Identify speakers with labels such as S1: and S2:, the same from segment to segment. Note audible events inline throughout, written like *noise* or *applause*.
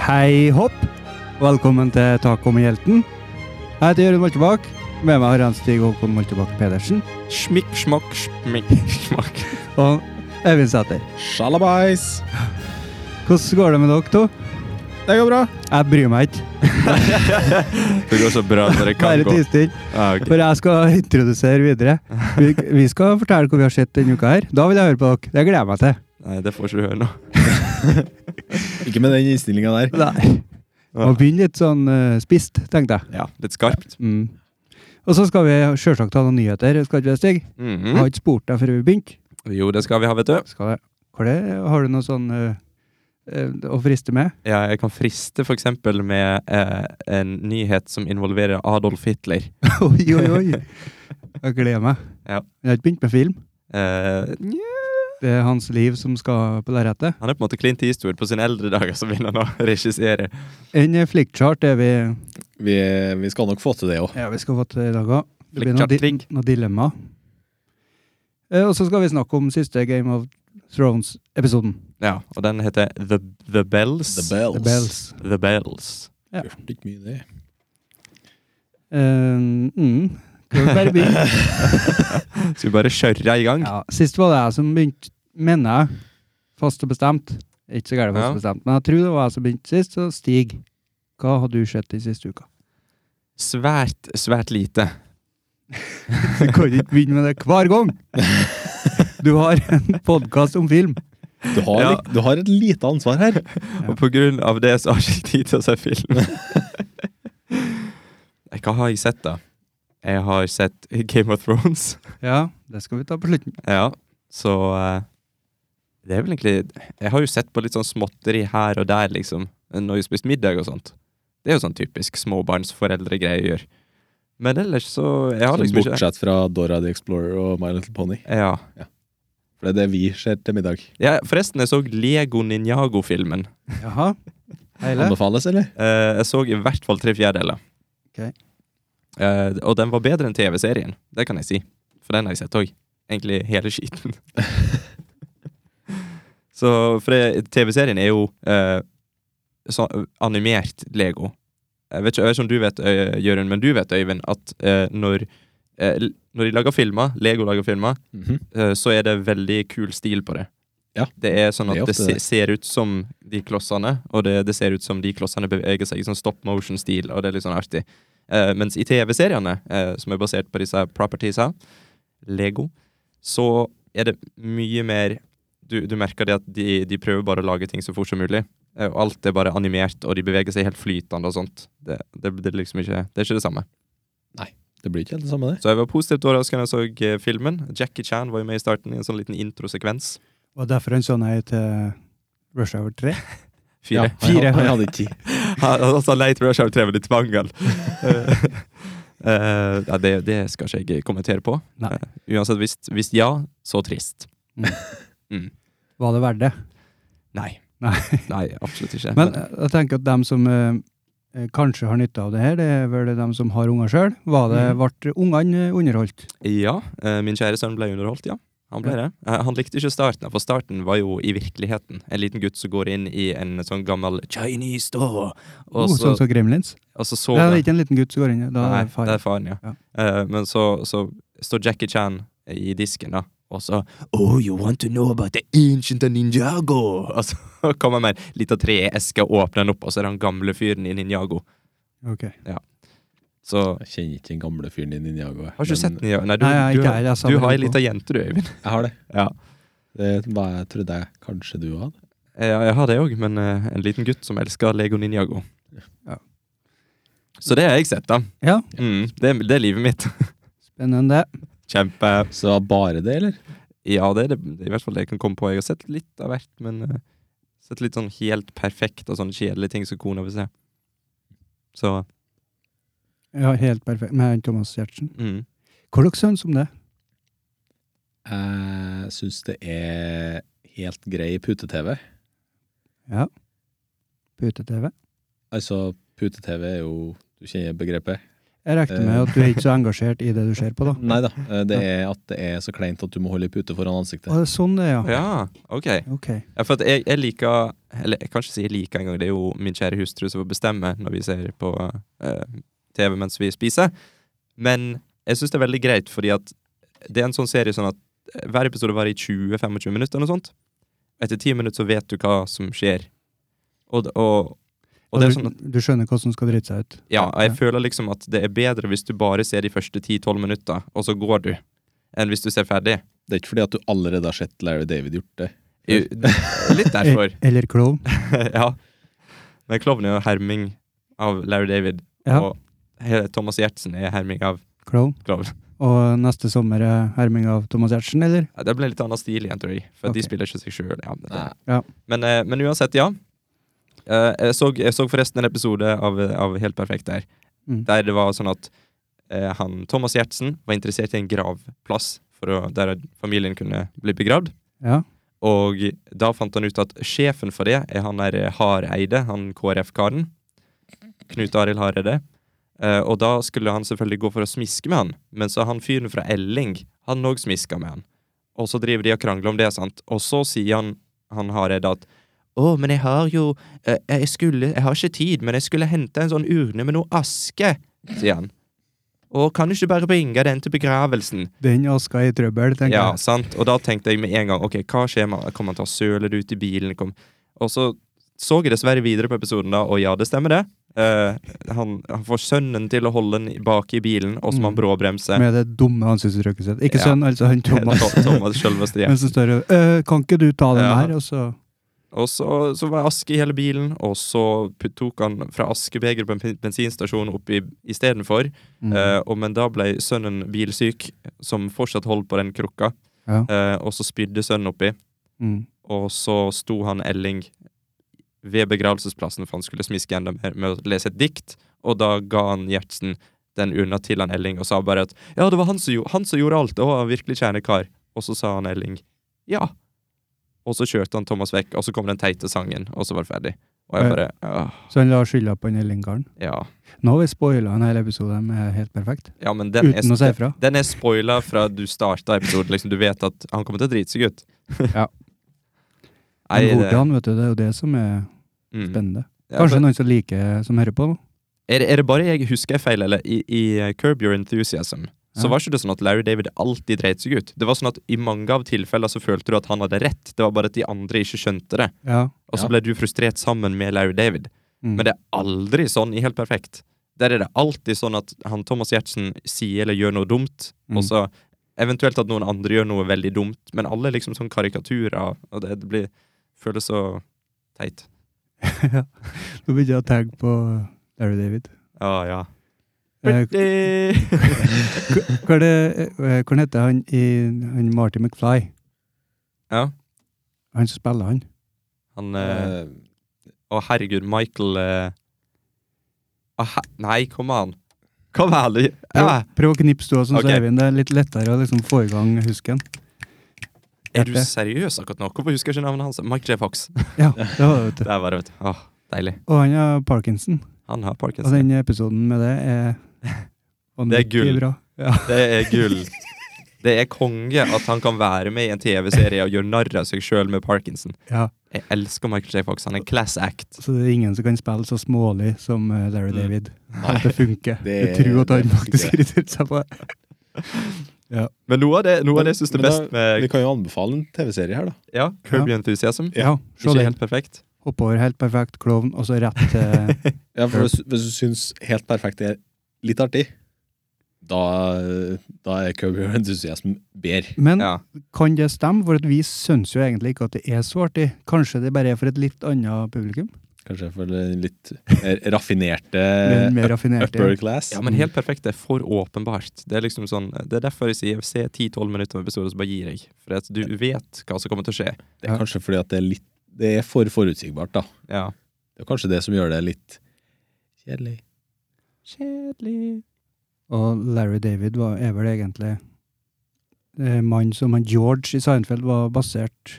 S1: Hei hopp! Velkommen til Taco med hjelten. Jeg heter Jørund Moltebakk. Med meg har jeg en Stig Håkon Moltebakk Pedersen
S2: Smikk, smakk, smikk, smakk.
S1: og Øyvind Sæter.
S2: Sjalabais.
S1: Hvordan går det med dere to?
S2: Det går bra.
S1: Jeg bryr meg ikke.
S2: *laughs* Det går så bra når det kan
S1: Bare
S2: gå.
S1: ti stille.
S2: Ah, ok.
S1: For jeg skal introdusere videre. Vi, vi skal fortelle hva vi har sett denne uka her. Da vil jeg høre på dere. Det gleder jeg meg til.
S2: Nei, det får ikke du høre nå.
S3: Ikke med den innstillinga der.
S1: Nei. Må begynne litt sånn eh, spist, tenkte jeg.
S2: Ja, litt skarpt.
S1: Mm. Og så skal vi sjølsagt ha noen nyheter. Skal ikke det, Stig? Jeg
S2: Mhm.
S1: har ikke spurt deg før vi begynte.
S2: Jo, det skal vi ha, vet du.
S1: Skal jeg? Hva er det? Har du noe sånn eh, eh, å friste med?
S2: Ja, jeg kan friste for eksempel med eh, en nyhet som involverer Adolf Hitler.
S1: *laughs* oi, oi, oi! *laughs* Jeg gleder meg.
S2: Ja.
S1: Jeg har ikke begynt med film.
S2: Eh, nja.
S1: Det er hans liv som skal på lerretet.
S2: han er på en måte Clint Eastwood på sine eldre dager, så vil han å regissere.
S1: En eh, flickchart er vi
S3: Vi, vi skal nok få til det òg.
S1: Ja, vi skal få til i dag òg. Det blir noen, di
S2: Flickchart-ring.
S1: noen dilemma. Eh, og så skal vi snakke om siste Game of Thrones-episoden.
S2: Ja, og den heter The, The Bells.
S3: The bells.
S1: The Bells.
S2: The Bells.
S1: Ja.
S3: Hørte ikke mye det.
S1: Eh, mm. Skal vi bare *laughs* begynne?
S2: Skal vi bare kjøre i gang?
S1: Ja, sist var det jeg som begynte, mener jeg, fast og bestemt. Ikke så gærent fast
S2: Ja.
S1: og bestemt, men jeg tror det var jeg som begynte sist, så Stig, hva har du sett den siste uka? *laughs*
S2: Svært, svært lite.
S1: Du kan ikke begynne med det hver gang! Du har en podkast om film.
S3: Du har,
S2: Ja.
S3: litt- du har et lite ansvar her.
S2: Og på grunn av det så har jeg ikke tid til å se
S3: *laughs*
S2: film. Nei, Hva har jeg sett, da? Jeg har sett Game of Thrones.
S1: Ja, det skal vi ta på slutten.
S2: Ja, så eh, Det er vel egentlig Jeg har jo sett på litt sånn småtteri her og der, liksom. Når jeg har spist middag og sånt. Det er jo sånn typisk småbarnsforeldregreie å gjøre. Men ellers så Jeg har
S3: Sånn
S2: liksom ikke
S3: Bortsett fra Dora the Explorer og My Little Pony.
S2: ja.
S3: For det er det vi ser til middag.
S2: ja. Forresten, jeg så Lego Ninjago-filmen.
S1: Jaha. Heile.
S3: Anbefales, eller?
S2: Eh, jeg så i hvert fall tre fjerdedeler.
S1: Ok.
S2: Eh, og den var bedre enn TV-serien, det kan jeg si. For den har jeg sett òg. Egentlig hele skiten. så for det- TV-serien er jo eh, sånn animert Lego. Jeg vet, ikke, jeg vet ikke om du vet, Øy- Jørund, men du vet, Øyvind, at eh, når, eh, l- når de lager filmer, Lego lager filmer,
S3: Mhm.
S2: eh, så er det veldig kul stil på det.
S3: Ja,
S2: Det er sånn at
S3: det er
S2: det,
S3: ofte
S2: se,
S3: det.
S2: ser ut som de klossene, og det, det ser ut som de klossene beveger seg i sånn stop motion-stil, og det er litt sånn artig. Eh, mens i TV-seriene, eh, som er basert på disse propertiesa, Lego, så er det mye mer Du, du merker det at de, de prøver bare å lage ting så fort som mulig. eh, Og alt er bare animert, og de beveger seg helt flytende og sånt. Det, det, det, er liksom ikke, det er ikke det samme.
S3: Det blir ikke helt det samme, det.
S2: Så jeg var positivt overrasket da jeg så eh, filmen. Jackie Chan var jo med i starten i en sånn liten introsekvens.
S1: Og derfor en sånn hei til Rush Hour 3.
S2: Fire.
S3: Ja, han-
S1: Fire.
S3: Han hadde ikke tid.
S2: Han han sa nei til Rush Hour 3 med litt *laughs* mangel. Eh, ja, det, det skal ikke jeg kommentere på.
S1: Nei.
S2: Eh, uansett, hvis, hvis ja, så trist.
S1: Var det verdt det?
S2: Nei.
S1: Nei.
S2: *laughs* Nei, absolutt ikke.
S1: Men eh, jeg tenker at dem som eh, eh, kanskje har nytte av det her, det er vel dem som har unger sjøl.
S2: Mm.
S1: Ble ungene eh, underholdt?
S2: ja, eh, min kjære sønn ble underholdt, ja. Han ble det. Eh, han likte ikke starten, for starten var jo i virkeligheten. En liten gutt som går inn i en sånn gammel Chinese store,
S1: Oh,
S2: og så,
S1: sånn som Gremlins?
S2: og så
S1: Det
S2: sover
S1: er ikke en liten gutt som går inn i det. Da
S2: Nei,
S1: er det far.
S2: det er faren, ja.
S1: Ja.
S2: Eh, men så, så står Jackie Chan i disken, da, og så Oh, you want to know about the ancient Ninjago? *laughs* Og så kommer han med en lita treeske og åpner den opp, og så er det han gamle fyren i Ninjago.
S1: Ok.
S2: Så
S3: Jeg kjenner ikke den gamle fyren i Ninjago. jeg.
S2: Har ikke du sett
S3: Men
S2: Ninjago? Nei, du,
S1: Nei, jeg er
S2: du,
S1: ikke her, jeg sa
S2: du
S1: bare
S2: har ei
S1: på.
S2: lita jente, du, Øyvind.
S3: Jeg har det.
S2: Ja.
S3: Det var jeg trodde jeg kanskje du hadde.
S2: Eh, ja, jeg har det òg, men eh, en liten gutt som elsker Lego Ninjago.
S1: Ja.
S2: Så det har jeg sett, da.
S1: Ja.
S2: Mm, det, er- det er livet mitt. *laughs*
S1: Spennende.
S2: Kjempe.
S3: Så det var bare det, eller?
S2: Ja, det er det, det er i hvert fall det jeg kan komme på. Jeg har sett litt av hvert, men eh, sett litt sånn helt perfekt og sånne kjedelige ting som kona vil se. Så
S1: Ja, helt perfekt. Med Thomas Giertsen.
S2: mm.
S1: Hva dere syns om det?
S3: Jeg syns det er helt grei pute-TV.
S1: Ja. Pute-TV?
S3: Altså, pute-TV er jo Du kjenner begrepet?
S1: Jeg regner med at du er ikke så engasjert i det du ser på, da.
S3: Nei da. eh, Det er at det er så kleint at du må holde ei pute foran ansiktet.
S1: Å, det er sånn det er, ja.
S2: Ja, OK.
S1: Ok.
S2: Ja, for at jeg, jeg liker Eller jeg kan ikke si jeg liker engang, det er jo min kjære hustru som får bestemme når vi ser på eh, TV mens vi spiser. Men jeg syns det er veldig greit, fordi at det er en sånn serie sånn at hver episode varer i 20-25 minutter eller noe sånt. Etter 10 minutter så vet du hva som skjer. Og, d- og, og det er sånn at
S1: du, du skjønner hvordan som skal drite seg ut.
S2: Ja, og jeg føler liksom at det er bedre hvis du bare ser de første 10-12 minutter, og så går du, enn hvis du ser ferdig.
S3: Det er ikke fordi at du allerede har sett Larry David gjort det.
S2: Jo, Litt
S1: *laughs*
S2: derfor.
S1: E- Eller klovn.
S2: ja. Men Klovn er jo herming av Larry David,
S1: Ja,
S2: og he- Thomas Gjertsen er herming av
S1: klovn.
S2: Klovn.
S1: Og neste sommer er herming av Thomas Giertsen, eller?
S2: Ja, Det ble litt annen stil igjen, tror jeg, for
S1: Ok.
S2: de spiller ikke seg sjøl. Ja, dette-
S3: Nei.
S1: Ja.
S2: men, eh, men uansett, ja. Eh, jeg, så, jeg så forresten en episode av, av Helt perfekt der,
S1: Mm.
S2: der det var sånn at eh, han, Thomas Gjertsen var interessert i en gravplass for å, der familien kunne bli begravd.
S1: Ja.
S2: Og da fant han ut at sjefen for det er han der Hareide, han KrF-karen. Knut Arild Hareide. Eh, og da skulle han selvfølgelig gå for å smiske med han, men så han fyren fra Elling, han òg smiska med han. Og så driver de og krangler om det, sant. Og så sier han, han Hareide at å, men jeg har jo eh, Jeg skulle Jeg har ikke tid, men jeg skulle hente en sånn urne med noe aske, sier han. Og kan du ikke bare bringe den til begravelsen?
S1: Den aska er i trøbbel, tenker
S2: Ja,
S1: jeg.
S2: sant? Og da tenkte jeg med en gang Ok, hva skjer? med- Kommer han til å søle det ut i bilen? Kom. Og så så jeg dessverre videre på episoden, da, og ja, det stemmer det. Eh, han, han får sønnen til å holde den bak i bilen, og så må han
S1: Mm.
S2: *laughs* bråbremse.
S1: Med det dumme ansiktsuttrykket sitt. Ikke
S2: Ja.
S1: sønn, altså
S2: *laughs*
S1: han Thomas.
S2: Thomas, Thomas selveste,
S1: *laughs*
S2: ja.
S1: Men så står det «Øh, Kan ikke du ta den
S2: Ja.
S1: her? Og så
S2: Og så, så var det aske i hele bilen, og så put- tok han fra askebegeret på en pen- bensinstasjon opp i- istedenfor.
S1: Mm.
S2: Eh, og- men da ble sønnen bilsyk, som fortsatt holdt på den krukka,
S1: Ja.
S2: eh, og så spydde sønnen oppi.
S1: Mm.
S2: Og så sto han Elling ved begravelsesplassen, for han skulle smiske enda mer med å lese et dikt. Og da ga han Gjertsen den unna til han Elling og sa bare at ja, det var han som, gjo- han som gjorde alt, og han var virkelig kjernekar. Og så sa han Elling ja. Og så kjørte han Thomas vekk, og så kom den teite sangen, og så var det ferdig. Og
S1: Eh.
S2: jeg bare «Åh,
S1: Så han la skylda på den Elling-karen.
S2: ja.
S1: Nå har vi spoila en hel episode med Helt perfekt.
S2: ja, men den
S1: Uten å si
S2: er,
S1: ifra.
S2: den er spoila fra du starta episoden. Liksom, du vet at han kommer til å drite seg ut.
S1: Ja.
S2: *laughs* Nei,
S1: Men
S2: det,
S1: hvordan, vet du, det er jo det som er
S2: mm.
S1: spennende.
S2: Ja,
S1: Kanskje
S2: for-
S1: noen som liker som hører på, da.
S2: Er, er det bare jeg husker jeg feil, eller i, i eh, Curb Your Enthusiasm,
S1: Ja.
S2: så var ikke det sånn at Larry David alltid dreit seg ut. Det var sånn at i mange av tilfeller så følte du at han hadde rett, det var bare at de andre ikke skjønte det.
S1: Ja.
S2: Og så
S3: Ja.
S2: ble du frustrert sammen med Larry David.
S1: Mm.
S2: Men det er aldri sånn i Helt perfekt. Der er det alltid sånn at han Thomas Giertsen sier eller gjør noe dumt,
S1: Mm.
S2: og så eventuelt at noen andre gjør noe veldig dumt, men alle er liksom sånn karikaturer, og det, det blir, føles så teit.
S1: ja. Nå begynner jeg å tagge på uh, Larry David.
S2: Ja, Ah, ja.
S1: Eh,
S2: Pretty!
S1: *laughs* hva er det, eh, hvordan heter han i han Marty McFly?
S2: ja.
S1: Han som spiller han.
S2: Han eh, Å, herregud, Michael eh, å, he Nei, kom an. Kom an! du-
S1: Prøv,
S2: Ja.
S1: prøv å knipse du også, så
S2: Ok.
S1: er vi- Det er litt lettere å liksom få i gang husken.
S2: Er du
S1: Hjerte.
S2: seriøs akkurat nå? Hvorfor husker jeg ikke navnet hans? Michael J. Fox.
S1: Ja, det var det, vet du.
S2: Der var *laughs* det, vet du. Åh, deilig.
S1: Og han har parkinson.
S2: Han har
S1: Og
S2: parkinson.
S1: den episoden med det er
S2: Det er gull.
S1: vanvittig Bra. Ja.
S2: Det er gull. Det er konge at han kan være med i en TV-serie og gjøre narr av seg sjøl med parkinson.
S1: *laughs* ja.
S2: Jeg elsker Michael J. Fox. Han er en class act.
S1: Så det er ingen som kan spille så smålig som eh, Larry
S2: Mm.
S1: David.
S3: Nei.
S1: At det funker.
S3: Det-
S1: Jeg tror at han
S3: det funker.
S1: faktisk irriterte seg på det.
S2: Men noe av det, noe av det jeg syns er
S3: Men da-
S2: best med
S3: Vi kan jo anbefale en TV-serie her, da.
S2: ja, Kirby Enthusiasm
S1: Ja, se
S2: Ikke
S1: den.
S2: helt perfekt.
S1: Hoppe over helt perfekt klovn, og så rett til
S3: Ja, for hvis, hvis du syns Helt perfekt er litt artig, da, da er Curb Your Enthusiasm bedre.
S1: Men
S2: Ja.
S1: kan det stemme? For at vi syns jo egentlig ikke at det er så artig. Kanskje det bare er for et litt annet publikum?
S3: Kanskje for den litt mer raffinerte
S1: Men mer raffinert.
S3: upper class.
S2: Ja, men helt perfekt er for åpenbart. Det er liksom sånn, det er derfor jeg sier se 10-12 minutter av episoden, så bare gir jeg. For at du vet hva som kommer til å skje.
S3: Det er kanskje fordi at det er litt Det er for forutsigbart, da.
S2: Ja.
S3: Det er kanskje det som gjør det litt kjedelig.
S2: Kjedelig.
S1: Og Larry David var, er vel egentlig eh, mannen som han George i Seinfeld var basert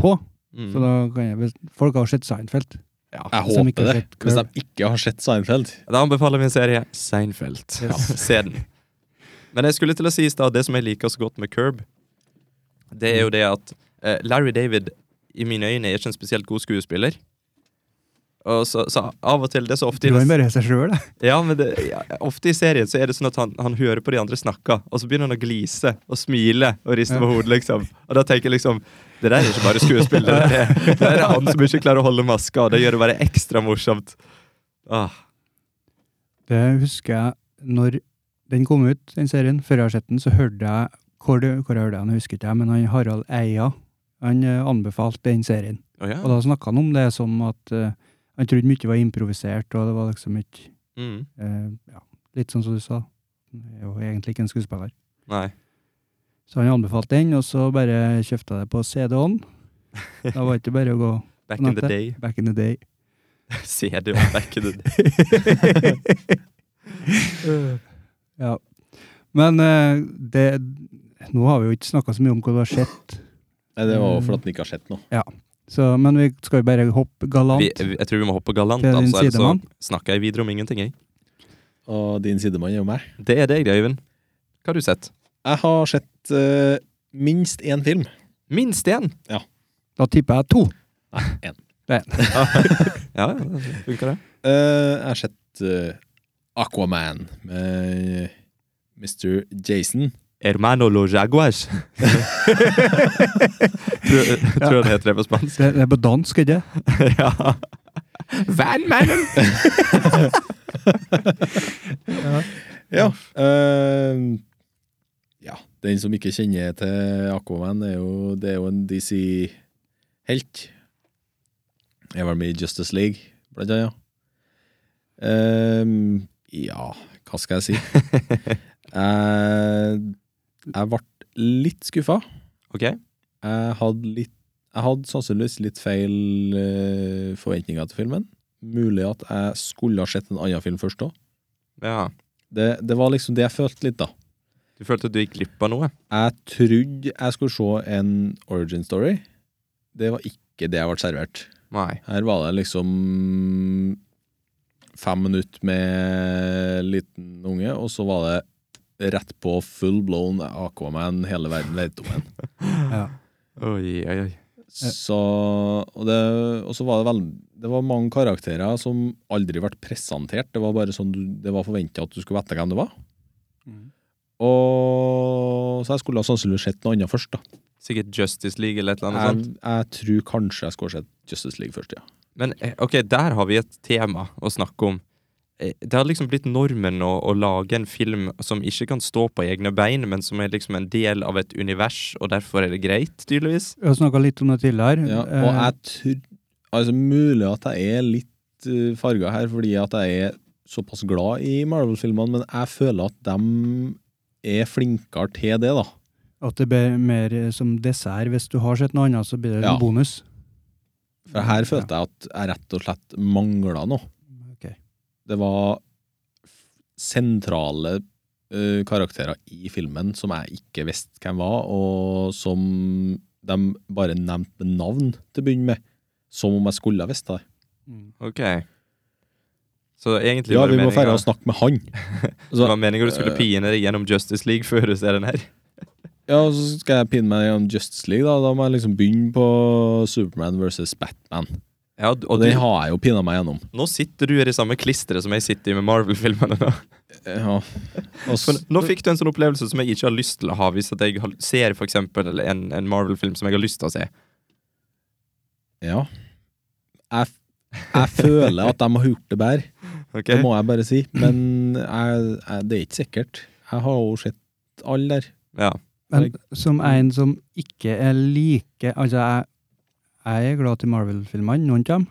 S1: på.
S2: Mm.
S1: Så da kan jeg vel Folk har sett Seinfeld.
S2: Ja.
S3: Jeg
S1: Som ikke
S3: håper
S1: har
S3: det.
S1: sett
S3: Hvis
S1: Curb.
S3: de ikke har sett Seinfeld.
S2: Da anbefaler vi en serie Seinfeld. Ja, se den. Men jeg skulle til å si i stad det som jeg liker så godt med Curb, det er jo det at eh, Larry David i mine øyne er ikke en spesielt god skuespiller. Og så, så av og til det er så ofte
S1: Du kan bare seg
S2: *laughs*
S1: sjøl, da.
S2: ja, men det, ja, Ofte i serien så er det sånn at han, han hører på de andre snakke, og så begynner han å glise og smile og riste på hodet, liksom. Og da tenker jeg liksom Det der er ikke bare skuespill, det, er- det er han som ikke klarer å holde maska, og det gjør det bare ekstra morsomt. Ah,
S1: Det husker jeg når den kom ut, den serien. Før jeg har sett den, så hørte jeg Hvor, det- hvor jeg hørte jeg, den, husker ikke jeg, men han Harald Eia han eh, anbefalte den serien.
S2: å ja.
S1: Og da snakka han om det som at eh, han trodde mye var improvisert, og det var liksom ikke
S2: Mm.
S1: eh, ja, Litt sånn som du sa. Jeg er jo egentlig ikke en skuespiller.
S2: Nei.
S1: Så han anbefalte den, og så bare kjøpte jeg det på CD-on. Da var det ikke bare å gå
S2: Back in the day. *laughs*
S1: back in the day.
S2: Ser du om back in the day?
S1: *laughs* ja. Men eh, det Nå har vi jo ikke snakka så mye om hva du har sett,
S3: Nei, Det var jo fordi den ikke har sett noe.
S1: så, men vi skal jo bare hoppe galant.
S2: Vi, vi- jeg tror vi må hoppe galant,
S1: Det er din
S2: altså, ellers så
S1: sidemann.
S2: snakker jeg videre om ingenting. Jeg.
S3: Og din sidemann er jo meg.
S2: Det er deg, det, Øyvind. Hva har du sett?
S3: Jeg har sett eh, minst én film.
S2: Minst én!
S1: Da tipper jeg to.
S2: *laughs* ja, ja, det funker det.
S3: Eh, jeg har sett eh, Aquaman med Mr. Jason.
S2: Hermano los jaguars. tror, *laughs* tror jeg det heter det på spansk.
S1: Det, det er på dansk, ikke det?
S2: *laughs* ja. Van mannen!
S3: Ja. eh, ja. Den som ikke kjenner til Aquaman, er jo, det er jo en DC-helt. Jeg var med i Justice League, blant annet. Eh, ja, hva skal jeg si? jeg, jeg ble litt skuffa.
S2: Ok,
S3: Jeg hadde litt Jeg hadde sannsynligvis litt feil eh, forventninger til filmen. Mulig at jeg skulle ha sett en annen film først òg.
S2: ja.
S3: Det, det var liksom det jeg følte litt, da.
S2: Du følte at du gikk glipp av noe?
S3: Jeg trodde jeg skulle se en origin story. Det var ikke det jeg ble servert.
S2: Nei.
S3: Her var det liksom fem minutter med liten unge, og så var det rett på full blown Aquaman hele verden vet om en.
S1: Ja.
S2: Oi, oi, oi.
S3: Så, og, det, og så var det vel Det var mange karakterer som aldri ble presentert. Det var bare sånn du, det var forventa at du skulle vite hvem det var. Og så jeg skulle ha sannsynligvis sett noe annet først, da.
S2: Sikkert Justice League eller et eller annet
S3: Jeg,
S2: sånt.
S3: jeg tror kanskje jeg skulle ha sett Justice League først, ja.
S2: Men eh, ok, der har vi et tema å snakke om. Eh, Det har liksom blitt normen å, å lage en film som ikke kan stå på egne bein, men som er liksom en del av et univers, og derfor er det greit, tydeligvis.
S1: Vi har snakka litt om det tidligere.
S3: ja og jeg tror Altså, mulig at jeg er litt uh, farga her fordi at jeg er såpass glad i Marvel-filmene, men jeg føler at de er flinkere til det, da.
S1: Eh, at det blir mer eh, som dessert. Hvis du har sett noe annet, så blir det
S3: Ja.
S1: en bonus.
S3: For her følte jeg at jeg rett og slett mangla noe.
S1: Ok.
S3: Det var f- sentrale eh, karakterer i filmen som jeg ikke visste hvem var, og som de bare nevnte med navn til å begynne med. Som om jeg skulle ha visst det.
S1: Mm.
S2: Ok. Så egentlig
S3: Ja,
S2: var det
S3: vi må
S2: meningen-
S3: fære og snakke med han.
S2: det var meningen du skulle
S3: Eh.
S2: pine deg gjennom Justice League *laughs* før du ser den her.
S3: Ja, og så skal jeg pinne meg gjennom Justice League, da. Da må jeg liksom begynne på Superman versus Batman.
S2: Ja, og
S3: Og
S2: du,
S3: den har jeg jo pinna meg gjennom.
S2: nå sitter du i det samme klisteret som jeg sitter i med
S1: *laughs*
S2: Marvel-filmene. nå.
S3: Ja. Og
S2: For
S3: s-
S2: nå fikk du en sånn opplevelse som jeg ikke har lyst til å ha hvis at jeg har- ser for eksempel en, en Marvel-film som jeg har lyst til å se.
S3: ja. Jeg, jeg føler at de har gjort det bedre.
S2: Ok?
S3: Det må jeg bare si. Men jeg, jeg, det er ikke sikkert. Jeg har jo sett alle der.
S2: Ja.
S1: Men som
S2: Mm.
S1: en som ikke er like Altså, jeg, jeg er glad til Marvel-filmene, noen av dem,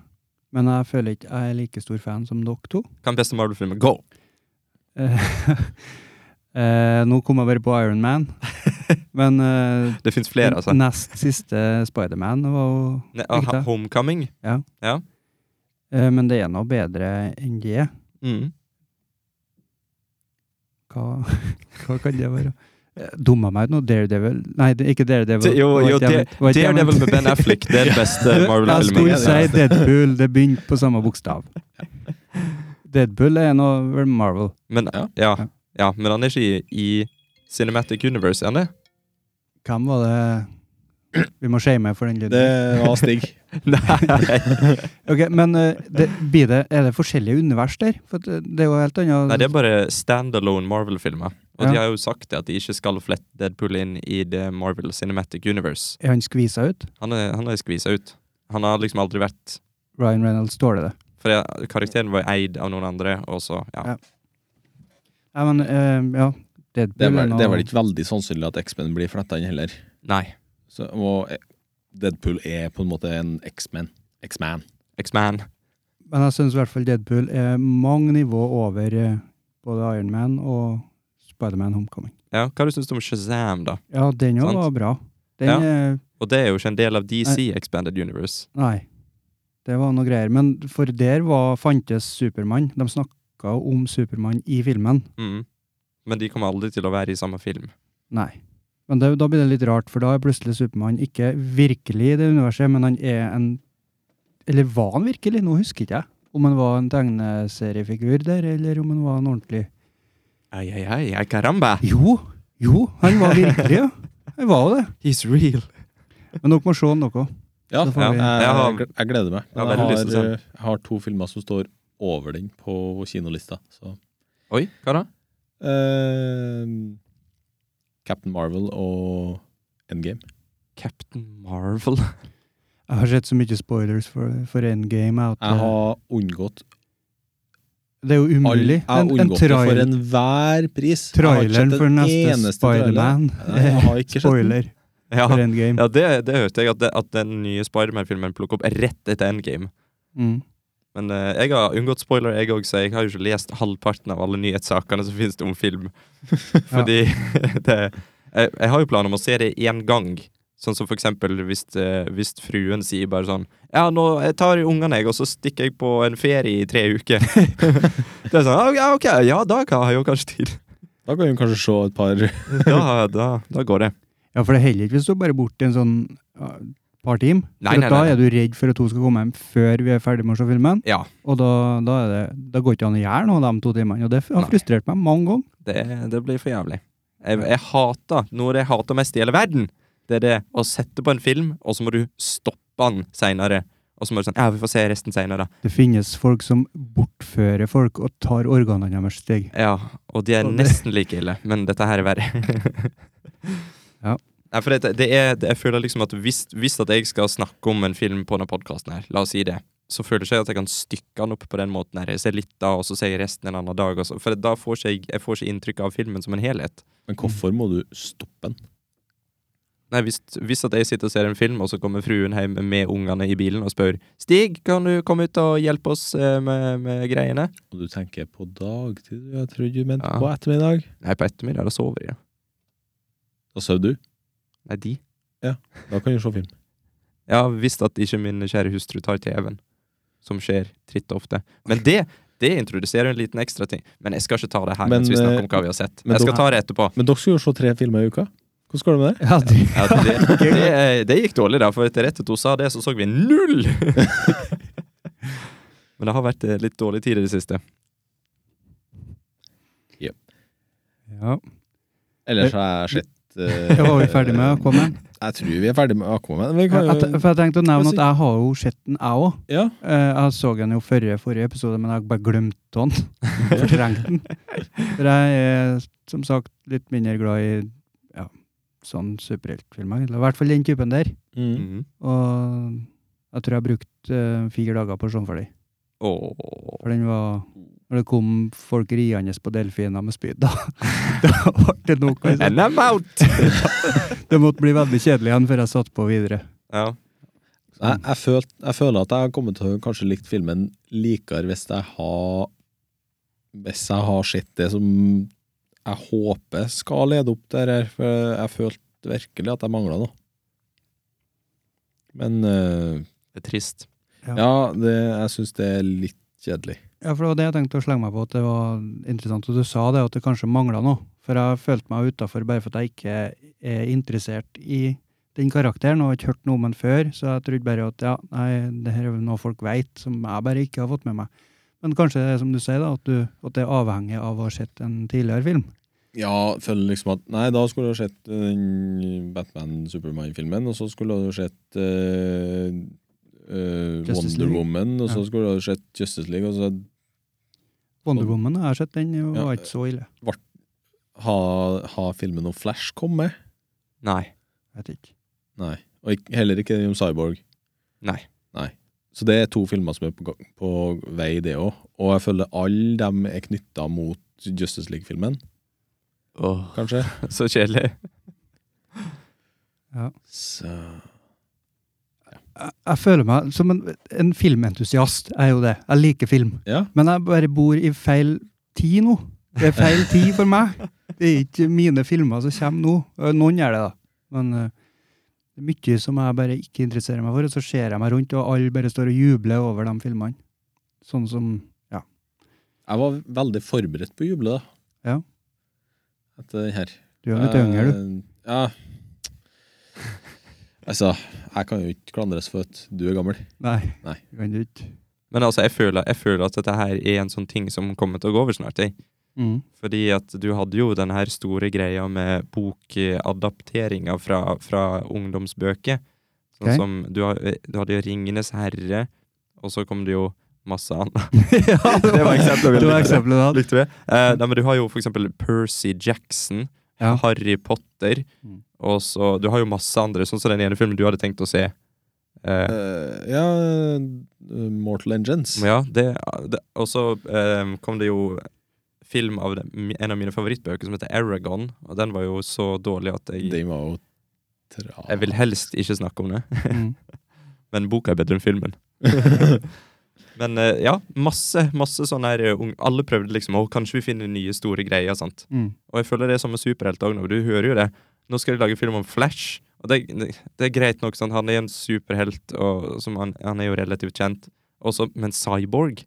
S1: men jeg føler ikke jeg er like stor fan som dere to.
S2: Kan beste Marvel-filmen go?
S1: Eh, *laughs* eh, nå kom jeg bare på Iron Man,
S2: *laughs*
S1: men eh,
S2: Det fins flere, altså.
S1: nest siste Spiderman var jo
S2: Ne
S1: ikke
S2: aha,
S1: det.
S2: homecoming?
S1: Eh, Men det er noe bedre enn det.
S2: Mm.
S1: *laughs* Hva, hva kan det være? Eh, Dumma meg ut nå. Daredevil Nei, det, ikke Daredevil.
S2: Det- jo,
S1: Det var
S2: jo,
S1: ikke det jeg
S2: Dare-
S1: mente. Det var ikke det jeg
S2: Daredevil
S1: mente.
S2: med Ben Affleck,
S1: *laughs*
S2: det er det beste
S1: Jeg
S2: Marvel-filmen.
S1: skulle
S3: filmen.
S1: si Deadpool. Det begynte på samme
S2: *laughs*
S1: bokstav. Deadpool er en av vel Marvel.
S2: Men,
S3: Ja.
S2: ja, ja, men han er ikke i, i Cinematic Universe, er han det?
S1: Hvem var det Vi må shame for den lyden.
S3: Det var Stig.
S2: Nei.
S1: Ok, Men eh, det, blir det, er det forskjellige univers der? For eh, det, det er jo helt annet
S2: Nei, det er bare standalone Marvel-filmer. Og de
S1: Ja.
S2: har jo sagt det at de ikke skal flette Deadpool inn i det Marvel Cinematic Universe.
S1: Er han skvisa ut?
S2: Han er, han er skvisa ut. Han har liksom aldri vært
S1: Ryan Reynolds tåler det.
S2: For jeg, karakteren var eid av noen andre, og så ja.
S1: Ja. Nei, men eh, ja. Deadpool
S3: Det er vel,
S1: noe-
S3: det er vel ikke veldig sannsynlig at X-Men blir fletta inn heller.
S2: Nei.
S3: Så, og eh, Deadpool er på en måte en X-Man. X-Man.
S2: X-Man.
S1: Men jeg syns i hvert fall Deadpool er mange nivå over eh, både Iron Man og Spiderman Homecoming.
S2: Ja, hva syns du om Shazam, da?
S1: Ja, den òg
S2: Sant.
S1: var bra. Den
S2: Ja.
S1: eh,
S2: Og det er jo ikke en del av DC Expanded Universe.
S1: Nei. Det var noe greier. Men for der var, fantes Supermann. De snakka om Supermann i filmen.
S2: Mm. Men de kommer aldri til å være i samme film.
S1: Nei. Men det, da blir det litt rart, for da er plutselig Supermann ikke virkelig i det universet, men han er en Eller var han virkelig? Nå husker ikke jeg. Om han var en tegneseriefigur der, eller om han var en ordentlig
S2: Ei, ei, ei, ei, caramba!
S1: Jo! Jo, han var virkelig, ja. Han var jo det.
S2: He's real!
S1: Men dere må se han, dere.
S3: Ja,
S1: Så får
S3: jeg,
S1: vi-
S2: Jeg har-
S3: jeg, jeg gleder meg.
S2: Jeg har veldig lyst til å se den.
S3: eh, jeg har to filmer som står over den på kinolista. Så.
S2: Oi, hva da?
S3: Eh, Captain Marvel og Endgame.
S2: Captain Marvel. *laughs*
S1: Jeg har sett så mye spoilers for, for Endgame. At, eh,
S3: Jeg har unngått
S1: det er jo
S3: all,
S1: umulig.
S3: Jeg har unngått det for enhver pris. Jeg har ikke
S1: Traileren
S3: sett
S1: for
S3: en
S1: neste
S3: eneste trailer.
S1: Spiderman.
S3: Nei, jeg har ikke sett den.
S1: Spoiler
S2: Ja,
S1: for Endgame.
S2: *laughs* ja det, det hørte jeg, at, det, at den nye Spiderman-filmen plukker opp rett etter Endgame.
S1: Mm.
S2: Men eh, jeg har unngått spoiler, jeg òg, så jeg har jo ikke lest halvparten av alle nyhetssakene som finnes om film. Fordi *laughs* det jeg, jeg har jo planer om å se det én gang. Sånn som for eksempel hvis, eh, hvis fruen sier bare sånn Ja, nå jeg tar ungene, jeg, og så stikker jeg på en ferie i tre uker. *laughs* det er sånn «Ah, Ja, ok, ja, da kan jeg jo kanskje tid.
S3: Da kan vi kanskje se et par
S2: Da, da, da går det.
S1: Ja, for det heller ikke hvis du bare er borte en sånn ja, par timer.
S2: Nei,
S1: for
S2: nei,
S1: at da
S2: nei.
S1: er du redd for at hun skal komme hjem før vi er ferdig med å se filmen.
S2: Ja.
S1: Og da, da, er det, da går ikke an å gjøre noe de to timene. Og det har
S2: Nei.
S1: frustrert meg mange ganger.
S2: Det, det blir for jævlig. Jeg, jeg hater noe av det jeg hater mest i hele verden. Det er det å sette på en film, og så må du stoppe den seinere. Og så må du sånn Ja, vi får se resten seinere.
S1: Det finnes folk som bortfører folk og tar organene deres, Stig.
S2: Ja, og de er
S1: Og det-
S2: nesten like ille, men dette her er verre.
S1: *laughs* Ja.
S2: Nei, for det, det er, det, jeg føler liksom at hvis, hvis at jeg skal snakke om en film på denne podkasten her, la oss si det, så føler ikke jeg at jeg kan stykke den opp på den måten her. Jeg ser litt da, og så ser jeg resten en annen dag. og så- For da får ikke jeg, jeg får ikke inntrykk av filmen som en helhet.
S3: Men hvorfor må du stoppe den?
S2: Nei, hvis, hvis at jeg sitter og ser en film, og så kommer fruen hjem med ungene i bilen og spør Stig, kan du komme ut og hjelpe oss eh, med, med greiene?
S3: Og du tenker på dagtid, jeg trodde du mente
S2: Ja.
S3: på ettermiddag.
S2: Nei, på ettermiddag, da sover jeg. ja.
S3: Da sover du.
S2: Nei, de.
S3: Da kan du se film.
S2: Jeg har visst at ikke min kjære hustru tar TV-en, som skjer tritt ofte. Men det, det introduserer en liten ekstra ting. Men jeg skal ikke ta det her
S3: Men,
S2: mens vi snakker
S3: eh,
S2: om hva vi har sett.
S3: men
S2: Jeg skal
S3: da-
S2: ta det etterpå.
S3: Men dere skulle jo se tre filmer i uka. Hvordan går det med det?
S1: Ja, det,
S3: *laughs*
S2: Ja, det, det, eh, det gikk dårlig, da, for etter rett etter hun sa det, så så vi
S3: *laughs*
S2: null! Men det har vært eh, litt dårlig tid i det siste.
S1: ja.
S3: *laughs* Ellers har jeg *laughs* sett eh,
S1: Jeg var vi ferdig med Aquaman?
S3: Jeg tror vi er ferdig med Aquaman. Vi kan
S1: Ja,
S3: jo
S1: at- for jeg tenkte å
S3: Hva
S1: nevne
S3: sier-
S1: at jeg har jo sett den, jeg òg.
S3: Ja.
S1: Eh, jeg så den jo forrige, forrige episode, men jeg bare glemte den. *laughs* Fortrengte den. For jeg er som sagt litt mindre glad i ja, sånn superheltfilmer. eller I hvert fall den typen der.
S3: Mm.
S2: Mhm.
S1: Og jeg tror jeg brukte eh, fire dager på å se den ferdig.
S2: Åh.
S1: For den var Når det kom folk riende på delfiner med spyd, da *laughs* Da ble det nok. Liksom.
S2: *laughs* And I'm out!
S1: Det måtte bli veldig kjedelig igjen før jeg satte på videre.
S2: Ja.
S3: Jeg, jeg, følt, jeg føler at jeg har kommet til å kanskje likt filmen likere hvis jeg har Hvis jeg har sett det som jeg håper skal lede opp der her, for jeg følte virkelig at jeg mangla noe. eh, Men eh,
S2: Det er trist.
S3: ja, det, jeg syns det er litt kjedelig.
S1: Ja, for det var det jeg tenkte å slenge meg på, at det var interessant at du sa det, at det kanskje mangla noe. For jeg følte meg utafor bare for at jeg ikke er interessert i den karakteren, og har ikke hørt noe om den før, så jeg trodde bare at ja, nei, det her er vel noe folk veit, som jeg bare ikke har fått med meg. Men kanskje det er som du sier, da, at, du, at det er avhengig av å ha sett en tidligere film.
S3: Ja, føler liksom at Nei, da skulle du ha sett eh, den Batman-Supermann-filmen, og så skulle du ha sett eh, eh,
S1: Justice
S3: Wonder
S1: League.
S3: Woman, og så
S1: Ja.
S3: skulle du ha sett Justice League, og så
S1: Wonder Woman, jeg har sett den, og
S3: Ja,
S1: var ikke så ille.
S3: ha, ha filmen om Flash kommet.
S2: Nei.
S1: Jeg vet ikke.
S3: Nei. Og ikk- heller ikke den om Cyborg.
S2: Nei.
S3: Nei. Så det er to filmer som er på, ga- på vei, det òg. Og jeg føler alle dem er knytta mot Justice League-filmen,
S2: Åh,
S3: kanskje.
S2: så kjedelig.
S3: Så
S1: Jeg, jeg føler meg som en, en filmentusiast, jeg er jo det. Jeg liker film.
S3: Ja.
S1: Men jeg bare bor i feil tid nå. Det er feil tid for meg. Det er ikke mine filmer som kommer nå. Eh, Noen gjør det, da. Men eh, det er mye som jeg bare ikke interesserer meg for, og så ser jeg meg rundt, og alle bare står og jubler over de filmene. Sånn som
S3: Jeg var veldig forberedt på å juble, da.
S1: Ja.
S3: Etter den her.
S1: Du er litt yngre, du.
S3: Eh, Ja. Altså, jeg kan jo ikke klandres for at du er gammel.
S1: Nei.
S3: Nei.
S1: det Kan du ikke.
S2: Men altså, jeg føler, jeg føler at dette her er en sånn ting som kommer til å gå over snart. Jeg.
S1: Mm.
S2: Fordi at du hadde jo den her store greia med bokadapteringa fra, fra ungdomsbøker. Sånn
S1: Ok.
S2: som du, har- du hadde jo 'Ringenes herre', og så kom det jo masse annet. *laughs*
S1: ja,
S2: Det var eksempelet vi
S1: Det var
S2: likte.
S1: eksempelet du hadde.
S2: Likte vi? Eh, nei, men du har jo for eksempel Percy Jackson,
S1: Ja.
S2: Harry Potter,
S1: Mm.
S2: og så Du har jo masse andre, sånn som den ene filmen du hadde tenkt å se. Eh,
S3: Eh, ja eh, Mortal Engines.
S2: men ja, det, det Og så eh, kom det jo film av den- en av mine favorittbøker som heter Aragon, og den var jo så dårlig at jeg
S3: Den var jo tra...
S2: Jeg vil helst ikke snakke om det, *laughs*
S1: Mm.
S2: men boka er bedre enn filmen. men eh, ja, masse masse sånn her eh, ung- Alle prøvde liksom å kanskje vi finner nye store greier. sant?
S1: Mm.
S2: Og jeg føler det er som med superhelter òg nå. Du hører jo det. Nå skal de lage film om Flash. Og det, det er greit nok, sant? han er en superhelt, og som han, han er jo relativt kjent. Også, men Cyborg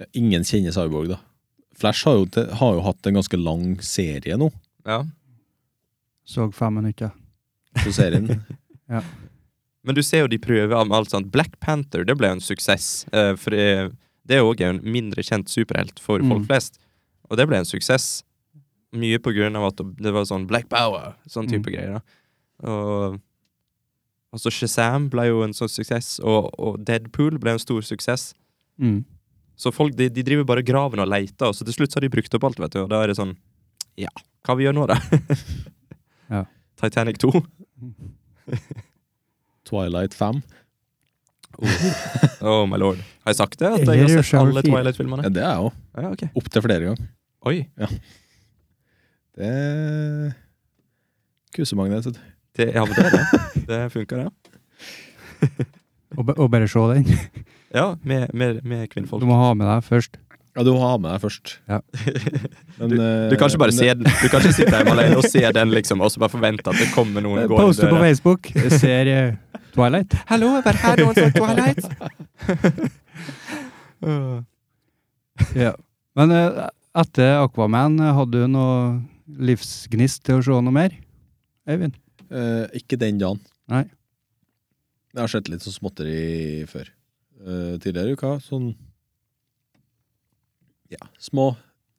S3: Ja, Ingen kjenner Cyborg, da. Flash har jo, te- har jo hatt en ganske lang serie nå,
S2: ja.
S1: Så fem minutter.
S3: på serien.
S2: *laughs* Men du ser jo de prøver med alt sånt. Black Panther det ble jo en suksess. eh, for det, det er jo også en mindre kjent superhelt for
S1: Mm.
S2: folk flest. Og det ble en suksess. Mye på grunn av at det var sånn Black Power, sånn type
S1: Mm.
S2: greier. da. Og altså Shazam ble jo en sånn suksess, og, og Deadpool ble en stor suksess.
S1: Mm.
S2: Så folk de, de driver bare graven og leter, og så til slutt så har de brukt opp alt, vet du. Og da er det sånn Ja, hva vi gjør nå, da?
S1: *laughs* Ja.
S2: Titanic 2.
S3: Twilight 5.
S2: Oh my lord. Har jeg sagt det? At
S1: Eller
S2: jeg har sett
S1: Shower
S2: alle
S1: fire.
S2: Twilight-filmene?
S3: Ja, det er jeg òg.
S2: Ja, ok.
S3: Opptil flere ganger.
S2: Oi.
S3: Det er kusemagnet. vet du.
S2: Det, ja, men det er det. Det funker, det.
S1: Og, ba- og bare se den.
S2: Ja, med, med, med kvinnfolk.
S1: Du må ha med deg først.
S3: Ja, du må ha med deg først.
S1: Ja.
S3: Men,
S2: *laughs*
S3: eh,
S2: Du kan ikke bare se den. Du kan ikke sitte hjemme alene og se den, liksom, og så bare forvente at det kommer noen
S1: Poste på Facebook. Ser eh, Twilight.
S2: Hallo, vær her, noen som *laughs* Twilight?
S1: Ja. Men eh, etter Aquaman, eh, hadde du noe livsgnist til å se noe mer? Øyvind?
S3: Eh, ikke den dagen.
S1: Nei.
S3: Jeg har sett litt sånn småtteri før. Eh, tidligere i uka. Sånn Ja, små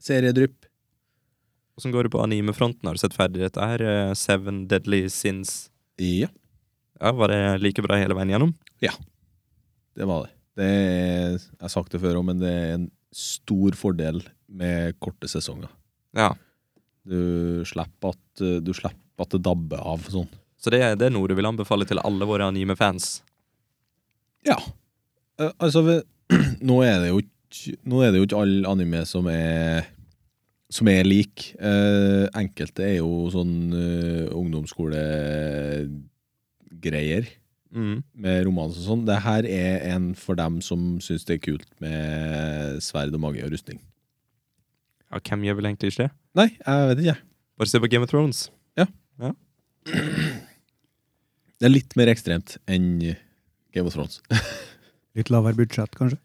S3: seriedrypp.
S2: Åssen går det på animefronten? Har du sett ferdig dette her? eh, Seven Deadly Sins.
S3: Ja,
S2: Ja, Var det like bra hele veien gjennom?
S3: det var det. Det er, jeg har sagt det før òg, men det er en stor fordel med korte sesonger.
S2: Ja.
S3: Du slipper at, eh, du slipper at det dabber av sånn.
S2: Så det, er- det er noe du vil anbefale til alle våre anime-fans.
S3: Ja. Eh, altså, ved, *clears throat* nå er det jo ikke Nå er det jo ikke alle anime som er Som er lik. Eh, enkelte er jo sånn eh, ungdomsskolegreier
S2: Mm.
S3: med romans og sånn. Det her er en for dem som syns det er kult med sverd og mage og rustning.
S2: Ja, Hvem gjør vel egentlig ikke det?
S3: Nei, jeg vet ikke. jeg.
S2: Bare se på Game of Thrones.
S3: Det er litt mer ekstremt enn Game of Thrones.
S1: Litt lavere budsjett, kanskje?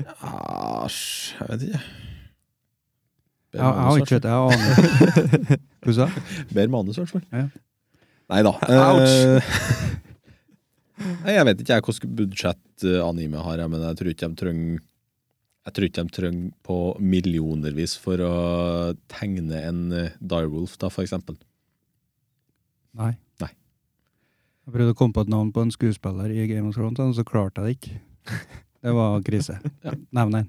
S3: Æsj, jeg vet ikke.
S1: Jeg, jeg har ikke sett det, jeg aner ikke. Hva sa jeg?
S3: Bedre manus, i hvert fall.
S1: Ja.
S3: Nei da. Eh,
S2: Ouch.
S1: *laughs*
S3: Nei, jeg vet ikke jeg hvilket budsjett eh, anime har, jeg, men jeg tror ikke de trenger jeg tror ikke de trenger på millionervis for å tegne en eh, direwolf, da, for eksempel.
S1: Nei.
S3: Nei.
S1: Jeg prøvde å komme på et navn på en skuespiller i Game of Thrones, og så klarte jeg det ikke. Det var krise. Nevn en.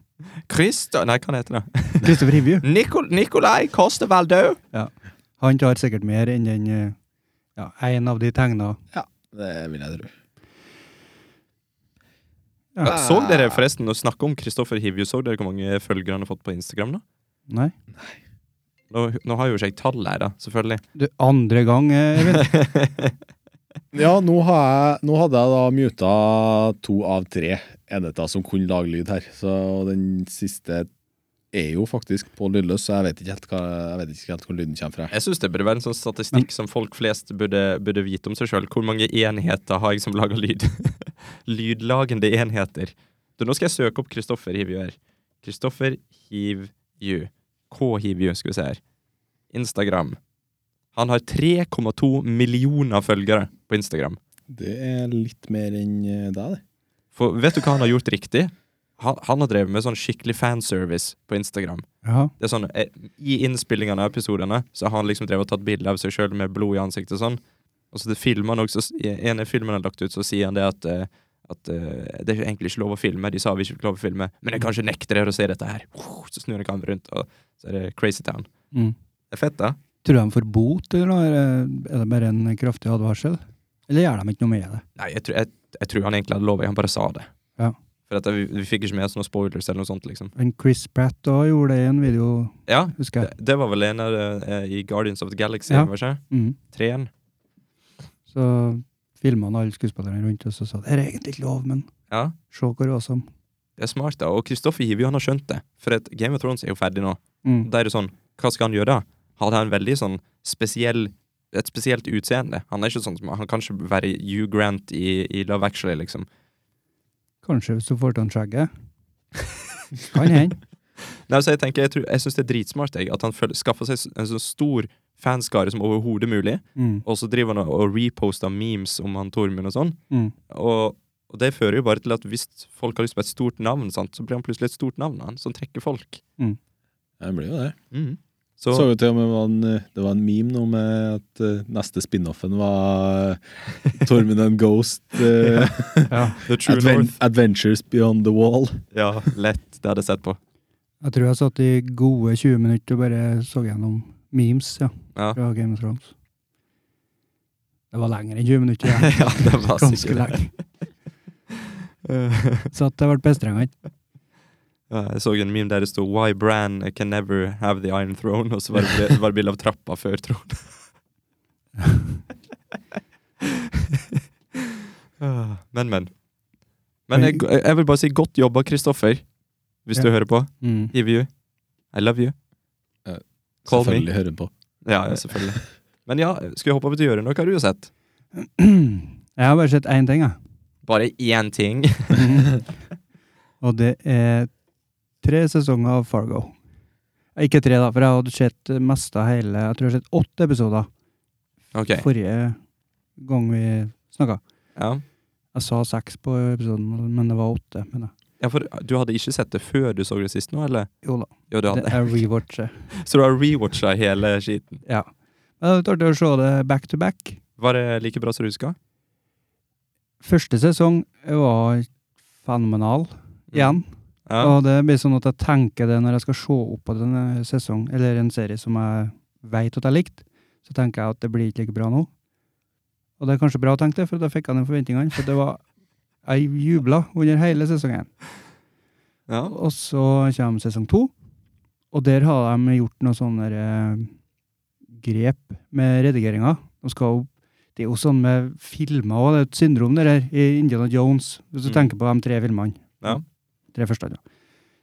S2: Christer Nei, hva heter det?
S1: Christopher Hivju.
S2: Nikol Nikolai Kostevaldo!
S1: Han tar sikkert mer enn den eh, ja, en av de tegna.
S3: Det vil jeg tro.
S2: Ja, så dere forresten, å snakke om Kristoffer Hivju, så dere hvor mange følgere han har fått på Instagram? da?
S1: Nei.
S2: Nå, nå har jo ikke jeg tall her, da, selvfølgelig.
S1: Du, andre gang, eh, Eivind.
S3: Ja, nå, har jeg, nå hadde jeg da muta to av tre enheter som kunne lage lyd her. Så den siste er jo faktisk på lydløs, så jeg vet ikke helt, hva, jeg vet ikke helt hvor lyden kommer fra.
S2: Jeg syns det burde være en sånn statistikk som folk flest burde, burde vite om seg sjøl. Hvor mange enheter har jeg som lager lyd? *laughs* Lydlagende enheter. Du, nå skal jeg søke opp Kristoffer Hivju her. Kristoffer Hivju. K-Hivju, skal vi se her. Instagram. Han har 3,2 millioner følgere på Instagram.
S3: Det er litt mer enn eh, deg, det.
S2: For vet du hva han har gjort riktig? Han, han har drevet med sånn skikkelig fanservice på Instagram.
S1: Ja.
S2: Det er sånn, eh, I innspillingene av episodene Så har han liksom drevet og tatt bilder av seg sjøl med blod i ansiktet. og sånn Og så det filmer han også I en av filmene han har lagt ut, så sier han det at eh, At eh, det er jo egentlig ikke lov å filme. De sa vi ikke fikk lov å filme, men jeg kanskje nekter dere å se dette her. Så snur han kameraet rundt, og så er det Crazy Town.
S1: Mm.
S2: Det er fett, da.
S1: Tror du de får bot, eller noe? Er- er det bare en kraftig advarsel? Eller gjør de ikke noe med det?
S2: Nei, jeg, tror- jeg, jeg tror han egentlig hadde lov, han bare sa det.
S1: Ja.
S2: For at vi, vi fikk ikke med oss noen spoilers eller noe sånt, liksom.
S1: Men Chris Pratt da gjorde det i en video,
S2: Ja,
S1: husker jeg.
S2: det, det var vel en av eh, i Guardians of the Galaxy,
S1: Ja.
S2: var det ikke?
S1: Mm.
S2: Treen.
S1: Så filma han alle skuespillerne rundt, og så sa han, det er egentlig ikke lov, men
S2: Ja.
S1: se hvor awesome.
S2: Det er smart, da. Og Kristoffer Hivju han har skjønt det. For at Game of Thrones er jo ferdig nå.
S1: Mm.
S2: Da er det sånn, hva skal han gjøre da? Han har en veldig sånn spesiell et spesielt utseende. Han er ikke sånn som Han kan ikke være Hugh Grant i, i Love Actually, liksom.
S1: Kanskje hvis du får til han skjegget. Kan
S2: *laughs*
S1: hende.
S2: Nei, så Jeg tenker, jeg, tror- jeg syns det er dritsmart jeg, at han føl- skaffer seg en så stor fanskare som overhodet mulig,
S1: Mm.
S2: og så driver han og- og reposter memes om han Tormund og sånn.
S1: Mm.
S2: Og, og det fører jo bare til at hvis folk har lyst på et stort navn, sant, så blir han plutselig et stort navn, han, som trekker folk.
S3: Jeg blir jo det.
S2: Mm. Så,
S3: Så jo til og med var en, eh, det var en meme nå med at eh, neste spin-offen var eh, Tormund and Ghost *laughs* eh,
S1: Ja.
S2: The True
S3: adven
S2: North.
S3: Adventures Beyond the Wall.
S2: Ja, lett. Det hadde jeg sett på.
S1: Jeg tror jeg satt i gode 20 minutter og bare så gjennom memes ja,
S2: Ja.
S1: fra Game of Thrones. Det var lenger enn 20
S2: *laughs*
S1: minutter. Ja.
S2: ja, det var
S1: Ganske
S2: sikkert det.
S1: lenge. Så at jeg ble bestrenga.
S2: Ja, jeg så en meme der det stod 'Why Bran can never have the Iron Throne', og så var det bil- var det bilde av trappa før tronen. *laughs* Ah, men, men. Men jeg, jeg vil bare si godt jobba, Kristoffer, hvis du
S1: Ja.
S2: hører på.
S1: Mm.
S2: Give you. I love you. Call me.
S3: Selvfølgelig hører han på.
S2: Ja, ja, selvfølgelig. Men ja, skal vi hoppe over til Jørund? Hva har du sett?
S1: Jeg har bare sett én ting, jeg.
S2: Bare én ting. *laughs*
S1: Og det er tre sesonger av Fargo. Eh, Ikke tre, da, for jeg hadde sett det meste av hele Jeg tror jeg har sett åtte episoder
S2: Ok,
S1: forrige gang vi snakka.
S2: ja.
S1: Jeg sa seks på episoden, men det var åtte. Men jeg.
S2: ja, for du hadde ikke sett det før du så det sist nå, eller?
S1: Jo da,
S2: Jo, du
S1: det
S2: hadde.
S1: *laughs* er rewatchet.
S2: *laughs* Så du har rewatcha hele skiten.
S1: Ja. Men det var artig å se det back to back.
S2: Var det like bra som du huska?
S1: Første sesong var fenomenal igjen.
S2: Mm. Ja.
S1: Og det blir sånn at jeg tenker det når jeg skal se opp på en eh, sesong, eller en serie som jeg vet at jeg likte, så tenker jeg at det blir ikke like bra nå. Og det er kanskje bra å tenke det, for da fikk jeg ned forventningene. For det var Jeg jubla under hele sesongen.
S2: ja.
S1: Og så kommer sesong to, og der har de gjort noen sånne eh, grep med redigeringa. De skal jo det er jo sånn med filmer òg, det er et syndrom det der, i Indiana Jones, hvis du
S2: Mm.
S1: tenker på de tre filmene.
S2: Ja.
S1: Tre første, ja.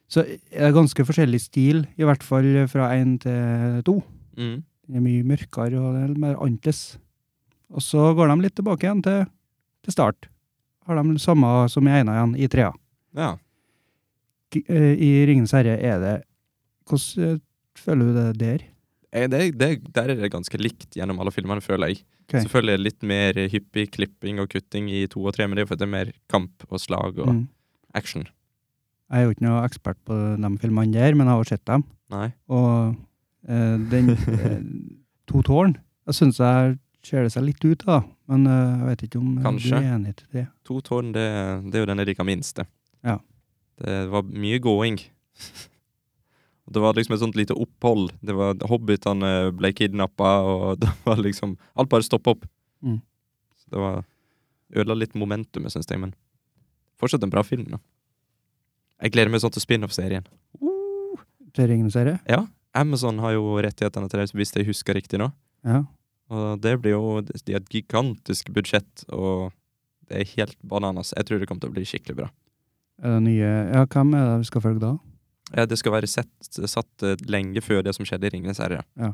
S1: Så er det ganske forskjellig stil, i hvert fall fra én til to.
S2: Mm.
S1: Den er mye mørkere og det er litt mer annerledes. Og så går de litt tilbake igjen til, til start. Har de samme som i ena igjen, i trea.
S2: ja.
S1: k- eh, i 'Ringenes herre' er det Hvordan eh, føler du det der?
S2: Eh, Det, det, der er det ganske likt gjennom alle filmene, føler jeg.
S1: Ok.
S2: Selvfølgelig er det litt mer hyppig klipping og kutting i to og tre, men det er jo fordi det er mer kamp og slag og
S1: Mm.
S2: action.
S1: Jeg er jo ikke noe ekspert på de filmene der, men jeg har jo sett dem.
S2: Nei.
S1: Og eh,
S2: *laughs*
S1: den eh, To tårn Jeg syns jeg ser det seg litt ut, da. Men eh, jeg vet ikke om eh, du
S2: Kanskje.
S1: er enig til det.
S2: To tårn, det, det er jo den jeg liker minst. det.
S1: Ja.
S2: Det var mye gåing. *laughs* Det var liksom et sånt lite opphold. Det var Hobbitene ble kidnappa, og *laughs* det var liksom Alt bare stoppa opp.
S1: Mm.
S2: Så det var Ødela litt momentumet, syns jeg, men fortsatt en bra film. da. Jeg gleder meg sånn til spin-off-serien. Uh.
S1: Til Ringenes herre?
S2: Amazon har jo rettighetene til det, hvis jeg husker riktig nå.
S1: Ja.
S2: Og det blir jo De har et gigantisk budsjett, og det er helt bananas. Jeg tror det kommer til å bli skikkelig bra.
S1: Er det nye Ja, hvem er det vi skal følge da?
S2: Ja, det skal være sett, satt eh, lenge før det som skjedde i Ringenes herre.
S1: Ja.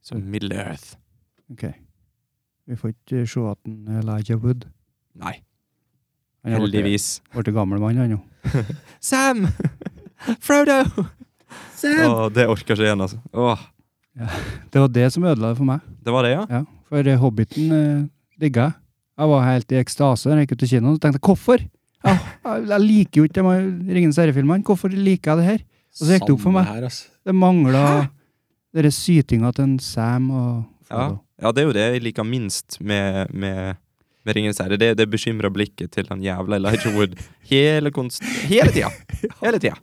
S2: Så Middle Earth.
S1: Vi får ikke se at den Elijah Wood
S2: Nei,
S1: Han er blitt-
S2: heldigvis.
S1: Blitt gammel mann, han jo.
S2: Sam! *laughs* Frodo!
S3: Sam!
S2: Åh, det orker ikke igjen, altså. Åh,
S1: Det var det som ødela det for meg.
S2: det var det, ja?
S1: Ja, For eh, Hobbiten eh, digga jeg. Jeg var helt i ekstase når jeg gikk ut til kinoen. Så tenkte jeg hvorfor? Jeg, jeg, jeg liker jo ikke de her Ringenes herre-filmene. Hvorfor liker jeg det her? Og så gikk det opp for
S3: Samme
S1: meg.
S3: Her, altså.
S1: Det mangla dere sytinga til en Sam og
S2: Ja.
S1: Frodo.
S2: Ja, det er jo det jeg liker minst med, med, med Ringenes herre. Det, det bekymrer blikket til han jævla Elijah Wood hele konst... Hele
S1: *laughs*
S2: tida! Hele tida.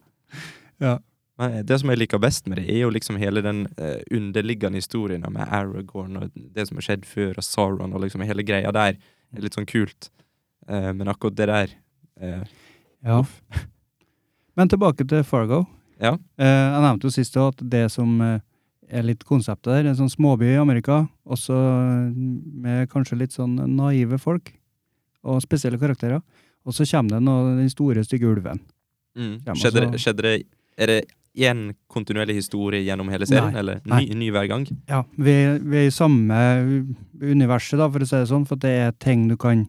S1: Ja.
S2: Men eh, det som jeg liker best med det, er jo liksom hele den eh, underliggende historien med Aragorn og det som har skjedd før, og Sauron og liksom hele greia der. Det er litt sånn kult. Eh, men akkurat det der eh,
S1: Ja. *laughs* Men tilbake til Fargo.
S2: Ja.
S1: Eh, jeg nevnte jo sist også at det som eh, er litt konseptet der, en sånn småby i Amerika, også eh, med kanskje litt sånn naive folk, og spesielle karakterer, og så kommer det noe, den store, stygge ulven.
S2: mm.
S1: Ja, men
S2: skjedde, det-
S1: altså-
S2: skjedde det Er det én kontinuerlig historie gjennom hele serien?
S1: Nei.
S2: Eller
S1: Nei.
S2: ny, ny hver gang?
S1: Ja, vi, vi er i samme universet, da, for å si det sånn, for det er ting du kan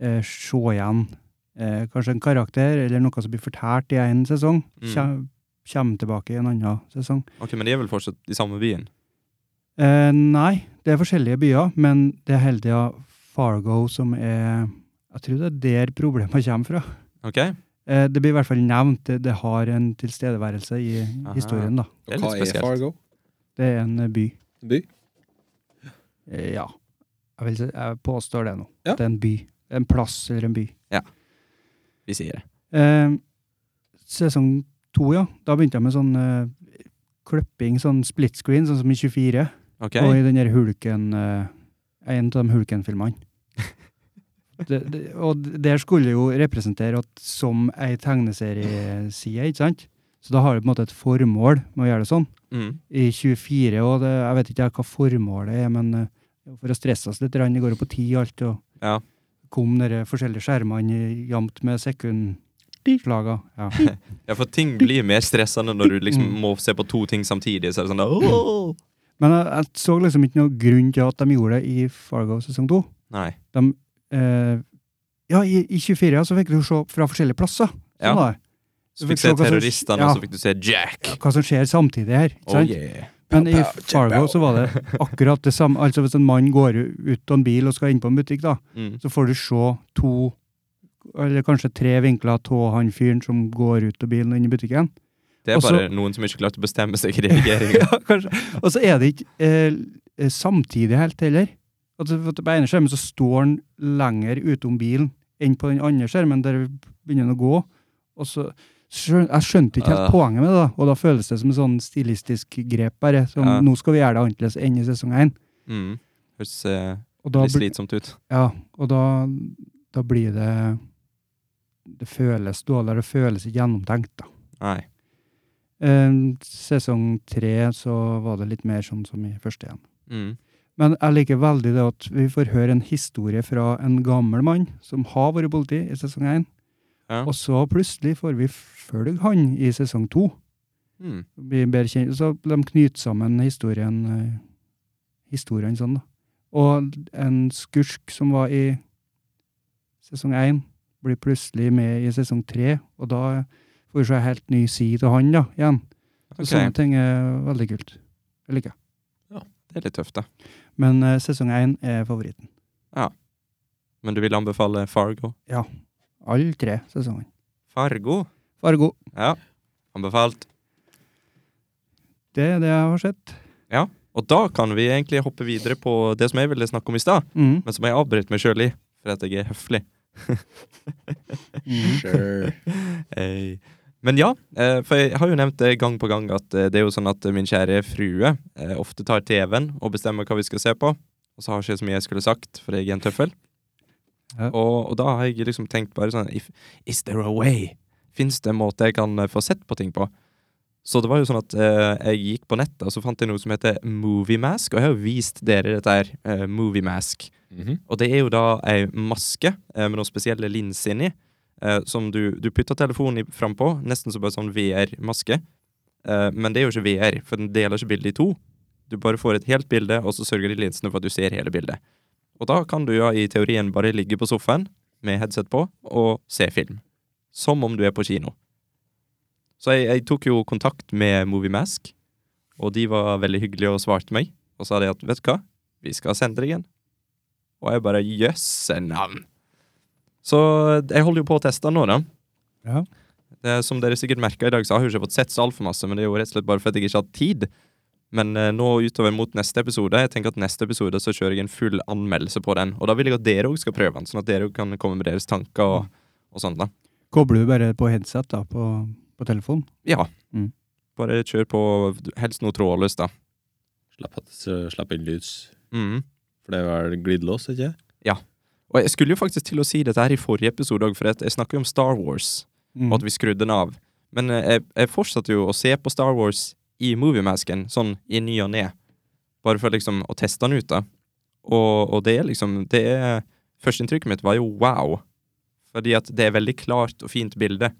S1: eh, se igjen. Eh, kanskje en karakter, eller noe som blir fortært i en sesong,
S2: Mm.
S1: kjem- kommer tilbake i en annen sesong.
S2: Ok, Men de er vel fortsatt i samme byen?
S1: Eh, nei, det er forskjellige byer, men det er hele tida Fargo som er Jeg tror det er der problemet *laughs* kommer fra.
S2: Ok? Det
S1: Eh, det blir i hvert fall nevnt, det, det har en tilstedeværelse i
S2: Aha.
S1: historien, da.
S3: Og
S2: er
S3: hva
S2: litt
S3: er
S2: spesielt.
S3: Fargo?
S1: Det er en eh, by.
S3: By?
S1: Eh, ja. Jeg, vil, si- jeg påstår det nå.
S3: Ja.
S1: Det er en by. En plass eller en by.
S2: Vi sier det.
S1: Eh, sesong to, ja. Da begynte jeg med sånn eh, klipping, sånn split screen, sånn som i 24.
S2: Ok?
S1: Og i den der Hulken eh, En av de Hulken-filmene. Det- det- og der skulle jo representere at som ei tegneserieside, ikke sant? Så da har det på en måte et formål med å gjøre det sånn.
S2: Mm.
S1: I 24, og det, jeg vet ikke hva formålet er, men eh, for å stresse oss litt, grann, det går jo på tid alt, og
S2: Ja.
S1: kom de forskjellige skjermene jevnt med sekundslaga. Ja. *laughs*
S2: Ja, for ting blir mer stressende når du liksom
S1: Mm.
S2: må se på to ting samtidig. Så er det sånn da,
S1: Oh!
S2: «Åh!»
S1: Men jeg, jeg så liksom ikke noen grunn til at de gjorde det i Fargo sesong to.
S2: Nei.
S1: Eh, ja, i, i 24 ja, så fikk du se fra forskjellige plasser.
S2: Ja.
S1: Sånn var det.
S2: Så
S1: Du
S2: fikk
S1: fikk
S2: du se
S1: se hva som-
S2: terroristene,
S1: ja.
S2: og så fikk du se Jack.
S1: Hva som skjer samtidig her. ikke
S2: Oh,
S1: sant?
S2: yeah.
S1: Men i
S3: Pow, pow,
S1: Fargo
S3: pow.
S1: så var det akkurat det samme. Altså Hvis en mann går ut av en bil og skal inn på en butikk, da,
S2: Mm.
S1: så får du se to, eller kanskje tre vinkler av han fyren som går ut av bilen og inn i
S2: *laughs*
S1: butikken.
S2: Det er
S1: Og så-
S2: bare noen som ikke klarte å bestemme seg
S1: *laughs*
S2: i regjeringa.
S1: Ja, kanskje. Og så er det ikke eh, eh, samtidig helt heller. Altså, for at på ene skjermen så står han lenger utom bilen enn på den andre skjermen der begynner han å gå. Og så skjøn, Jeg skjønte ikke helt
S2: Ah.
S1: poenget med det, da. og da føles det som en sånn stilistisk grep. bare, som
S2: Ja.
S1: Nå skal vi gjøre det annerledes enn i sesong én.
S2: Mm. Høres eh,
S1: Og da,
S2: litt
S1: bli,
S2: slitsomt ut.
S1: ja, og da, da blir det Det føles dårligere, det føles ikke gjennomtenkt. da.
S2: Nei.
S1: Eh, sesong tre så var det litt mer sånn som i første igjen.
S2: Mm.
S1: Men jeg liker veldig det at vi får høre en historie fra en gammel mann som har vært politi i sesong 1,
S2: Ja.
S1: og så plutselig får vi følge han i sesong 2.
S2: Mm.
S1: Blir bedre kjent, så de knyter sammen historien, eh, historien sånn da. Og en skurk som var i sesong 1, blir plutselig med i sesong tre, og da får vi se en helt ny side til han da, igjen. Så
S2: Ok,
S1: Sånne ting er veldig kult. Jeg liker.
S2: Det er litt tøft, da.
S1: Men eh, sesong én er favoritten.
S2: Men du vil anbefale Fargo?
S1: Alle tre sesongene.
S2: Fargo?
S1: Fargo.
S2: Ja. Anbefalt.
S1: Det er det jeg har sett.
S2: Og da kan vi egentlig hoppe videre på det som jeg ville snakke om i stad,
S1: Mm.
S2: men som jeg avbrøt meg sjøl i, for at jeg er høflig.
S1: Mm.
S2: *laughs*
S3: Sure.
S2: Eh, Men ja, eh, for jeg har jo nevnt det gang på gang at eh, det er jo sånn at eh, min kjære frue eh, ofte tar TV-en og bestemmer hva vi skal se på, og så har ikke jeg så mye jeg skulle sagt, for jeg er en tøffel.
S1: Ja.
S2: Og, og da har jeg liksom tenkt bare sånn if, Is there a way? Fins det en måte jeg kan eh, få sett på ting på? Så det var jo sånn at eh, jeg gikk på nettet, og så fant jeg noe som heter Moviemask, og jeg har jo vist dere dette her, eh, Moviemask.
S3: *laughs* Mhm.
S2: Og det er jo da ei maske eh, med noen spesielle linser inni, eh, som du, du putter telefonen i- frampå, nesten som en sånn VR-maske. Eh, men det er jo ikke VR, for den deler ikke bildet i to. Du bare får et helt bilde, og så sørger de linsene for at du ser hele bildet. Og da kan du ja, i teorien bare ligge på sofaen med headset på og se film. Som om du er på kino. Så jeg, jeg tok jo kontakt med Moviemask, og de var veldig hyggelige og svarte meg. Og sa de at vet du hva, vi skal sende deg en. Og jeg bare jøsse navn. Så jeg holder jo på å teste den nå, da.
S1: Ja.
S2: Det, som dere sikkert merka i dag, så har jeg jo ikke fått sett så altfor masse, men det er jo rett og slett bare fordi jeg ikke har hatt tid. Men eh, nå utover mot neste episode, jeg tenker at neste episode så kjører jeg en full anmeldelse på den. Og da vil jeg at dere òg skal prøve den, sånn at dere også kan komme med deres tanker og, og sånn, da.
S1: Kobler du bare på headset da, på, på telefon?
S2: Ja.
S1: Mm.
S2: Bare kjør på helst noe trådløst, da.
S3: Slapp, at- slapp inn lys.
S2: Mhm.
S3: For det er vel glidelås, ikke
S2: Og jeg skulle jo faktisk til å si dette her i forrige episode òg, for at jeg snakker jo om Star Wars,
S1: Mm.
S2: og at vi skrudde den av. Men eh, jeg, jeg fortsatte jo å se på Star Wars i Moviemasken, sånn i ny og ne. Bare for liksom å teste den ut, da. Og, og det er liksom det er, Førsteinntrykket mitt var jo wow. Fordi at det er veldig klart og fint bilde.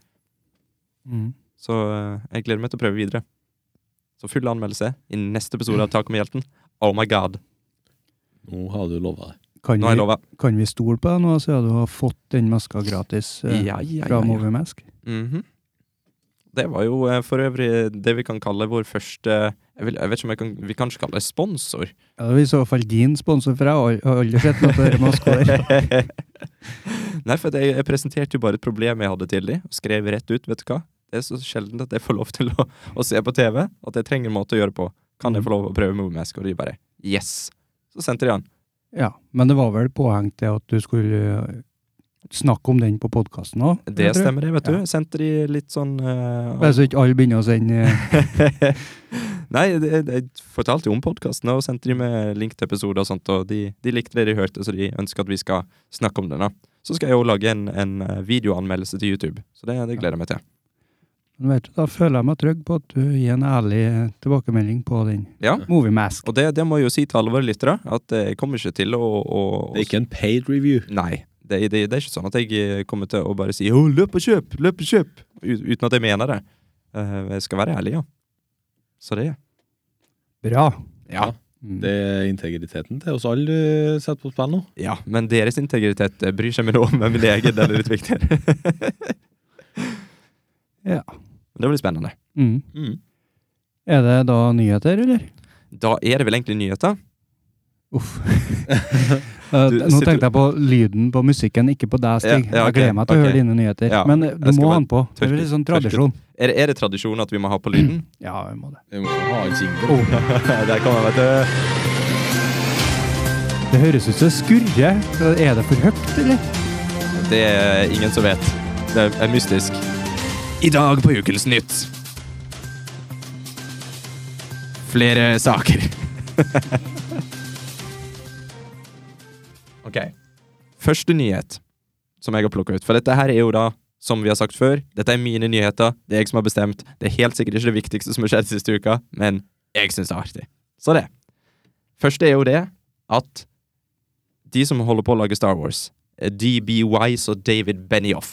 S1: Mm.
S2: Så eh, jeg gleder meg til å prøve videre. Så full anmeldelse i neste episode av Tak om hjelten. Oh my god.
S3: Nå har du lova det.
S1: Kan,
S2: Nå har jeg
S1: vi,
S2: lova.
S1: kan vi stole på deg nå, siden du har fått den maska gratis eh,
S2: Ja, ja, ja,
S1: fra
S2: ja.
S1: Moviemask?
S2: Mhm. Det var jo eh, for øvrig det vi kan kalle vår første Jeg, vil, jeg vet ikke om jeg kan, vi kan ikke kalle det sponsor.
S1: Ja, det er i så fall din sponsor, for jeg har al- har aldri sett noe på denne maska der.
S2: *laughs* Nei, for at jeg, jeg presenterte jo bare et problem jeg hadde til de, og skrev rett ut, vet du hva. Det er så sjelden at jeg får lov til å, å se på TV, at jeg trenger en måte å gjøre det på. Kan jeg få lov å prøve Moviemask? Og de bare yes. Så sendte de han.
S1: Ja, men det var vel påhengt til at du skulle eh, snakke om den på podkasten òg?
S2: Det stemmer, det, vet du.
S1: Ja.
S2: Sendte de litt sånn eh,
S1: Bare så ikke alle begynner å sende eh,
S2: *laughs* Nei, det- jeg fortalte jo om podkasten og sendte de med link til episoder og sånt, og de, de likte det de hørte, så de ønsker at vi skal snakke om den. da. Så skal jeg jo lage en, en eh, videoanmeldelse til YouTube, så det, det gleder jeg meg til.
S1: men vet du, Da føler jeg meg trygg på at du gir en ærlig eh, tilbakemelding på den.
S2: Ja.
S1: Moviemask.
S2: Og det, det må jeg jo si til alle våre lyttere, at eh, jeg kommer ikke til å, å, å
S3: Det er ikke en paid review.
S2: Nei. Det, det, det er ikke sånn at jeg eh, kommer til å bare si «Å, 'løp og kjøp', 'løp og kjøp', u- uten at jeg mener det. Eh, Jeg skal være ærlig, ja. Så det
S1: Bra.
S2: Ja.
S1: Mm.
S3: Det er integriteten til oss alle eh, satt på spill nå.
S2: Ja, men deres integritet eh, bryr seg meg nå om hvem min egen, den er litt viktigere.
S1: Ja.
S2: Det blir spennende.
S1: Mm.
S3: Mm.
S1: Er det da nyheter, eller?
S2: Da er det vel egentlig nyheter. *laughs*
S1: Uff. Eh,
S2: Du
S1: Nå
S2: sitter-
S1: tenkte jeg på lyden på musikken, ikke på deg, Stig.
S2: Ja, ja,
S1: jeg gleder meg til
S2: ok,
S1: å
S2: ok.
S1: høre dine nyheter.
S2: Ja,
S1: Men eh, du
S2: jeg skal
S1: må
S2: bare
S1: ha den på. Det
S2: tørke-
S1: er litt sånn
S2: tørke ut.
S1: tradisjon.
S2: Er, det- er det tradisjon at vi må ha på lyden?
S1: Ja, vi må det.
S3: Vi må ha en jingle.
S2: Der kommer den, vet du.
S1: Det høres ut som det skurrer. Er det for høyt, eller?
S2: Det er ingen som vet. Det er mystisk. I dag på Ukens Nytt. Flere saker. *laughs* ok. Første nyhet som jeg har plukka ut. For dette her er jo da, som vi har sagt før, dette er mine nyheter. Det er jeg som har bestemt. Det er helt sikkert ikke det viktigste som har skjedd siste uka, men jeg syns det er artig. Så det. Første er jo det at de som holder på å lage Star Wars, DB Eh, Wise og David Benioff.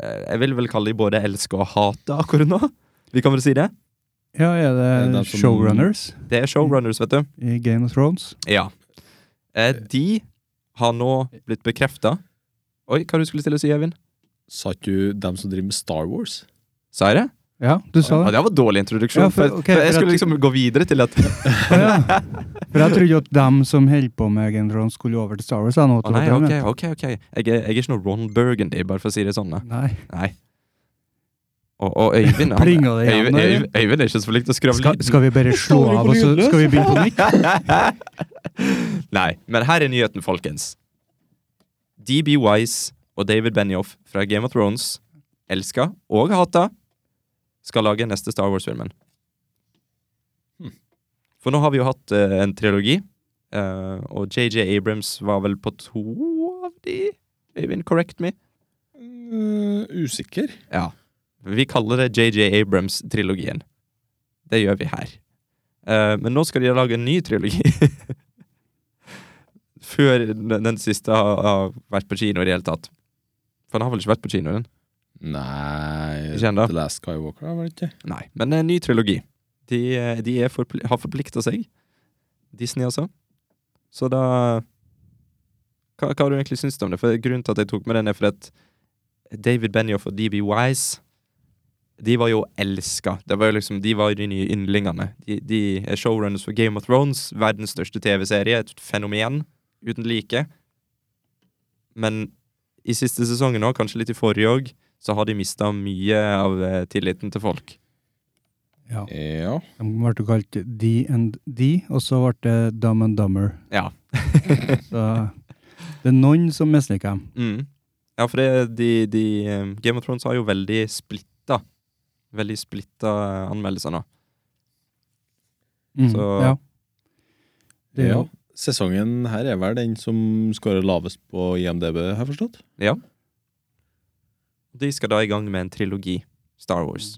S2: Eh, Jeg vil vel kalle de både elske og hate akkurat nå. Vi kan vel si det.
S1: Ja, er
S3: Er
S1: det
S3: det som-
S1: showrunners
S2: Det er showrunners, vet du.
S1: i Game of Thrones?
S2: Ja. Eh, De har nå blitt bekrefta Oi, hva du skulle til å si, Eivind?
S3: Sa ikke du dem som driver med Star Wars?
S2: Sa jeg det?
S1: Ja, du sa
S2: Ja,
S1: det.
S2: det var dårlig introduksjon.
S1: Ja,
S2: for,
S1: for- ok,
S2: for jeg
S1: for
S2: skulle
S1: at-
S2: liksom gå videre til at
S1: *laughs* Ja. For jeg trodde jo at dem som holder på med Game of Thrones, skulle over til Star Wars. Jeg, nå,
S2: Å nei,
S1: trodde
S2: ok,
S1: jeg, men-
S2: ok. ok. Jeg, er- jeg er ikke noe Ron Burgundy, bare for å si det sånn. da.
S1: Nei.
S2: Nei. Og, og Øyvind han,
S1: Plinga det igjen,
S2: Øyvind,
S1: da,
S2: Øyvind, Øyvind er ikke så flink til å skravle.
S1: Skal, skal vi bare slå
S3: Står du
S1: av,
S3: på
S1: og så
S3: lydløs?
S1: skal vi begynne på nytt?
S2: *laughs* Nei, men her er nyheten, folkens. DB Wise og David Benioff fra Game of Thrones, elska og hata, skal lage neste Star Wars-filmen.
S3: Hmm.
S2: For nå har vi jo hatt eh, en trilogi, eh, og JJ Abrams var vel på to av de? Øyvind, correct me?
S3: Eh, usikker.
S2: Ja. Vi kaller det JJ Abrams-trilogien. Det gjør vi her. Eh, men nå skal de lage en ny trilogi. *laughs* Før den, den siste har, har vært på kino i det hele tatt. For den har vel ikke vært på kino, den?
S3: Nei
S2: Ikke ennå.
S3: The Last Skywalker, var det ikke?
S2: Nei. Men det er en ny trilogi. De, eh, de er forpli har forplikta seg. Disney, altså. Så da hva, hva har du egentlig syntes om det? For Grunnen til at jeg tok med den, er for at David Benioff og DB Wise de var jo elska. Det var jo liksom, de var jo de nye yndlingene. De, de er showrunners for Game of Thrones, verdens største TV-serie, et fenomen uten like. Men i siste sesongen òg, kanskje litt i forrige òg, så har de mista mye av eh, tilliten til folk.
S1: *laughs* Ja.
S3: Ja.
S1: De ble jo kalt D&D, og så ble det Dumb and Dumber.
S2: Ja.
S1: *laughs* Så det er noen som misliker dem.
S2: Mm. Ja, for det, de, de, eh, Game of Thrones har jo veldig splitta Veldig splitta eh, anmeldelser nå.
S1: Mm.
S2: Så-
S1: Ja. Det er
S3: ja.
S1: jo
S3: Sesongen her er vel den som scorer lavest på IMDb, har jeg forstått?
S2: De skal da i gang med en trilogi. Star Wars.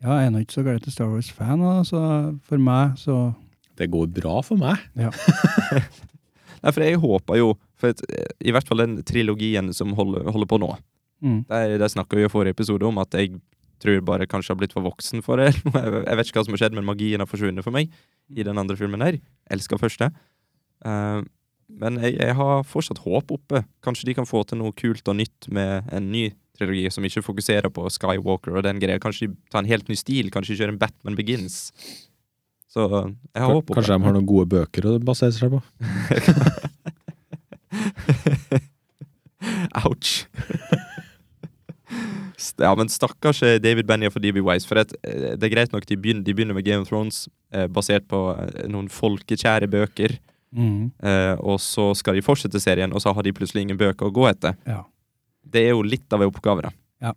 S1: Ja, jeg er nå ikke så glad til Star Wars-fan, da, så for meg så
S3: Det går bra for meg.
S2: Nei, for jeg håper jo for at, eh, I hvert fall den trilogien som holder, holder på nå.
S1: mm.
S2: Der, der snakka vi i forrige episode om at jeg tror bare kanskje jeg har blitt for voksen for det. *laughs* eller noe. Jeg jeg vet ikke hva som har skjedd, men magien har forsvunnet for meg i den andre filmen her. Elska første. Eh, men jeg, jeg har fortsatt håp oppe. Kanskje de kan få til noe kult og nytt med en ny trilogi som ikke fokuserer på Skywalker og den greia. Kanskje de tar en helt ny stil. Kanskje de kjører en Batman Begins. Så eh, jeg har
S3: Ka-
S2: håp oppe.
S3: Kanskje de har noen gode bøker å basere seg på.
S2: *laughs* Ouch. St- ja, men stakkars eh, David Benioff og DB Wise. For at, eh, det er greit nok de begynner, de begynner med Game of Thrones, eh, basert på eh, noen folkekjære bøker.
S1: Mm.
S2: Eh, og så skal de fortsette serien, og så har de plutselig ingen bøker å gå etter.
S1: Ja.
S2: Det er jo litt av en oppgave, da.
S1: Ja.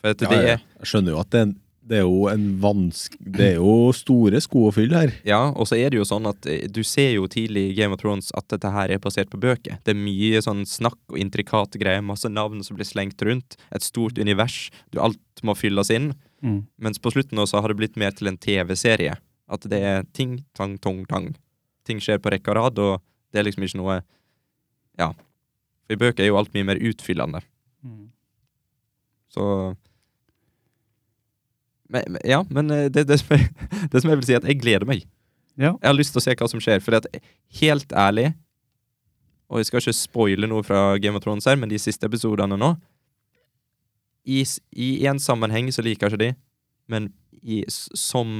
S2: For at
S3: Ja,
S2: det
S3: ja.
S2: er
S3: Jeg skjønner jo at det er, en, det er jo en vansk... Det er jo store sko å fylle her.
S2: Ja, og så er det jo sånn at eh, du ser jo tidlig i Game of Thrones at dette her er basert på bøker. Det er mye sånn snakk og intrikate greier, masse navn som blir slengt rundt. Et stort univers. Du, alt må fylles inn.
S1: Mm.
S2: Mens på slutten nå så har det blitt mer til en TV-serie. At det er ting, tang, tong, tang. Ting skjer på rekke og rad, og det er liksom ikke noe Ja. For i bøker er jo alt mye mer utfyllende.
S1: Mm.
S2: Så men, men- Ja, men eh, det, det, som jeg, *laughs* det som jeg vil si, er at jeg gleder meg.
S1: Ja.
S2: Jeg har lyst til å se hva som skjer. For at, helt ærlig Og jeg skal ikke spoile noe fra Game of Thrones her, men de siste episodene nå I s- i en sammenheng så liker jeg ikke de, men i, s- som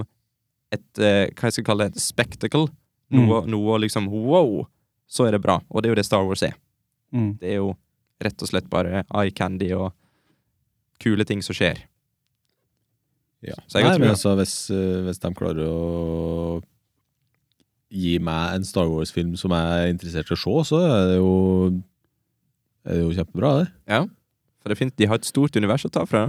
S2: et eh, Hva jeg skal kalle det? Et spectacle.
S1: Mm.
S2: Noe, noe liksom wow! Så er det bra. Og det er jo det Star Wars er.
S1: Mm.
S2: Det er jo rett og slett bare eye candy og kule ting som skjer.
S3: Ja.
S2: Så jeg kan tro
S3: Nei, men
S2: det.
S3: altså, hvis, eh, hvis de klarer å gi meg en Star Wars-film som jeg er interessert i å se, så er det jo, er det jo kjempebra, det.
S2: For det finnes, de har et stort univers å ta fra.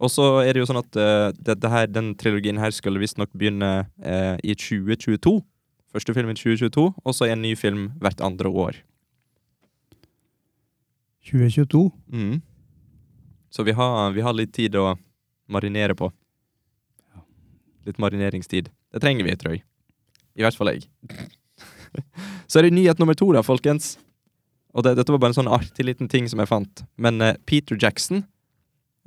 S2: Og så er det jo sånn at eh, dette her, den trilogien her skulle visstnok begynne eh, i 2022. Første film i 2022, og så en ny film hvert andre år.
S1: 2022.
S2: Mm. Så vi har, vi har litt tid å marinere på. Litt marineringstid. Det trenger vi, tror jeg. I hvert fall jeg. *laughs* Så er det nyhet nummer to, da, folkens. Og det, dette var bare en sånn artig liten ting som jeg fant. Men eh, Peter Jackson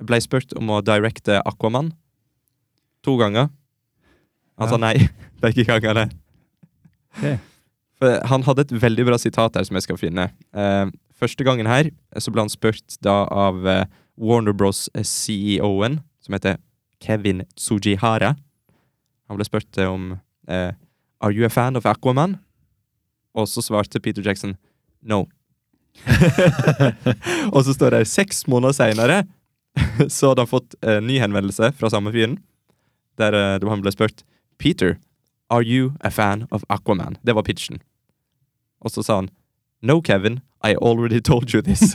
S2: ble spurt om å directe Aquaman to ganger. Han sa
S1: Ja.
S2: nei *laughs* begge gangene.
S1: Ok.
S2: For han hadde et veldig bra sitat her som jeg skal finne. Eh, første gangen her eh, så ble han spurt da av eh, Warner Bros. CEO-en, som heter Kevin Tsujihara. Han ble spurt eh, om eh, Are you a fan of Aquaman? Og så svarte Peter Jackson no. *laughs* og så står det seks måneder seinere *laughs* så hadde han fått eh, ny henvendelse fra samme fyren, der eh, han ble spurt Peter, are you a fan of Aquaman? Det var pitchen. Og så sa han No, Kevin, I already told you this.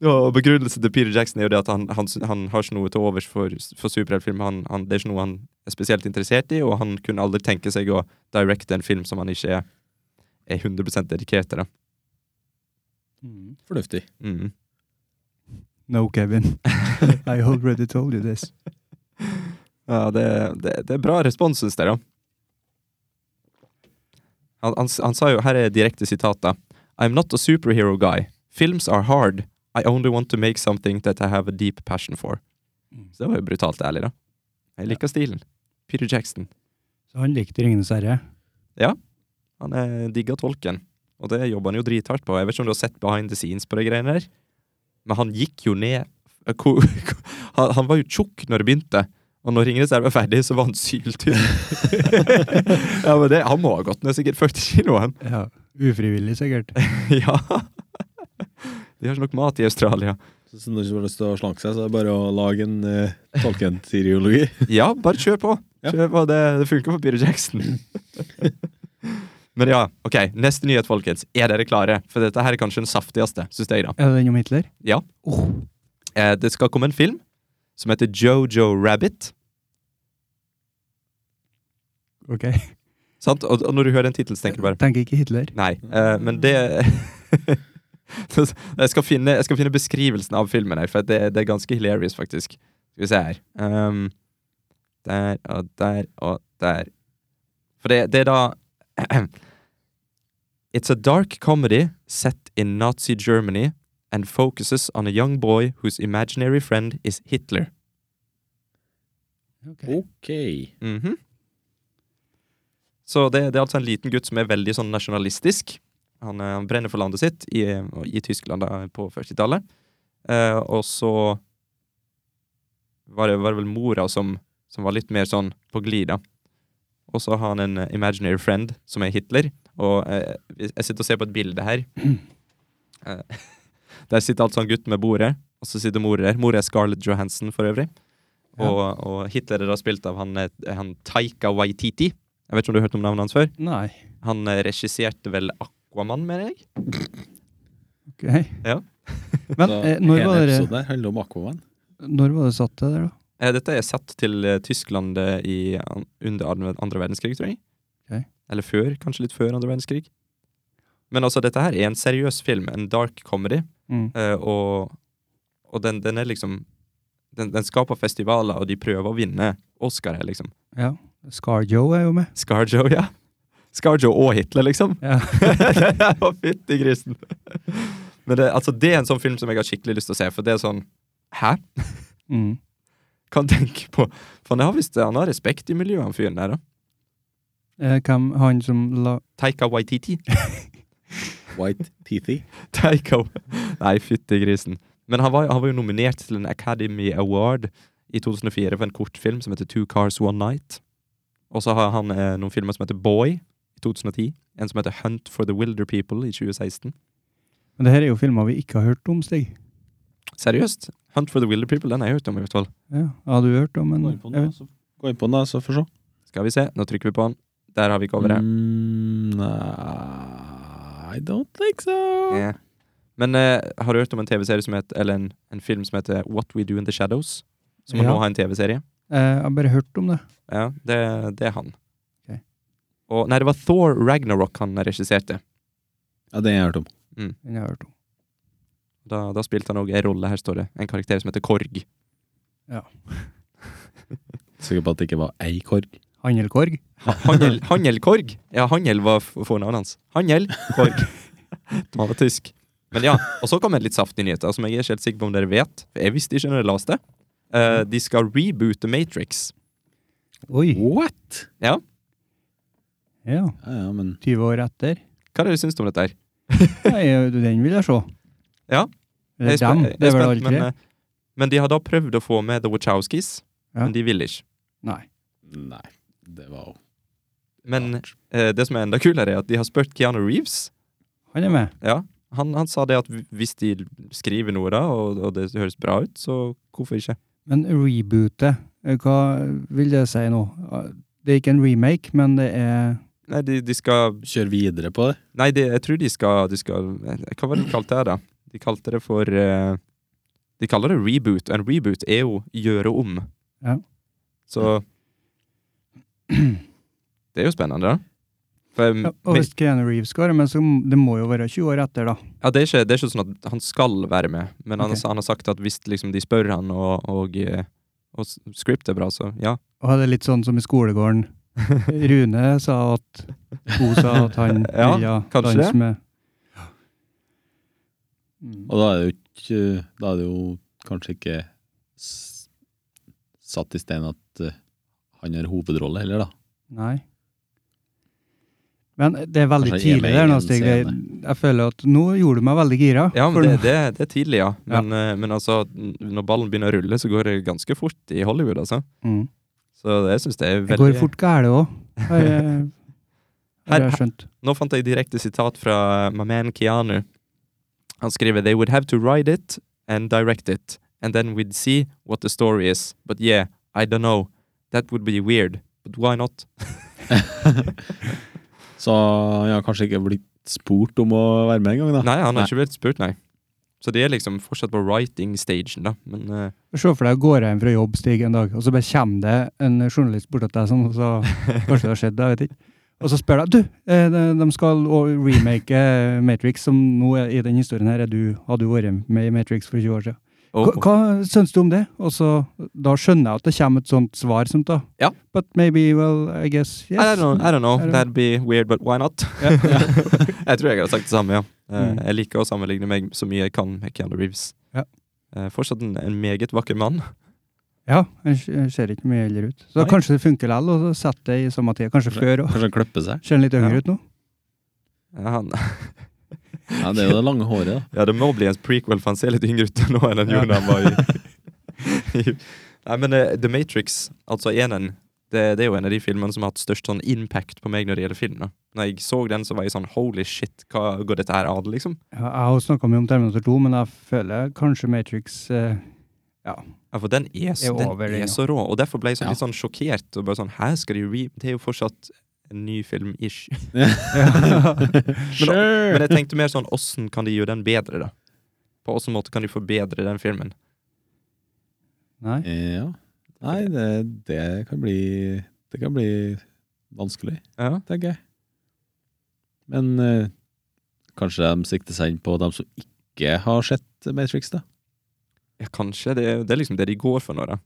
S2: og begrunnelsen til Peter Jackson er jo det at han, han, han har ikke noe til overs for, for superheltfilm. Han, han, det er ikke noe han er spesielt interessert i, og han kunne aldri tenke seg å directe en film som han ikke er, er 100 dedikert til. da.
S3: Fornuftig.
S2: Mm.
S1: No, Kevin. I already told you this.
S2: Ja, det, det, det er bra respons, syns jeg, da. Han, han, s- han sa jo, her er direkte sitat, da. I'm not a superhero guy. Films are hard. I only want to make something that I have a deep passion for.
S1: Mm.
S2: Så det var jo brutalt ærlig, da. Jeg liker stilen. Peter Jackson.
S1: Så han likte Ringenes herre.
S2: Han eh, digger tolken, og det jobber han jo drithardt på. Jeg vet ikke om du har sett behind the scenes på de greiene der, men han gikk jo ned eh, ko- *laughs* ko- Han han var jo tjukk når det begynte, og når Ringenes elv var ferdig, så var han syltynn. ja, men det, han må ha gått ned sikkert 40 kilo, han. *laughs*
S1: Ja. Ufrivillig, sikkert.
S2: ja. De har ikke nok mat i Australia.
S3: Så Hvis noen som har lyst til å slanke seg, så er det bare å lage en eh, tolkentiriologi.
S2: Ja, bare kjør på.
S3: Ja.
S2: Kjør på. Det, det funker for Peter Jackson. Men ja, ok, neste nyhet, folkens. Er dere klare? For dette her er kanskje den saftigste, syns jeg, da.
S1: Er det den om Hitler? Oh,
S2: Ja. Eh, det skal komme en film som heter Jojo Rabbit.
S1: Ok.
S2: Sant? Og, og når du hører den tittelen, så tenker du bare
S1: Tenker ikke Hitler.
S2: Nei. Eh, men det *laughs* jeg, skal finne, jeg skal finne beskrivelsen av filmen her, for det, det er ganske hilarious, faktisk. Skal vi se her Ehm, Der og der og der. For det, det er da *clears throat* It's a dark comedy set in Nazi Germany and focuses on a young boy whose imaginary friend is Hitler.
S3: *laughs* Ok.
S2: Mhm. Så det, det er altså en liten gutt som er veldig sånn nasjonalistisk. Han, eh, han brenner for landet sitt i, i Tyskland da, på 40-tallet. Eh, og så var det, var det vel mora som, som var litt mer sånn på glid, da. Og så har han en eh, imaginary friend som er Hitler. Og eh, hvis- jeg sitter og ser på et bilde her. Eh, *laughs* der sitter altså en gutt med bordet, og så sitter mora der. Mora er Scarlett Johansen, for øvrig.
S1: Ja.
S2: Og, og Hitler er da spilt av han, eh, han Taika Waititi. Jeg vet ikke om du har hørt om navnet hans før?
S1: Nei.
S2: Han eh, regisserte vel Aquaman, mener jeg?
S1: Ok.
S2: Ja.
S1: *laughs* Men
S3: Så
S1: eh, når,
S3: hele
S1: var det,
S3: episoden her handler om Aquaman.
S1: når var det satt til der, da?
S2: Eh, Dette er satt til eh, Tyskland eh, i, an- under an- andre verdenskrig, tror jeg.
S1: Ok.
S2: Eller før, kanskje litt før andre verdenskrig. Men altså, dette her er en seriøs film, en dark comedy, eh, og, og den, den er liksom den, den skaper festivaler, og de prøver å vinne Oscar her, liksom.
S1: Ja. Scar Joe er jo med.
S2: Scarjo, ja. Scarjo og Hitler, liksom.
S1: Ja.
S2: *laughs* det var fytti grisen. Men det, altså, det er en sånn film som jeg har skikkelig lyst til å se, for det er sånn Hæ?
S1: Mm.
S2: Kan tenke på For han har visst han har respekt i miljøet, han fyren der, da.
S1: Eh, hvem, han som la
S2: Taika Waititi.
S3: White Teethy.
S2: *laughs* Taika Nei, fytti grisen. Men han var, han var jo nominert til en Academy Award i 2004 for en kortfilm som heter Two Cars One Night. Og så har han eh, noen filmer som heter Boy i 2010. En som heter Hunt for the Wilder People i 2016.
S1: Men det her er jo filmer vi ikke har hørt om, Stig.
S2: Seriøst? Hunt for the Wilder People, den har jeg hørt om i hvert fall.
S1: Ja, har du hørt om en jeg vet-
S3: Gå inn på den, da, så får vi se.
S2: Skal vi se, nå trykker vi på den. Der har vi coveret.
S3: Mm, nei, I don't think so.
S2: Ja. Men eh, har du hørt om en TV-serie som heter, eller en, en film som heter What We Do In The Shadows? Som
S1: Ja.
S2: nå har en TV-serie.
S1: eh, jeg har bare hørt om det.
S2: Ja, det, det er han.
S1: Ok.
S2: Og, nei, det var Thor Ragnarok han regisserte.
S3: Ja, den har jeg hørt om.
S1: Den har jeg hørt om.
S2: Da, da spilte han òg en rolle, her står det. En karakter som heter Korg.
S3: Sikker på at det ikke var ei korg.
S1: Handelkorg.
S2: Ha- Hangel, Hangel Korg? Ja, Hangel var f- fornavnet hans. Hangel Korg. Han var tysk. Men ja, og så kom en litt saftig nyhet, da, som jeg er ikke helt sikker på om dere vet. For jeg visste ikke når jeg leste det. Eh, de skal reboote Matrix.
S1: Oi.
S3: What?!
S1: Ja,
S3: Ja, ja, men
S1: 20 år etter.
S2: Hva er det du syns om dette her?
S1: Nei, eh, den vil jeg se.
S2: Ja.
S1: Eller dem.
S2: er spen-
S1: Det er vel
S2: jeg spent,
S1: alle
S2: men,
S1: tre?
S2: eh, men de har da prøvd å få med The Wachowskis,
S1: Ja.
S2: men de vil ikke.
S1: Nei.
S3: nei. Det var jo
S2: Men
S3: rart.
S2: eh, det som er enda kulere, er at de har spurt Keanu Reeves.
S1: Han er med.
S2: Ja, han, han sa det at hvis de skriver noe da, og, og det høres bra ut, så hvorfor ikke?
S1: Men rebootet, eh, hva vil det si nå? Eh, Det er ikke en remake, men det er
S2: Nei, de, de skal
S3: Kjør videre på det.
S2: Nei, det, jeg tror de skal, de skal eh, Hva var det de kalte det, da? De kalte det for eh, De kaller det reboot. En reboot er jo gjøre om.
S1: Ja.
S2: Så
S1: *clears throat*
S2: Det er jo spennende, da. For, eh,
S1: ja, Og hvis Keanu Reeves skal være med, så m- det må jo være 20 år etter, da.
S2: ja, det, er ikke, det er ikke sånn at han skal være med, men han,
S1: Ok.
S2: han har sagt at hvis liksom, de spør han, og, og, eh, og s- script er bra, så ja.
S1: Og det er litt sånn som i
S2: *laughs*
S1: skolegården. Rune sa at Hun sa at han
S2: *laughs* Ja,
S1: ville
S2: kanskje
S1: danse
S2: det.
S1: med Mm.
S3: Og da er det jo ikke Da er det jo kanskje ikke s satt i stein at eh, han har hovedrolle heller, da.
S1: Nei. Men det er veldig
S3: Kanskje
S1: tidlig
S3: Emil
S1: der nå,
S3: Jensen
S1: Stig.
S3: er
S1: Jeg, jeg føler at nå gjorde du meg veldig gira.
S2: ja men
S1: for
S2: det,
S1: nå-
S2: det, det er tidlig, ja. Men, eh, men altså, n- når ballen begynner å rulle, så går det ganske fort i Hollywood, altså.
S1: Mm.
S2: Så jeg syns det er
S1: Det
S2: veldig
S1: går fort gæle òg, har
S2: *laughs*
S1: jeg- har
S2: Her-
S1: jeg skjønt.
S2: Nå fant jeg direkte sitat fra eh, my man Keanu. Han skriver They would have to write it and direct it, and then we'd see what the story is. But yeah, I don't know. That would be weird. But why not?
S3: Så han har kanskje ikke blitt spurt om å være med engang, da.
S2: Nei, han har
S3: Nei.
S2: ikke blitt spurt, nei. Så de er liksom fortsatt på writing-stagen, da. Men eh,
S1: Se for deg å gå hjem fra jobb Stig, en dag, og så bare kommer det en journalist bort til deg, sånn, og
S2: *laughs*
S1: så kanskje det har skjedd, jeg vet ikke. Og så spør de du, eh, de, de skal å- remake eh, Matrix, som nå er, i den historien her, er du, har du vært med i Matrix for 20 år siden.
S2: oh,
S1: Hva, hva syns du om det? Og så, da skjønner jeg at det kommer et sånt svar som da.
S2: Ja.
S1: But maybe, well, I guess, yes.
S2: I, don't
S1: *laughs*
S2: know, I don't know.
S1: I don't-
S2: That'd be weird, but why not? *laughs* jeg tror jeg hadde sagt det samme, ja. Eh,
S1: Mm.
S2: Jeg liker å sammenligne meg så mye jeg kan med Keanu Reeves.
S1: Ja.
S2: Eh, fortsatt en, en meget vakker mann.
S1: Ja, han s- han ser ikke mye eldre ut. Så
S2: Nei.
S1: kanskje det funker likevel, og så setter det i samme tid. Kanskje før òg.
S3: Kanskje han klipper seg?
S1: Ser han litt yngre
S2: Ja.
S1: ut nå?
S2: Ja, han, *laughs*
S3: Ja, det er jo det lange håret, da.
S2: Ja, det må bli en prequel, for han ser litt yngre ut nå enn han
S1: Ja.
S2: gjorde da han var
S1: *laughs*
S2: i, i Nei, men eh, The Matrix, altså eneren, det, det er jo en av de filmene som har hatt størst sånn impact på meg når det gjelder film. da. Når jeg så den, så var jeg sånn holy shit, hva går dette her an, liksom?
S1: Ja, jeg har snakka mye om Terminator 2, men jeg føler kanskje Matrix eh,
S2: Ja, for den er, så-
S1: Det er over,
S2: den
S1: den,
S2: er
S1: ja.
S2: så rå, og derfor ble jeg sånn,
S3: Ja.
S2: litt sånn sjokkert. og bare sånn, Hæ, skal de re... Det er jo fortsatt en ny
S1: *laughs*
S2: film-ish. *laughs*
S3: *laughs* Sure.
S2: Men jeg tenkte mer sånn, åssen kan de gjøre den bedre, da? På åssen måte kan de forbedre den filmen?
S1: Nei.
S3: Ja. Nei, det, det kan bli Det kan bli vanskelig,
S2: Ja.
S3: tenker jeg. Men eh, kanskje de sikter seg inn på dem som ikke har sett Matrix, da.
S2: ja, kanskje. Det, er- det er liksom det de går for nå, da.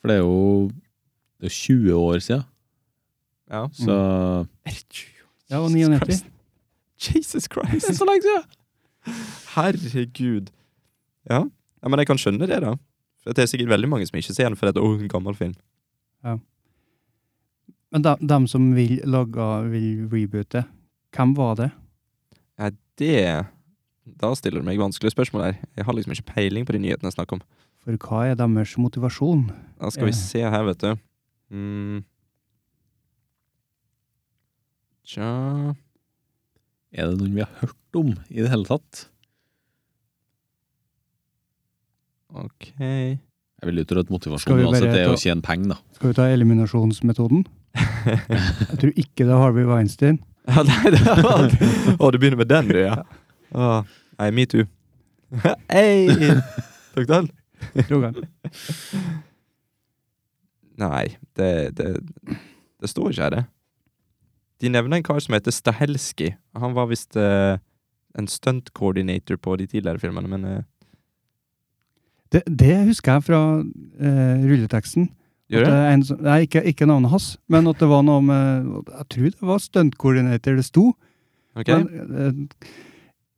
S3: For det er jo det er jo 20 år siden,
S2: Ja.
S3: så
S1: Mm.
S2: Er det 20 år?
S1: Ja, og
S2: Jesus
S1: 99.
S2: Christ. Jesus Christ!
S1: *laughs*
S3: så lenge siden!
S2: Herregud. Ja. ja, men jeg kan skjønne det, da. For Det er sikkert veldig mange som ikke ser den fordi det er en gammel film.
S1: Men de, dem som vil lage, vil reboote, hvem var det?
S2: Nei, det Da stiller du meg vanskelige spørsmål her. Jeg har liksom ikke peiling på de nyhetene jeg snakker om.
S1: For hva er deres motivasjon?
S2: Da skal
S1: Ja.
S2: vi se her, vet du. Mm. Tja
S3: Er det noen vi har hørt om i det hele tatt?
S2: OK *laughs*
S3: Jeg vil jo tro at
S1: Skal vi
S3: motivasjonen
S1: bare
S3: uansett er
S1: ta-
S3: å tjene penger, da.
S1: Skal vi ta eliminasjonsmetoden? Jeg tror ikke det er Harvey Weinstein.
S2: Ja, nei, det var Å, du begynner med den, du, ja. Å, Nei, me too. *laughs* Hei! Takk, Dan.
S1: Tror jeg.
S2: Nei, det, det, det står ikke her, det. De nevner en kar som heter Stahelski. Han var visst eh, en stunt coordinator på de tidligere filmene, men eh,
S1: Det, det husker jeg fra eh, rulleteksten.
S2: Gjør
S1: At
S2: det?
S1: det er en som- nei, ikke, ikke navnet hans, men at det var noe med Jeg tror det var stuntkoordinator det sto.
S2: Ok.
S1: Men, eh,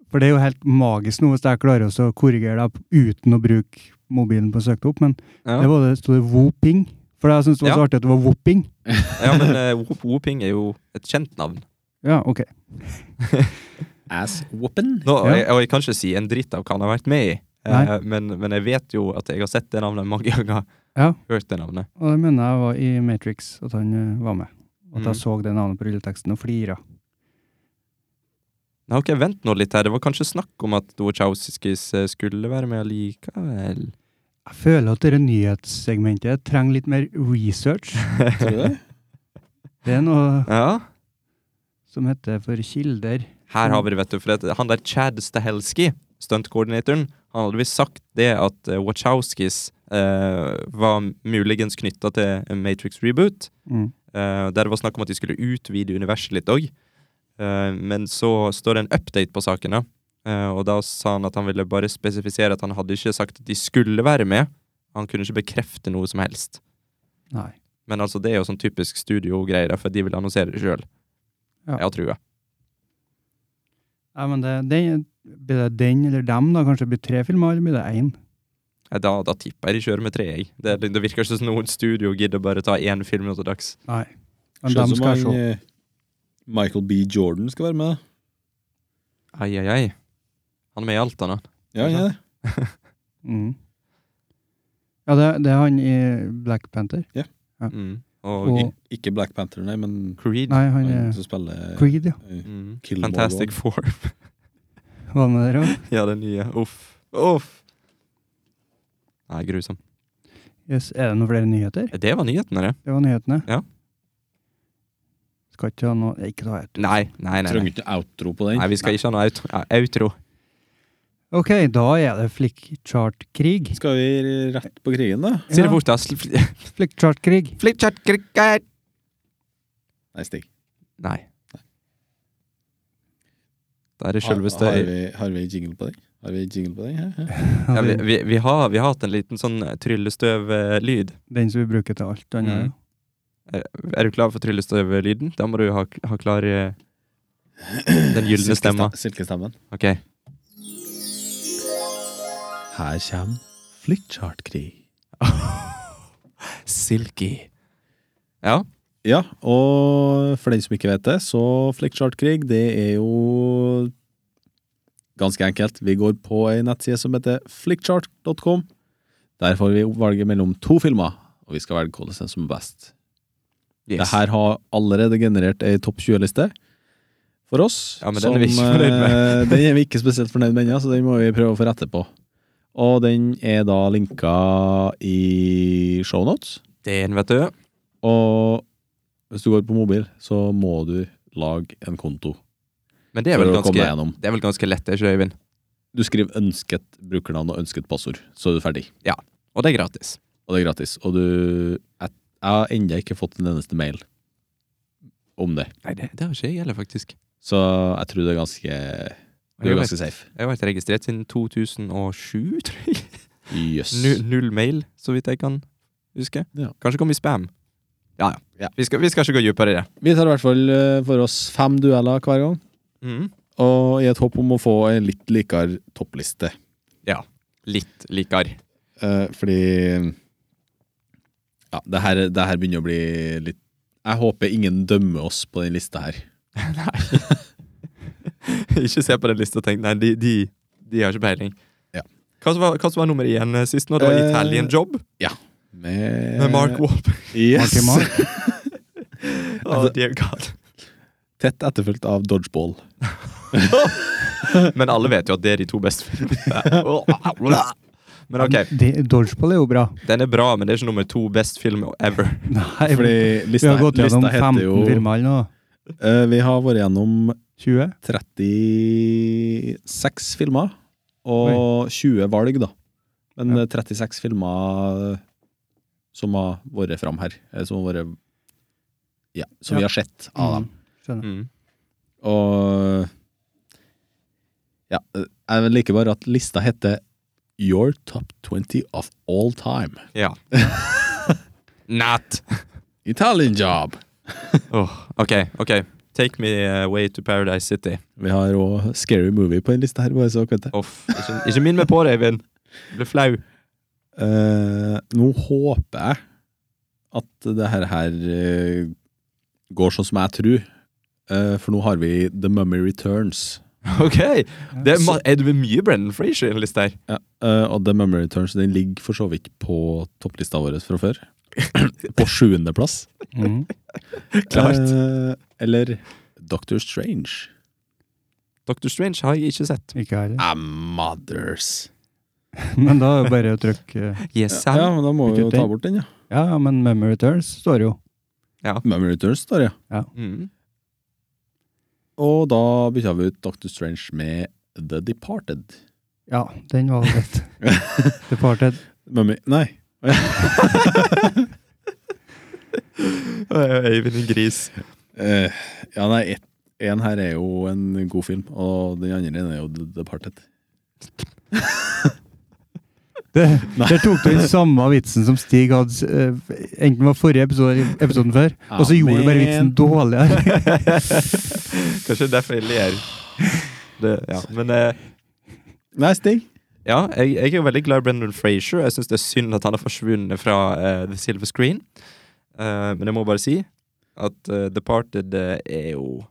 S1: for det er jo helt magisk nå hvis jeg klarer også å korrigere deg uten å bruke mobilen på å søke det opp, men
S2: ja.
S1: det var det stod det Woping For jeg syns det var så
S2: Ja.
S1: artig at det var Whopping.
S2: Ja, men eh, Whoop Whooping er jo et kjent navn.
S1: Ja, ok. *laughs*
S3: Ass-whooping.
S2: Nå, og,
S1: Ja.
S2: jeg, og jeg kan ikke si en dritt av hva han har vært med i, eh,
S1: Nei.
S2: men, men jeg vet jo at jeg har sett det navnet mange ganger.
S1: Ja.
S2: Hørt det navnet.
S1: Og det mener jeg var i Matrix, at han eh, var med. At
S2: Mhm.
S1: jeg så det navnet på rulleteksten og flira.
S2: Nei, ok, Vent nå litt her. Det var kanskje snakk om at Wachowskis eh, skulle være med likevel.
S1: Jeg føler at dette nyhetssegmentet trenger litt mer research.
S3: Tror du det?
S1: Det er noe
S2: Ja.
S1: som heter for kilder.
S2: Her har vi det, vet du. For det, han der Chad Stahelski, stuntkoordinatoren, han hadde visst sagt det at eh, Wachowskis eh, var muligens knytta til Matrix Reboot.
S1: Mm.
S2: eh, der det var snakk om at de skulle utvide universet litt òg. men så står det en update på saken, da. Eh, og da sa han at han ville bare spesifisere at han hadde ikke sagt at de skulle være med. Han kunne ikke bekrefte noe som helst.
S1: Nei.
S2: Men altså, det er jo sånn typisk studio-greier, da, for de vil annonsere det sjøl.
S1: Ja.
S2: Jeg har trua.
S1: Nei, men det, den, blir det den eller dem, da? Kanskje det blir tre filmer, eller blir det én?
S2: Nei, Da, da tipper jeg de kjører med tre. Jeg. Det, det virker ikke som noen studio gidder bare ta én film til dags.
S1: Nei. Men
S3: Skjønner
S1: dem
S3: som
S1: skal jeg
S3: han,
S1: se.
S3: eh, Michael B. Jordan skal være med, da.
S2: Ai, ai, ai. Han er med i alt, han. da.
S3: Ja, ja.
S1: Mm. Ja, det, det er han i Black Panther.
S2: Mm. Og,
S1: Og,
S3: Ikke Black Panther, nei, men
S2: Creed.
S1: nei, han eh,
S3: han
S1: er
S3: som spiller
S1: Creed, ja.
S3: eh,
S2: Mm.
S3: Killmore
S2: Fantastic
S3: One.
S2: Four. *laughs*
S1: Var med der òg.
S2: ja, den nye. Uff. Uff. Nei, grusom.
S1: Yes, er det noen flere nyheter?
S2: Det var nyhetene, det.
S1: Det var nyhetene.
S2: Ja.
S1: Skal ikke ha noe Ikke noe outro.
S2: Nei, nei, nei.
S3: Trenger
S2: Nei,
S3: ikke noe outro på den.
S2: nei vi skal ikke ha noe outro. ja, outro.
S1: Ok, da er det flickchart-krig.
S3: Skal vi rett på krigen, da?
S2: Si det
S1: Ja.
S2: fort, da. Sl- fl- *laughs*
S1: Flickchart-krig.
S2: Flipchat cricket.
S3: Nei, stikk.
S2: Nei. Da er det
S3: Har,
S2: sjølveste
S3: har, vi, har vi jingle på den? Har vi jingle på den? Hæ? Hæ?
S2: ja, vi, vi, vi, har, vi har hatt en liten sånn eh, tryllestøvlyd.
S1: Den som vi bruker til alt annet.
S2: Mm. Er, er du klar for tryllestøvlyden? Da må du ha, ha klar eh, den gylne
S3: Silkesta-
S2: stemma.
S3: Silkestemmen.
S2: Ok.
S3: Her kommer flickchart-krig.
S2: Silky. Ja.
S3: Ja, og for den som ikke vet det, så flickchart-krig, det er jo ganske enkelt. Vi går på ei nettside som heter flickchart.com. Der får vi valget mellom to filmer, og vi skal velge hvilken som er best.
S2: Yes.
S3: Det her har allerede generert ei topp 20-liste for oss.
S2: Ja, men den er vi ikke fornøyd med.
S3: eh, den er vi ikke spesielt fornøyd med ennå, så den må vi prøve å få rette på. Og den er da linka i shownotes.
S2: Det er en, vet du.
S3: Og hvis du går på mobil, så må du lage en konto
S2: Men det er
S3: for
S2: vel
S3: å komme deg
S2: ganske,
S3: gjennom.
S2: det er vel ganske lett, det er ikke det, Øyvind?
S3: Du skriver ønsket brukernavn og ønsket passord, så er du ferdig.
S2: Og det er gratis.
S3: Og det er gratis. Og du Jeg, jeg har ennå ikke fått en eneste mail om det,
S2: Nei, det, det har ikke jeg heller, faktisk.
S3: så jeg tror det er ganske Du
S2: Jeg
S3: er
S2: har,
S3: ganske
S2: vært,
S3: safe.
S2: jeg har vært registrert siden 2007, *laughs* tror jeg.
S3: Jøss.
S2: Null, null mail, så vidt jeg kan huske.
S3: Ja.
S2: Kanskje kom i spam. Ja,
S3: Ja.
S2: ja. Vi skal, vi skal ikke gå dypere i det.
S3: Vi tar i hvert fall eh, for oss fem dueller hver gang,
S2: Mhm.
S3: og i et håp om å få en litt likere toppliste.
S2: Litt likere.
S3: Eh, fordi Ja, det her, det her begynner å bli litt Jeg håper ingen dømmer oss på den lista her.
S2: *laughs* ikke se på den lista og tenk nei, de, de, de har ikke peiling.
S3: Ja.
S2: Hva som var, hva som var nummer én eh, sist nå? Det var
S3: Eh,
S2: Italian Job
S3: Med,
S2: med Mark Wahlberg.
S3: Yes.
S1: Marky Mark.
S2: Å, dear God.
S3: Tett etterfulgt av Dodgeball.
S2: Men alle vet jo at det er de to beste filmene. Men *laughs* ok,
S1: De- Dodgeball er jo bra.
S2: den er bra, men det er ikke nummer to best film ever.
S1: Nei,
S3: Fordi
S1: vi
S3: lista,
S1: har gått gjennom
S3: lista
S1: 15
S3: heter jo
S1: firmaer nå.
S3: Eh, Vi har vært gjennom
S1: 20?
S3: 36 filmer og 20 valg, da. Men
S1: Ja.
S3: eh, 36 filmer eh, som har vært fram her. eh, Som har vært Ja, som
S1: Ja.
S3: vi har sett av dem.
S1: Mm, skjønner.
S2: Mm.
S3: Og Ja, eh, jeg liker bare at lista heter Your top 20 of all time.
S2: Ja. Nat!
S3: Italian job!
S2: Åh, ok, ok. Take me away to Paradise City.
S3: Vi har òg Scary Movie på den lista her. bare så dere vet det.
S2: Off. Ikke, ikke minn meg på det, Eivind. Jeg blir flau.
S3: Eh, nå håper jeg at det her, her eh, går sånn som jeg tror. Eh, For nå har vi The Mummy Returns.
S2: OK!
S1: Mm.
S2: Det er, ma- er det mye Brendan Frazier i en liste her?
S3: Ja, eh, og The Mummy Returns den ligger for så vidt på topplista vår fra *laughs* før. På sjuendeplass.
S1: Mm.
S2: Klart.
S3: Eh, Eller Doctor Strange.
S2: Doctor Strange har jeg ikke sett.
S1: Ikke jeg heller.
S3: Ah, mothers.
S1: *laughs* Men da er det bare å trykke eh,
S2: Yes, Sam.
S3: Ja, men da må vi jo ta bort den, ja.
S1: Ja, ja, men Memory Returns står jo.
S3: Mummy Returns står, ja.
S2: *laughs* Mm.
S3: Og da bytta vi ut Doctor Strange med The *laughs* Departed.
S1: Ja, den var litt *laughs* Departed.
S3: Mummy *laughs* Nei.
S2: Øy, Øyvind en gris.
S3: Eh, ja, nei, et, en her er jo en god film, og den andre er jo The Departed.
S1: Det,
S3: Nei.
S1: der tok du den samme vitsen som Stig hadde eh, enten var forrige episode eller episoden før, og så gjorde du bare vitsen
S3: Amen.
S1: dårligere.
S2: *laughs* Kanskje derfor jeg ler. Det, ja. Men eh,
S3: Nei, Stig.
S2: ja, jeg, jeg er jo veldig glad i Brendan Frazier. Jeg syns det er synd at han har forsvunnet fra eh, The Silver Screen. Eh, men jeg må bare si at eh, Departed eh, er jo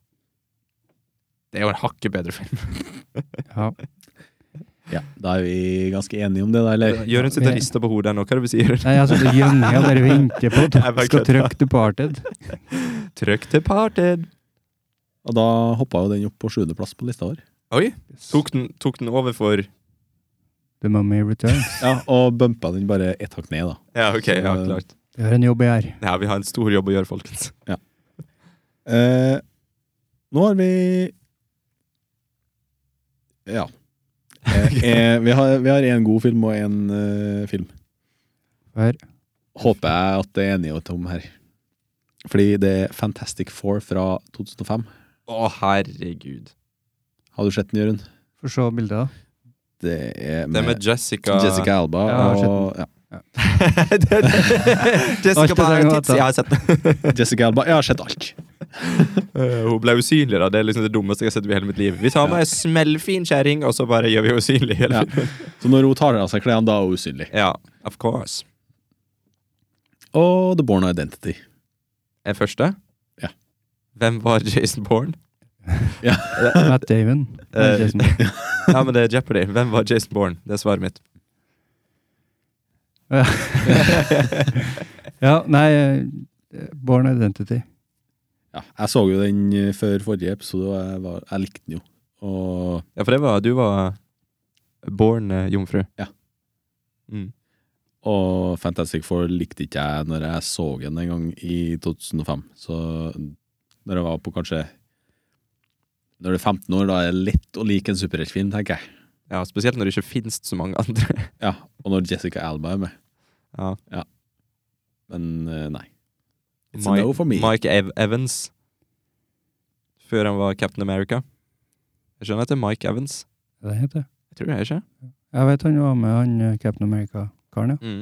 S2: Det er jo en hakket bedre film.
S1: *laughs* Ja.
S3: Ja, Da er vi ganske enige om det, da, eller?
S2: Jørund sitter og rister på hodet nå. Hva er det du sier?
S1: Nei, altså, jeg satt og gjønga og bare venter
S2: *laughs*
S1: på at
S2: Jeg
S1: dere
S2: bare
S1: skal
S2: kødda.
S1: trykke Departed.
S2: *laughs* Trykk Departed!
S3: Og da hoppa jo den opp på sjuendeplass på lista vår.
S2: Oi! Tok den, tok den over for
S1: The Mummy Returns.
S3: Ja, Og bumpa den bare ett hakk ned, da.
S2: Ja, OK. Ja, klart.
S1: Vi har en jobb jeg gjør.
S2: Ja, vi har en stor jobb å gjøre, folkens.
S3: Eh, nå har vi *laughs* Ja. Eh, eh, vi har- vi har én god film og én film.
S1: Hver.
S3: Håper jeg at det er enighet om her. Fordi det er Fantastic Four fra 2005.
S2: Å, herregud.
S3: Har du sett den, Jørund?
S1: Får se bilder. da.
S3: Det er
S2: Det
S3: med,
S2: er med *laughs* Jessica
S3: Jessica Alba.
S1: Ja, jeg har
S3: og, ja.
S2: Det- det-
S1: Alt det
S2: Jessica Parra
S1: trenger å
S2: Tits,
S1: vite.
S2: jeg har sett *laughs* den.
S3: Jessica Alba, jeg har sett alt.
S2: Eh, Hun ble usynlig, da. Det er liksom det dummeste jeg har sett i hele mitt liv. Vi tar med ei smellfin kjerring, og så bare gjør vi henne usynlig.
S3: Ja.
S2: Eller?
S3: Så når hun tar av seg klærne, da er hun usynlig.
S2: Ja. of course.
S3: Og The Born Identity.
S2: Er første?
S3: Ja.
S2: Hvem var Jason Bourne?
S1: *laughs* Matt Damon.
S2: Eh, *laughs*
S1: Jason.
S2: Ja, men det er Jeopardy. Hvem var Jason Bourne? Det er svaret mitt.
S1: Ja, nei eh, Born Identity.
S3: Ja, jeg så jo den eh, før forrige episode, og jeg, var, jeg likte den jo. Og
S2: Ja, for det var Du var Bourne-jomfru.
S3: Ja.
S2: Mm.
S3: Og Fantastic Four likte ikke jeg når jeg så den en gang i 2005. Så når jeg var på kanskje Når du er 15 år, da er det lett å like en superheltfilm, tenker jeg.
S2: Ja, Spesielt når det ikke finnes så mange andre. *laughs*
S3: Ja, Og når Jessica Alba er med.
S2: Ja.
S3: Men eh, nei. It's a
S2: Mike-
S3: no for me.
S2: Mike Ev Evans. Før han var Captain America. Jeg skjønner at det er Mike Evans.
S1: Hva det heter det?
S2: Jeg tror det er ikke.
S1: Jeg vet han var med, han eh, Captain America-karen, ja.
S2: Mm.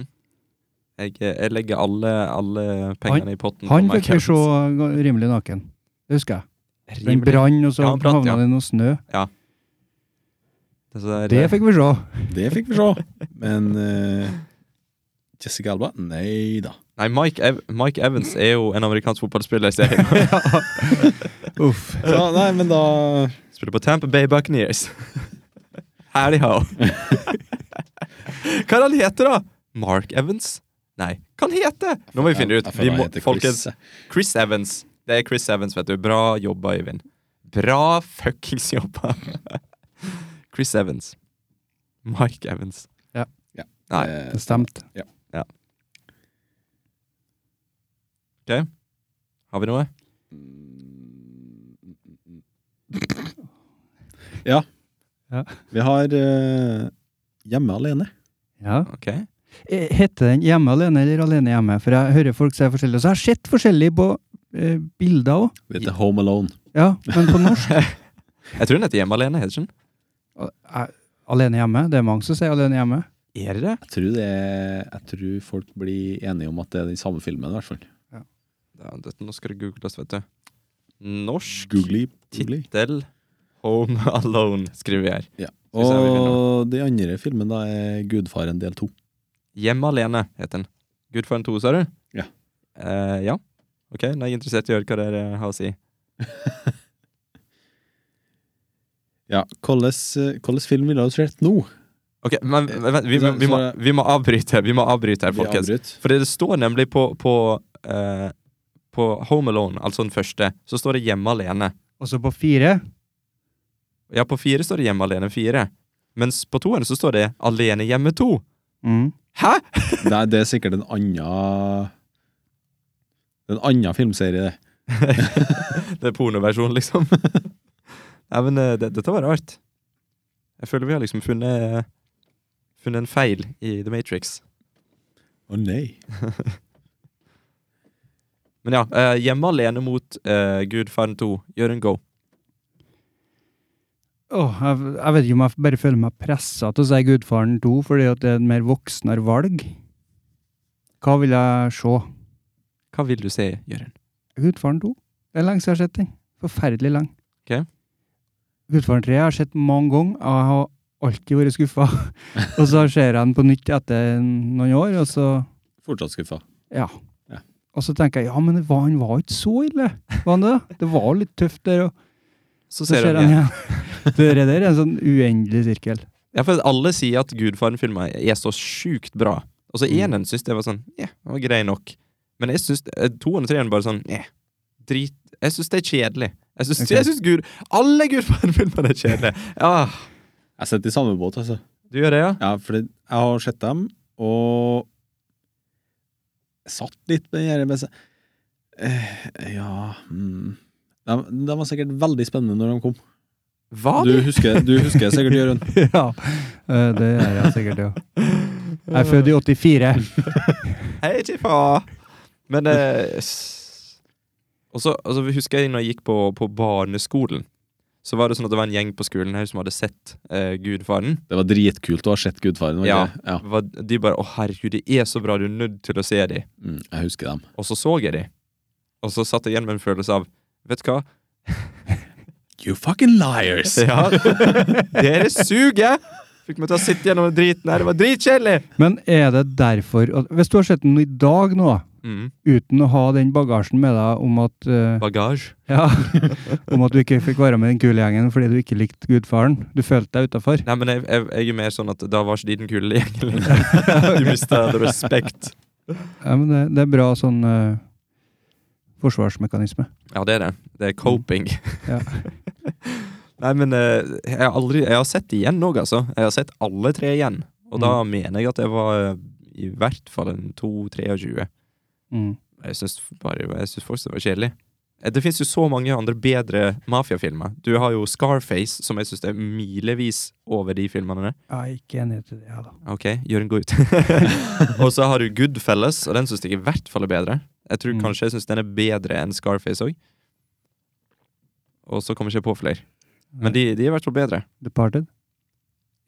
S2: Jeg, eh, jeg legger alle, alle pengene i potten. på
S1: Han
S2: Mike
S1: fikk vi se
S2: Evans.
S1: ga- rimelig naken. Det husker jeg. Den
S2: Rimelig.
S1: brann, og så
S2: Ja, han brant,
S1: havna
S2: ja.
S1: det i noe snø.
S2: Altså, det er-
S1: Det fikk vi se.
S3: Det fikk vi se. Men eh, Jessica Alba? Nei da.
S2: Nei, Mike, Ev Mike Evans er jo en amerikansk fotballspiller. Jeg *laughs* ser.
S1: Uff.
S3: Så, nei, men da
S2: Spiller på Tampa Bay Buccaneers. *laughs* Howdy ho. *laughs* Hva er det han heter, da? Mark Evans? Nei, hva han heter Nå må vi finne det ut.
S3: Jeg føler
S2: Vi
S3: jeg
S2: må,
S3: heter Chris.
S2: folkens, Chris Evans. Det er Chris Evans, vet du. Bra jobba, Øyvind. Bra fuckings jobba. *laughs* Chris Evans. Mike Evans.
S1: Ja.
S3: Ja.
S2: Nei.
S3: Eh,
S1: Det stemte.
S2: Har vi noe?
S3: Ja.
S1: Ja.
S3: Vi har eh, Hjemme alene.
S1: Ja.
S2: Ok.
S1: Eh, Heter den Hjemme alene eller Alene hjemme? For jeg hører folk si forskjellig. Så jeg har sett forskjellig på eh, bilder òg.
S3: Vi heter Home Alone.
S1: Ja, men på
S2: *laughs*
S1: norsk
S2: Jeg tror den heter Hjemme alene, heter den?
S1: Al- eh, Alene hjemme? Det er mange som sier Alene hjemme.
S2: Er det det?
S3: Jeg tror, det er, jeg tror folk blir enige om at det er den samme filmen, i hvert fall.
S2: Ja, dette, nå skal det googles, vet du. Norsk
S3: Googly. Googly.
S2: tittel Home *laughs* Alone, skriver vi her. vi se hva vi
S3: Og de andre filmene da er Gudfaren del to.
S2: Hjemme alene, heter den. Gudfaren 2, sa du?
S3: Ja.
S2: Eh, ja. OK, nå er jeg interessert i å høre hva dere har å si.
S3: Ja, hvordan eh, hvordan film ville du sett nå?
S2: Ok, men men- vent, vi, må- vi, må, vi må avbryte Vi må avbryte her,
S3: Eh, Vi
S2: folkens.
S3: avbryter.
S2: For det står nemlig på, på, eh, på Home Alone, altså den første, så står det Hjemme alene.
S1: Og så på fire
S2: Ja, på fire står det Hjemme alene fire. Mens på toeren så står det Alene hjemme to.
S1: Mm.
S2: Hæ?!
S3: Nei, det er sikkert en annen En annen filmserie, det.
S2: Det er pornoversjonen, liksom. *laughs* Nei, men eh, det, dette var rart. Jeg føler vi har liksom funnet Funnet en feil i The Matrix.
S3: Å nei.
S2: Men ja, eh, Hjemme alene mot uh, Gudfaren 2. Gjør en go.
S1: Åh, jeg, jeg vet ikke om jeg bare føler meg pressa til å si Gudfaren 2, fordi at det er et mer voksnere valg. Hva vil jeg se?
S2: Hva vil du se, Jørund?
S1: Gudfaren 2. Det er lenge siden jeg har sett den. Forferdelig lenge.
S2: Ok.
S1: Gudfaren 3 jeg har jeg sett mange ganger, og jeg har alltid vært skuffa. *laughs* og så ser jeg den på nytt etter noen år, og så
S3: Fortsatt skuffa.
S1: Ja.
S3: Ja.
S1: Og så tenker jeg ja, men det var, han var ikke så ille. Var han det? Det var litt tøft der, og
S2: Så
S1: så
S2: ser
S1: ser
S2: han
S1: han
S2: igjen.
S1: igjen. Det der er en sånn uendelig
S2: *laughs*
S1: sirkel.
S2: Ja, for alle sier at Gudfaren-filmer er så sjukt bra. Og så
S3: Mm.
S2: enen syns det var sånn Ja, det var grei nok. Men jeg syns eh, toen og treeren bare sånn eh, Drit Jeg syns det er kjedelig. Jeg syns,
S1: Ok.
S2: jeg syns Gud Alle Gudfaren-filmer er kjedelige! Ja,
S3: Jeg sitter i samme båt, altså.
S2: du gjør det, ja?
S3: Ja, for det- jeg har sett dem, og jeg satt litt med den her, men så- Eh, Ja mm. de, de var sikkert veldig spennende når de kom.
S2: Hva?
S3: Du husker, du husker sikkert, Jørund.
S1: ja. eh, Det gjør jeg sikkert, jo. Jeg er født i 84.
S2: Hei, Tifa! Men eh, s- Og så altså, vi husker jeg når jeg gikk på, på barneskolen. Så var det sånn at det var en gjeng på skolen her som hadde sett eh, Gudfaren.
S3: *laughs* Det var dritkult å ha sett Gudfaren. var det
S2: Ja.
S3: ikke det? ja.
S2: Var- De bare 'Å, herregud, det er så bra, du er nødt til å se de'.
S3: Mm, jeg husker dem.
S2: Og så så jeg de. Og så satt jeg igjen med en følelse av Vet du hva?
S3: You fucking liars!
S2: *laughs* Ja, dere suger! Fikk meg til å sitte gjennom den driten her. Det var dritkjedelig!
S1: Men er det derfor at Hvis du har sett den i dag nå,
S2: Mm.
S1: uten å ha den bagasjen med deg om at eh,
S2: Bagasje. *laughs*
S1: Ja. Om at du ikke fikk være med den kule gjengen fordi du ikke likte gudfaren. Du følte deg utafor.
S2: Nei, men jeg, jeg, jeg er mer sånn at da var ikke de den kule gjengen lenger. *laughs* Du mista respekt.
S1: Ja, men det, det er bra sånn eh, forsvarsmekanisme.
S2: Ja, det er det. Det er coping.
S1: Ja.
S2: Mm. Nei, men eh, jeg har aldri Jeg har sett igjen òg, altså. Jeg har sett alle tre igjen. Og da mener jeg at jeg var eh, i hvert fall en 2-23.
S1: Mm.
S2: Jeg syns bare Jeg syns fortsatt det var kjedelig. Eh, Det fins jo så mange andre bedre mafiafilmer. Du har jo Scarface, som jeg syns er milevis over de filmene der.
S1: Jeg er ikke enig til det, jeg, da.
S2: Ok, Jørund, gå ut. *laughs* og så har du Goodfellas, og den syns jeg i hvert fall er bedre. Jeg tror
S1: Mm.
S2: kanskje jeg syns den er bedre enn Scarface òg. Og så kommer jeg ikke på flere. Men de, de er i hvert fall bedre.
S1: Departed?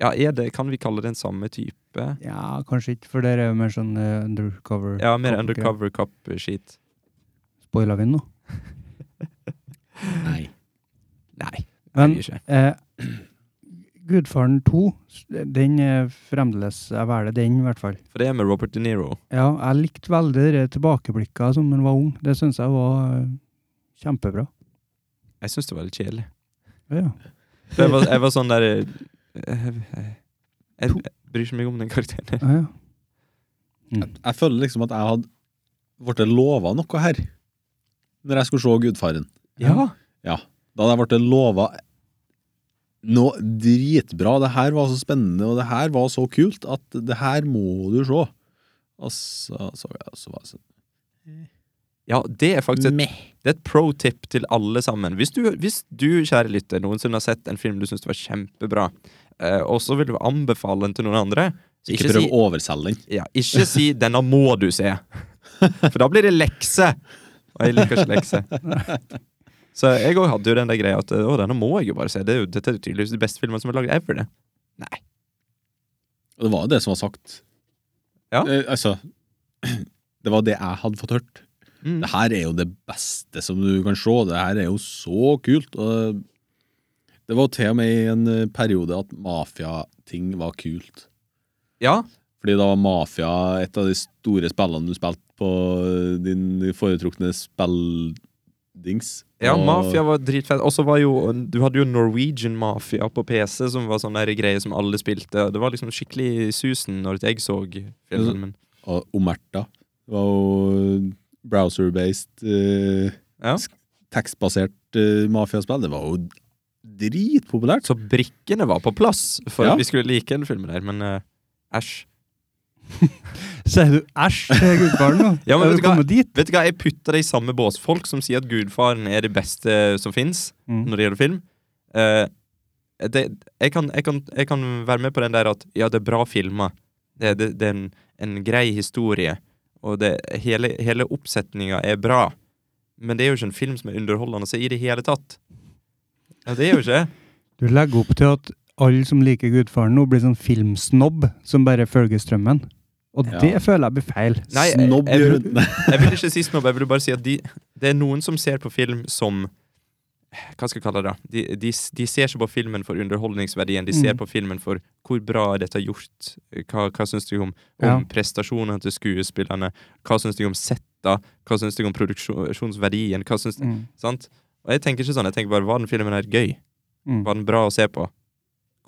S2: Ja, er det, Kan vi kalle det den samme type?
S1: Ja, kanskje ikke, for der er jo mer sånn eh, undercover.
S2: Ja, mer
S1: cop-greier.
S2: undercover cop-skit.
S1: Spoiler vi den nå?
S3: Nei.
S2: Nei, det
S1: Men
S2: blir ikke.
S1: eh, *clears throat* Gudfaren 2, s- den er fremdeles Jeg velger den, i hvert fall.
S2: For det er med Robert De Niro.
S1: Ja, jeg likte veldig de der tilbakeblikka som når jeg var ung. Det syns jeg var eh, kjempebra.
S2: Jeg syns det var litt *laughs* kjedelig.
S1: Ja.
S2: For Jeg var, jeg var sånn der eh, Jeg, jeg, jeg bryr ikke meg om den karakteren. her.
S1: Ja, ja.
S2: *laughs*
S3: Jeg, jeg føler liksom at jeg hadde blitt lova noe her når jeg skulle se Gudfaren.
S1: Ja.
S3: Ja. Da hadde jeg blitt lova noe dritbra. Det her var så spennende, og det her var så kult at det her må du se. Og så så jeg så var det sånn
S2: ja, det er faktisk et,
S3: Meh.
S2: det er et pro tip til alle sammen. Hvis du, hvis du, kjære lytter, noensinne har sett en film du syns var kjempebra, eh, og så vil du anbefale den til noen andre så
S3: Ikke prøv å overselge den.
S2: Ja, ikke si 'denne må du se', for da blir det lekse. Og jeg liker ikke lekse. Så jeg òg hadde jo den der greia at 'å, denne må jeg jo bare se'. Det er jo, dette er jo tydeligvis de beste filmene som er lagd ever. det. Nei.
S3: Og det var jo det som var sagt.
S2: Ja.
S3: Eh, altså *clears throat* Det var det jeg hadde fått hørt.
S2: Mm.
S3: Det her er jo det beste som du kan se. Det her er jo så kult. Og det var til og med i en eh, periode at mafiating var kult.
S2: Ja,
S3: Fordi da var mafia et av de store spillene du spilte på eh, din foretrukne spilldings.
S2: Ja,
S3: Og-
S2: Mafia var dritfett. Og så var jo Du hadde jo Norwegian Mafia på PC, som var sånn der greie som alle spilte. Det var liksom skikkelig susen når jeg så filmen.
S3: Og Omerta var jo eh, browser-based, eh,
S2: Ja.
S3: tekstbasert eh, mafiaspill. Det var jo dritpopulært.
S2: Så brikkene var på plass for
S3: Ja.
S2: at vi skulle like den filmen der, men eh, æsj.
S1: Sier du æsj til gudfaren nå?
S2: *laughs* Ja, men
S1: Er
S2: vet du hva?
S1: kommet dit?
S2: Vet du hva, jeg putter det i samme bås. Folk som sier at Gudfaren er det beste som fins
S1: Mm.
S2: når det gjelder film. eh, det, jeg, kan, jeg, kan, jeg kan være med på den der at ja, det er bra filmer. Det, det, det er en, en grei historie. Og det, hele, hele oppsetninga er bra. Men det er jo ikke en film som er underholdende å se i det hele tatt. Ja, det er jo ikke det.
S1: Du legger opp til at alle som liker Gudfaren nå, blir sånn filmsnobb som bare følger strømmen. Og
S3: Ja.
S1: det føler jeg blir feil.
S2: Nei, jeg-
S3: Snobb
S2: jeg-
S3: gjør Nei,
S2: Jeg vil ikke si snobb, jeg vil bare si at de, det er noen som ser på film som Hva skal jeg kalle det? da? De, de, de ser ikke på filmen for underholdningsverdien, de ser
S1: Mm.
S2: på filmen for hvor bra er dette gjort, hva, hva syns du om, om
S1: Ja.
S2: prestasjonene til skuespillerne, hva syns du om setta, hva syns du om produksjonsverdien, hva syns
S1: Mm.
S2: Sant? Og jeg tenker ikke sånn, jeg tenker bare var den filmen her gøy?
S1: Mm.
S2: Var den bra å se på?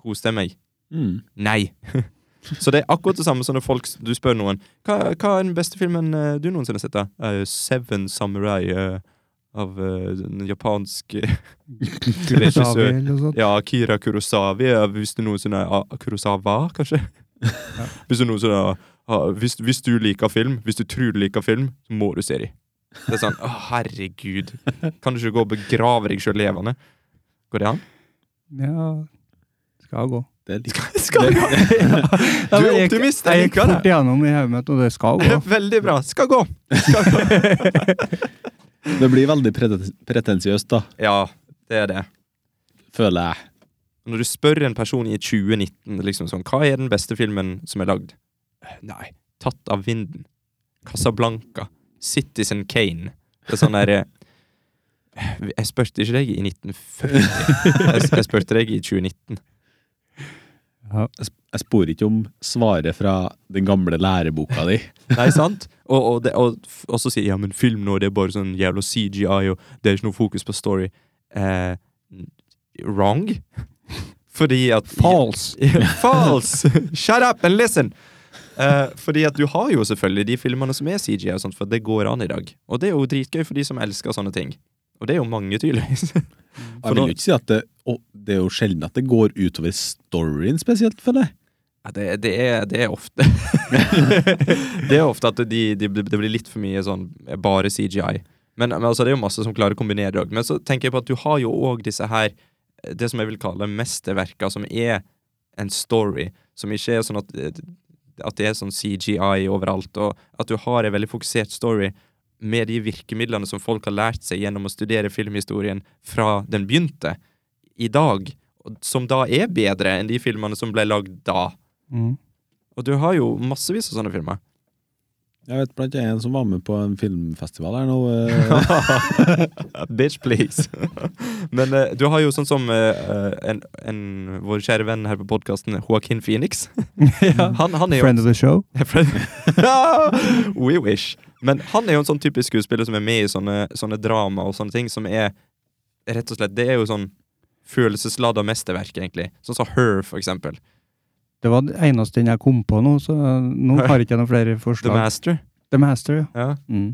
S2: Koste jeg meg?
S3: *laughs* Mm.
S2: Nei. *laughs* Så det er akkurat det samme som når folk du spør noen Hva, hva er den beste filmen eh, du noensinne har sett? da? «Eh, Seven Samurai eh, av eh, den japanske
S1: Kurosawa eller noe sånt.
S2: *laughs* Ja, Akira Kurosawa. eh, Hvis du noensinne har ah, Kurosawa, kanskje? *laughs* Hvis du noensinne har- har hvis, hvis du liker film, hvis du tror du liker film, så må du se dem. Det er *laughs* sånn Å, herregud. Kan du ikke gå og begrave deg sjøl levende? Går det an?
S1: Ja, skal gå.
S3: det er litt
S2: Skal det *laughs* gå? Du
S1: Ja, men
S2: er
S1: jeg-
S2: optimist,
S1: Jeg
S2: jeg
S1: gikk
S2: liker
S1: fort
S2: det.
S1: gjennom i hodet mitt, og det skal
S2: *laughs*
S1: gå.
S2: Veldig bra. Skal gå. Skal gå.
S3: Det blir veldig preten- pretensiøst, da,
S2: Ja, det er det.
S3: føler jeg.
S2: Når du spør en person i 2019 liksom sånn, hva er den beste filmen som er lagd? Eh, Nei, Tatt av vinden. Casablanca. Citizen Kane. Det er sånn der eh, Jeg spurte ikke deg i 1940. Jeg, jeg spurte deg i 2019.
S3: Jeg spor ikke om svaret fra den gamle læreboka
S2: *laughs*
S3: di.
S2: Nei, sant? Og, og, det, og, og så sier jeg, ja, men film nå, det er bare sånn jævla CGI, og det er ikke noe fokus på story. Eh, wrong? *laughs* Fordi at
S1: False.
S2: *laughs* False! Shut up and listen! Eh, fordi at du har jo selvfølgelig de filmene som er CGI, og sånt, for det går an i dag. Og det er jo dritgøy for de som elsker sånne ting. Og det er jo mange, tydeligvis.
S3: Jeg vil jo ikke si at det, og det er jo sjelden at det går utover storyen spesielt, føler jeg.
S2: Ja, det, det, er, det er ofte *laughs* Det er ofte at de, de, det blir litt for mye sånn bare CGI. Men, men altså, det er jo masse som klarer å kombinere det òg. Men så tenker jeg på at du har jo òg disse her eh, Det som jeg vil kalle mesterverker, som er en story. Som ikke er sånn at, eh, at det er sånn CGI overalt. Og at du har en veldig fokusert story med de virkemidlene som folk har lært seg gjennom å studere filmhistorien fra den begynte, i dag. og Som da er bedre enn de filmene som ble lagd da.
S1: Mm.
S2: Og du har jo massevis av sånne filmer.
S3: Jeg vet blant annet en som var med på en filmfestival her nå. eh,
S2: *laughs* Bitch, please. *laughs* Men eh, du har jo sånn som eh, eh, en, en, vår kjære venn her på podkasten, Joaquin Phoenix. *laughs* Han, han er jo
S1: Friend of the show.
S2: *laughs* Fred- *laughs* We wish. Men han er jo en sånn typisk skuespiller som er med i sånne, sånne drama og sånne ting, som er rett og slett Det er jo sånn følelsesladda mesterverk, egentlig. Sånn som Her, for eksempel.
S1: Det var det eneste jeg kom på nå, så eh, nå har ikke jeg noen flere
S2: The
S1: forslag.
S2: Master.
S1: The Master, ja.
S2: Ja.
S1: Mm.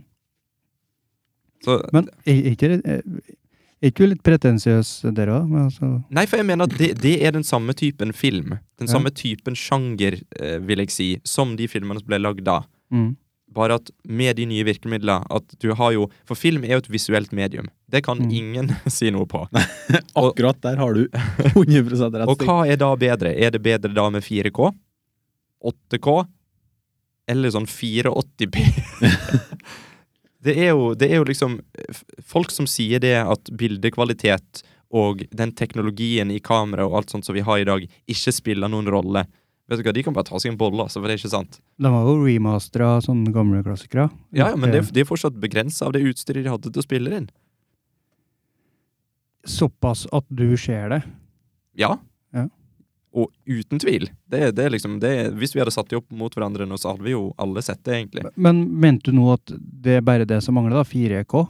S2: Så,
S1: Men er er ikke det- er- er ikke du litt pretensiøs der òg? Altså,
S2: Nei, for jeg mener at det, det er den samme typen film. Den
S1: Ja.
S2: samme typen sjanger, eh, vil jeg si, som de filmene som ble lagd da.
S1: mm.
S2: Bare at med de nye virkemidlene at du har jo For film er jo et visuelt medium. Det kan
S1: Mm.
S2: ingen *laughs* si noe på. *laughs* Og-
S3: Akkurat der har du 100 rett.
S2: Og
S3: Stig.
S2: hva er da bedre? Er det bedre da med 4K? 8K? Eller sånn *laughs* 480p? det, er jo, det er jo liksom f- Folk som sier det at bildekvalitet og den teknologien i kamera og alt sånt som vi har i dag, ikke spiller noen rolle. Vet du hva, De kan bare ta seg en bolle, altså, for det er ikke sant.
S1: De har jo remastera sånne gamle klassikere.
S2: Ja, ja, Men det, er- det er fortsatt begrensa av det utstyret de hadde til å spille det inn.
S1: Eh, Såpass at du ser det.
S2: Ja.
S1: Ja.
S2: Og uten tvil. Det, det er liksom, det, er- hvis vi hadde satt de opp mot hverandre nå, så hadde vi jo alle sett det, egentlig.
S1: Men mente du nå at det er bare det som mangler, da? 4K?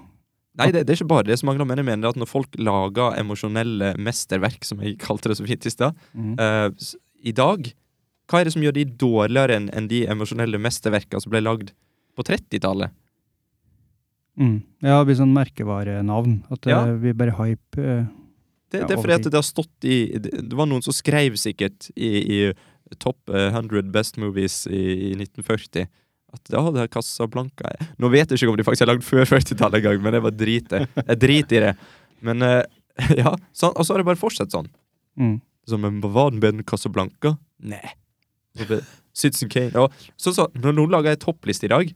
S2: Nei, det, det er ikke bare det som mangler, men jeg mener at når folk lager emosjonelle mesterverk, som jeg kalte det så fint i stad,
S1: Mm.
S2: eh, s- i dag Hva er det som gjør de dårligere enn enn de emosjonelle mesterverkene som ble lagd på 30-tallet?
S1: Mm. Ja, det blir sånn merkevarenavn. At
S2: Ja.
S1: det blir bare hype. eh.
S2: Det,
S1: Ja,
S2: det er fordi at
S1: overtid.
S2: det har stått i Det det var noen som skrev sikkert i, i Top eh, 100 Best Movies i, i 1940 at da hadde Casablanca Nå vet jeg ikke om de faktisk har lagd før 40-tallet engang, men jeg bare driter. Jeg driter i det. Men eh, *laughs* ja, sånn, Og så har det bare fortsatt sånn.
S1: Mm.
S2: Så, men var den bedre enn Casablanca? Nei. Så det- Citizen Kane ja. så, så, Når noen lager ei toppliste i dag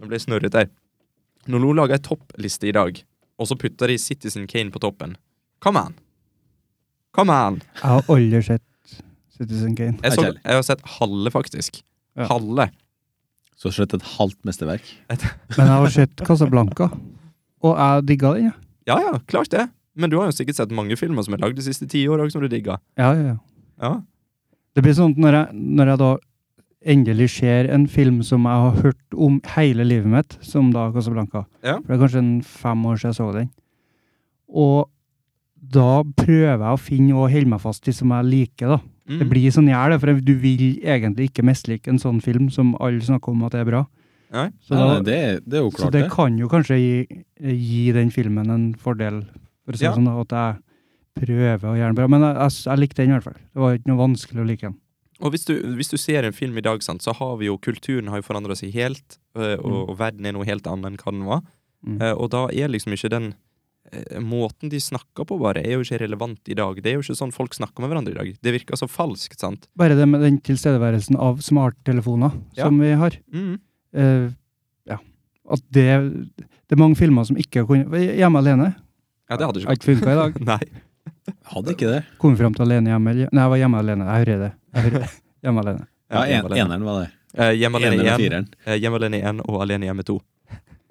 S2: Nå ble jeg snørret der. Når noen lager ei toppliste i dag, og så putter de Citizen Kane på toppen Come on! Come on!
S1: Jeg har aldri sett Citizen Kane.
S2: Jeg, så,
S3: Nei, kjærlig.
S2: jeg har sett halve, faktisk.
S1: Ja.
S2: Halve.
S3: Så slett et halvt mesterverk.
S1: Men jeg har sett Casablanca. Og jeg digga den, ja.
S2: Ja ja, klart det. Men du har jo sikkert sett mange filmer som er lagd de siste ti åra, som du digga.
S1: Ja, ja, ja.
S2: Ja.
S1: Det blir sånn at når jeg, når jeg da endelig ser en film som jeg har hørt om hele livet mitt, som da Casablanca
S2: Ja.
S1: For det er kanskje en fem år siden jeg så den. Og da prøver jeg å finne og holde meg fast i som jeg liker, da.
S2: Mm.
S1: Det blir sånn jeg er det, for du vil egentlig ikke mislike en sånn film som alle snakker om at det er bra.
S2: Nei.
S1: Så,
S3: Nei,
S1: da,
S3: nei, Eh, det, det er jo
S1: så
S3: klart,
S1: det
S3: det.
S1: kan jo kanskje gi, gi den filmen en fordel, for å si det
S2: Ja.
S1: sånn, da, at jeg prøver å gjøre den bra. Men jeg, jeg, jeg likte den i hvert fall. Det var ikke noe vanskelig å like den.
S2: Og hvis du, hvis du ser en film i dag, sant, så har vi jo kulturen har jo forandra seg helt, øh, og, og verden er noe helt annet enn hva den var.
S1: Mm.
S2: Eh, og da er liksom ikke den eh, Måten de snakker på, bare, er jo ikke relevant i dag. Det er jo ikke sånn folk snakker med hverandre i dag. Det virker så falskt, sant?
S1: Bare det med den tilstedeværelsen av smarttelefoner
S2: Ja.
S1: som vi har.
S2: Mm.
S1: Eh, ja. At det, det er mange filmer som ikke kunne Hjemme alene
S2: Ja, det hadde
S1: har
S2: ikke
S1: ikke funka i dag.
S2: gått. *laughs* Nei.
S3: Hadde ikke det.
S1: Kom fram til alene hjemme eller- Nei, jeg var hjemme alene. Jeg hører det. Jeg hører det. Hjemme alene.
S3: Ja, en,
S2: Hjemme alene.
S3: eneren var det.
S2: Eh, Hjemme
S3: Eneren
S2: alene
S3: og
S2: 1,
S3: fireren.
S2: Hjemme alene 1 og Alene hjemme 2.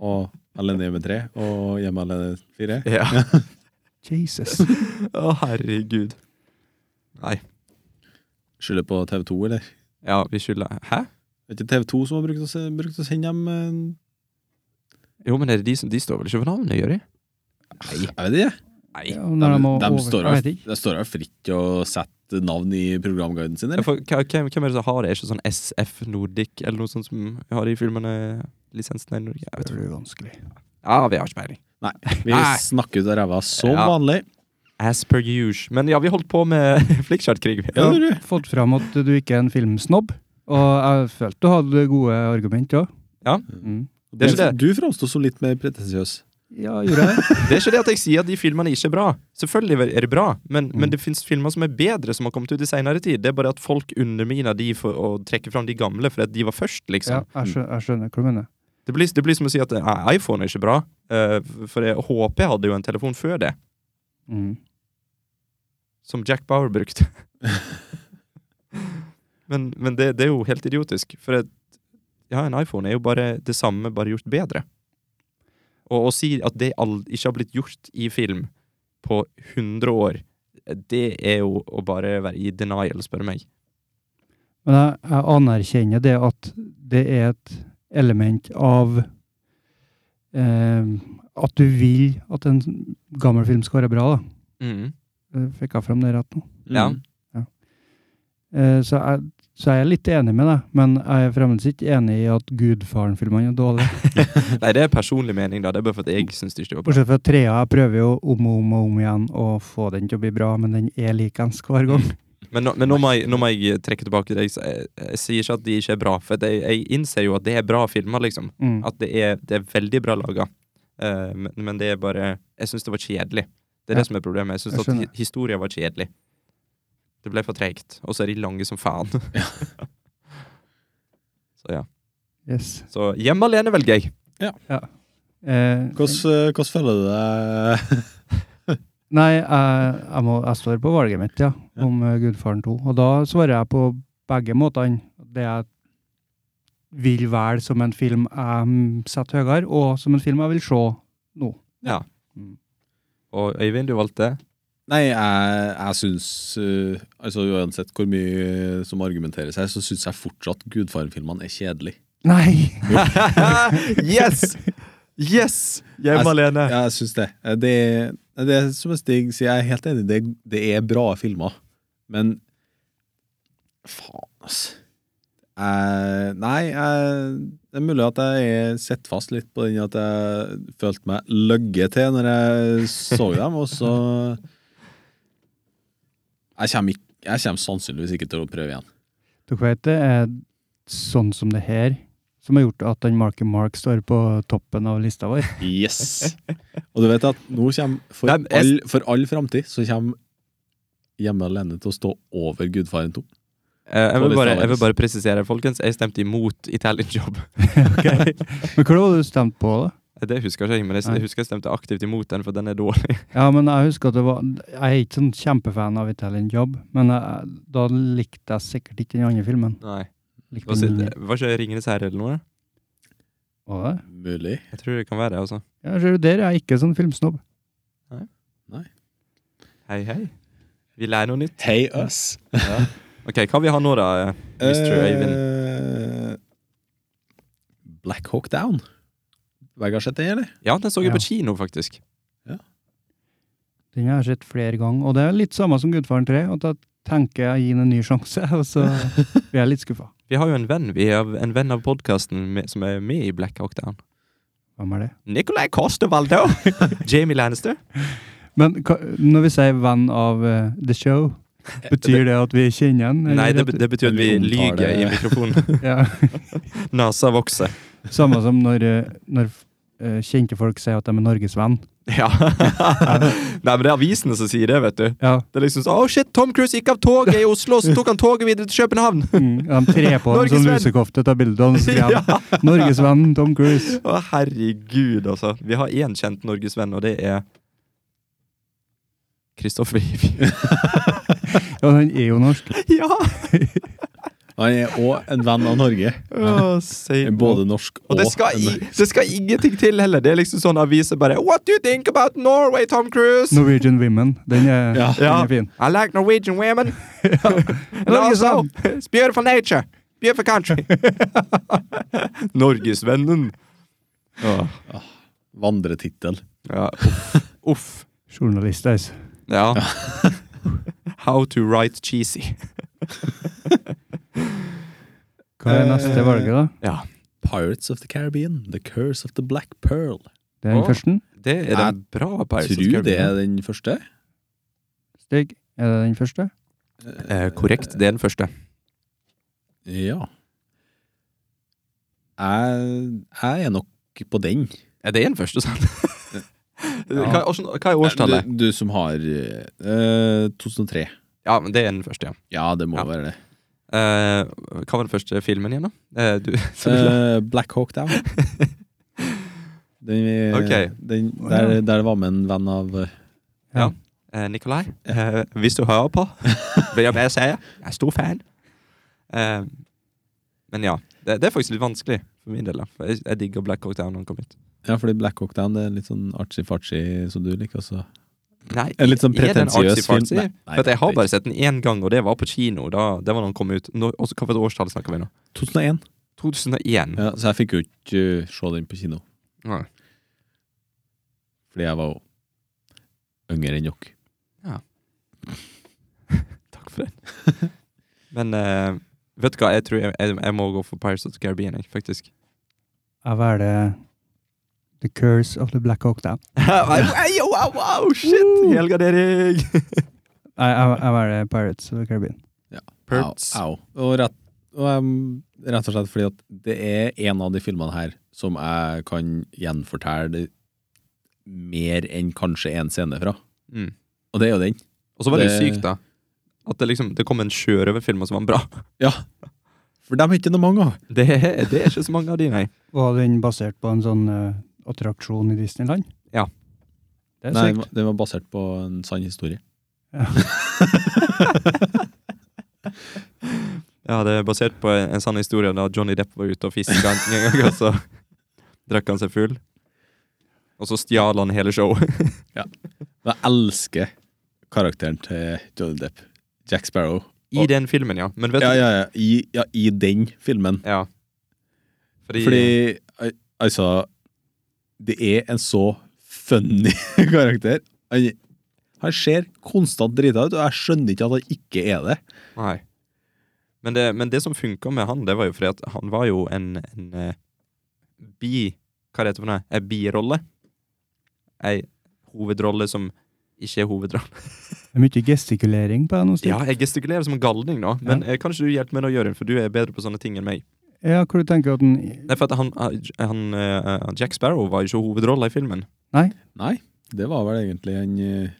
S3: Og alene hjemme tre, og hjemme alene fire.
S2: *laughs* Ja. *laughs*
S1: Jesus.
S2: Å, herregud. Nei.
S3: Skylder på TV2, eller?
S2: Ja, vi skylder Hæ?
S3: Er det ikke TV2 som har brukt å, se, brukt å sende dem eh,
S2: Jo, men er det de som De står vel ikke for navnet, gjør de?
S3: Jeg vet ikke.
S2: Nei.
S1: Ja, når de, må
S3: de,
S1: over-
S3: står
S1: jeg
S3: jo-
S1: vet ikke.
S3: de står jo fritt og setter navn i programguiden sin,
S2: Ja,
S3: eller?
S2: for hva- hvem, hvem er det som har det? Er det ikke sånn SF Nordic eller noe sånt som har de filmene lisensen i Norge? Jeg vet
S1: Det
S2: ikke.
S1: blir vanskelig.
S2: Ja, vi har ikke peiling.
S3: Vi
S2: Nei.
S3: snakker ut av ræva som
S2: Ja.
S3: vanlig.
S2: As per usual. Men ja, vi holdt på med *laughs* flikkjartkrig.
S1: Ja,
S3: Ja, du.
S1: Fått fram at du ikke er en filmsnobb. Og jeg følte du hadde gode argument òg.
S2: Ja.
S1: Mm.
S2: Det er ikke det.
S3: Du framstår som litt mer pretensiøs.
S1: Ja, gjorde
S2: *laughs*
S1: jeg det?
S2: Det er ikke det at jeg sier at de filmene ikke er bra. Selvfølgelig er det bra, men,
S1: Mm.
S2: men det fins filmer som er bedre, som har kommet ut i seinere tid. Det er bare at folk underminer de for å trekke fram de gamle, for at de var først,
S1: Ja,
S2: liksom.
S1: jeg skjønner, jeg skjønner hva du mener.
S2: Det, blir, det blir som å si at nei, iPhone er ikke bra, eh, for jeg, HP hadde jo en telefon før det,
S1: Mm.
S2: som Jack Bauer brukte. men men det, det er jo helt idiotisk, for at, ja, en iPhone er jo bare det samme, bare gjort bedre. Og å si at det ald- ikke har blitt gjort i film på 100 år, det er jo å bare være i denial, spør du meg.
S1: Men jeg, jeg anerkjenner det at det er et element av eh, At du vil at en gammel film skal være bra, da. Eh, Fikk jeg fram det rett nå?
S2: Ja.
S3: Mm.
S1: Eh, så, jeg, så jeg er litt enig med deg, men jeg er fremdeles ikke enig i at Gudfaren-filmene er dårlige.
S2: Nei, det er personlig mening, da. Det er bare for at jeg syns det ikke var bra.
S1: Bortsett fra trea. Jeg prøver jo om og om og om igjen å få den til å bli bra, men den er likens hver gang.
S2: Men, nå, men nå, må jeg, nå må jeg trekke tilbake det jeg, sa. jeg, jeg sier ikke at de ikke er bra, for at jeg, jeg innser jo at det er bra filmer, liksom.
S1: Mm.
S2: At det er, det er veldig bra laga. Eh, men, men det er bare Jeg syns det var kjedelig. Det er
S1: Ja.
S2: det som er problemet. Jeg syns
S1: Jeg
S2: at hi-
S1: skjønner.
S2: historia var kjedelig. Det ble for tregt. Og så er de lange som
S1: *laughs*
S2: faen. så ja.
S1: Yes.
S2: Så hjemme alene velger jeg.
S1: Eh,
S3: Hvordan hvordan føler du deg?
S1: Nei, jeg, jeg, må, jeg står på valget mitt, ja,
S3: Ja.
S1: om eh, Gudfaren 2. Og da svarer jeg på begge måtene. Det jeg vil velge som en film jeg mm, setter høyere, og som en film jeg vil se nå. *laughs*
S2: Og Øyvind, du valgte
S3: Nei, jeg, jeg syns eh, altså Uansett hvor mye eh, som argumenteres her, så syns jeg fortsatt Gudfaren-filmene er kjedelig.
S1: Nei! *laughs*
S2: yes! Yes! Hjemme
S3: Jeg-
S2: alene.
S3: Ja, jeg syns det. Eh, Det, er- det er som Stig sier, jeg er helt enig, det, det er bra filmer, men faen, altså. Jeg, nei, jeg, det er mulig at jeg er sett fast litt på den at jeg følte meg løgget til når jeg så dem, og så Jeg kommer, ikk- jeg kommer sannsynligvis ikke til å prøve igjen.
S1: Du vet det er sånn som det her som har gjort at den Marky Mark står på toppen av lista vår.
S3: Yes! Og du vet at nå kommer for
S2: Nei, men jeg-
S3: all, for all framtid så kommer Hjemme alene til å stå over Gudfaren 2.
S2: Eh, jeg, vil
S3: På
S2: bare,
S3: lista
S2: jeg vil
S3: vår.
S2: bare presisere, folkens. Jeg stemte imot Italian Job. *laughs*
S1: Men hva var det du stemte på, da?
S2: Det husker jeg ikke, men jeg,
S1: Nei.
S2: jeg husker jeg stemte aktivt imot den, for den er dårlig.
S1: Ja, men Jeg husker at det var Jeg er ikke sånn kjempefan av Italian Job, men jeg, da likte jeg sikkert ikke den andre filmen.
S2: Nei.
S1: Likte
S2: Var,
S1: den
S2: ikke-
S1: litt.
S2: Mm. var ikke Ringenes herre eller noe?
S1: Var det?
S3: Mulig.
S2: Jeg tror det kan være det, altså.
S1: Ja, ser du, der er jeg ikke sånn filmsnobb.
S2: Hei, hei. Vi lærer noe nytt.
S3: Hey us.
S2: Ok, hva vi har nå, da? eh, Mr. Eivind.
S3: Eh, Black Hawk Down. Vegard sett den, eller?
S2: Ja, den så jeg på
S1: ja.
S2: kino, faktisk.
S1: Den har jeg sett flere ganger, og det er litt samme som Gudfaren 3. At jeg tenker jeg gir den en ny sjanse, *laughs* og så blir jeg litt skuffa.
S2: Vi har jo en venn vi er en venn av podkasten som er med i Black Hawk Down.
S1: Hvem er det?
S2: Nicolay Costevaldo! *laughs* Jamie Lannister.
S1: Men hva, når vi sier venn av eh, The
S2: *laughs*
S1: Show, betyr det at vi kjenner han? eller
S2: Nei, det,
S1: at-
S2: be- det betyr at vi
S3: Eller omtale-
S2: lyger i *laughs* mikrofonen.
S1: ja.
S2: Nasa vokser.
S1: Samme som når, eh, når eh, kjente folk sier at de er Norges venn.
S2: Ja. *laughs* Nei, men det er avisene som sier det, vet du.
S1: Ja,
S2: Det er liksom sånn Å, shit, Tom Cruise gikk av toget i Oslo, så tok han toget videre til København!
S1: mm, De trer på en
S2: *laughs* Norges
S1: sånn
S2: venn.
S1: lusekofte, tar bilde av han og skriver
S2: *laughs* Ja.
S1: 'Norges venn Tom Cruise'.
S2: Å, herregud, altså. Vi har én kjent norgesvenn, og det er Kristoffer Ivje.
S1: Ja, han er jo norsk.
S2: ja!
S3: Han er òg en venn av Norge.
S2: Å, si-
S3: Både norsk og
S2: Og det skal, i, det skal ingenting til heller. Det er liksom sånn aviser bare What do you think about Norway, Tom Cruise?
S1: Norwegian Women. Den er,
S3: Ja.
S1: den er fin.
S2: I like Norwegian women. And
S1: Norges
S2: also, it's beautiful nature. Beautiful country. Norgesvennen. Åh,
S3: Vandretittel.
S2: Ja, uff. uff.
S1: Journalist, altså.
S2: Ja. How to write cheesy.
S1: Hva er neste
S3: Eh,
S1: valget, da?
S3: Pirates of the Caribbean. The Curse of the Black Pearl.
S1: Det er den
S2: Å.
S1: første.
S2: Det er
S3: Jeg
S2: den bra Pirates of the
S3: Tror det
S2: Caribbean.
S3: er den første.
S1: Stig, er det den første?
S2: Eh, korrekt, det er den første.
S3: Ja. Jeg, jeg er nok på den.
S2: Er det den første, sant?
S3: *laughs* Ja.
S2: Hva, åssen- hva er årstallet?
S3: Du, du som har eh, 2003.
S2: Ja, men det er den første, ja.
S3: Ja, det må
S2: Ja. *laughs*
S3: være det.
S2: Eh, hva var den første filmen igjen, da? Eh, du,
S3: Eh, Black Hawk Down. Den, vi-
S2: Ok.
S3: den, der, der det var med en venn av eh,
S2: Eh, Nikolai, eh, hvis du hører *laughs* på, vil jeg bare si jeg er stor fan. Eh, men ja, det, det er faktisk litt vanskelig for min del. da. For Jeg, jeg digger Black Hawk Down når han kom ut.
S3: Ja, fordi Black Hawk Down det er litt sånn artsy-fartsy som du liker. Også.
S2: Nei,
S3: En litt sånn
S2: Er det en
S3: pretensiøs film.
S2: artsy-fartsy?
S3: Nei, nei,
S2: for at jeg har
S3: det er
S2: bare sett den én gang, og det var på kino. Da, det var når han kom ut. Nå, også, hva for et årstall snakker vi nå?
S3: ikke- 2001.
S2: 2001.
S3: Ja, så jeg fikk jo ikke eh, se den på kino,
S2: Nei.
S3: fordi jeg var jo yngre enn dere.
S2: Takk for det. *laughs* men eh, vet du hva, jeg tror jeg, jeg, jeg må gå for Pirates of the Caribbean, jeg, *laughs* faktisk.
S1: Jeg velger The Curse of the Black Hawk Down.
S2: Ei, Wow, wow, shit! Helgardering!
S1: Nei, jeg, jeg velger Pirates of the Caribbean.
S2: *laughs* Perts.
S3: Au, au. Og, rett, og em, rett og slett fordi at det er en av de filmene her som jeg kan gjenfortelle mer enn kanskje én scene fra.
S2: Mm.
S3: Og det er jo den.
S2: Og så var det,
S3: Det-
S2: sykt, da. At det liksom Det kom en sjørøverfilm, og så var den bra.
S3: Ja. For dem er ikke noe mange av.
S2: *laughs* Det, det er ikke så mange av de, nei.
S1: Var den basert på en sånn eh, attraksjon i Disneyland?
S2: Ja.
S1: Det er
S3: Nei,
S1: sykt.
S3: den var basert på en sann historie. *laughs*
S2: Ja, det er basert på en, en sann historie da Johnny Depp var ute og fiska en gang, og så *laughs* drakk han seg full. Og så stjal han hele showet. *laughs*
S3: Men jeg elsker karakteren til Johnny Depp. Jack Sparrow.
S2: I
S3: Og-
S2: den filmen, ja. Men vet
S3: Ja,
S2: du
S3: ja, ja. I, ja, i den filmen.
S2: Ja. Fordi,
S3: Fordi al- altså Det er en så funny *laughs* karakter. Han, han ser konstant drita ut, og jeg skjønner ikke at han ikke er det.
S2: Nei. Men det, men det som funka med han, det var jo fordi at han var jo en, en eh, bi... Hva heter det for noe? En birolle. Ei hovedrolle som ikke er hovedrolle.
S1: Det er mye gestikulering på det nå.
S2: Ja,
S1: Stig.
S2: *laughs* jeg gestikulerer som en galning nå, men eh, kanskje du hjelper meg nå, Jørund, for du er bedre på sånne ting enn meg.
S1: ja, hvor du tenker at den
S2: Nei, for at han, han, eh, Jack Sparrow var jo ikke hovedrolla i filmen.
S3: Nei, det var vel egentlig en eh,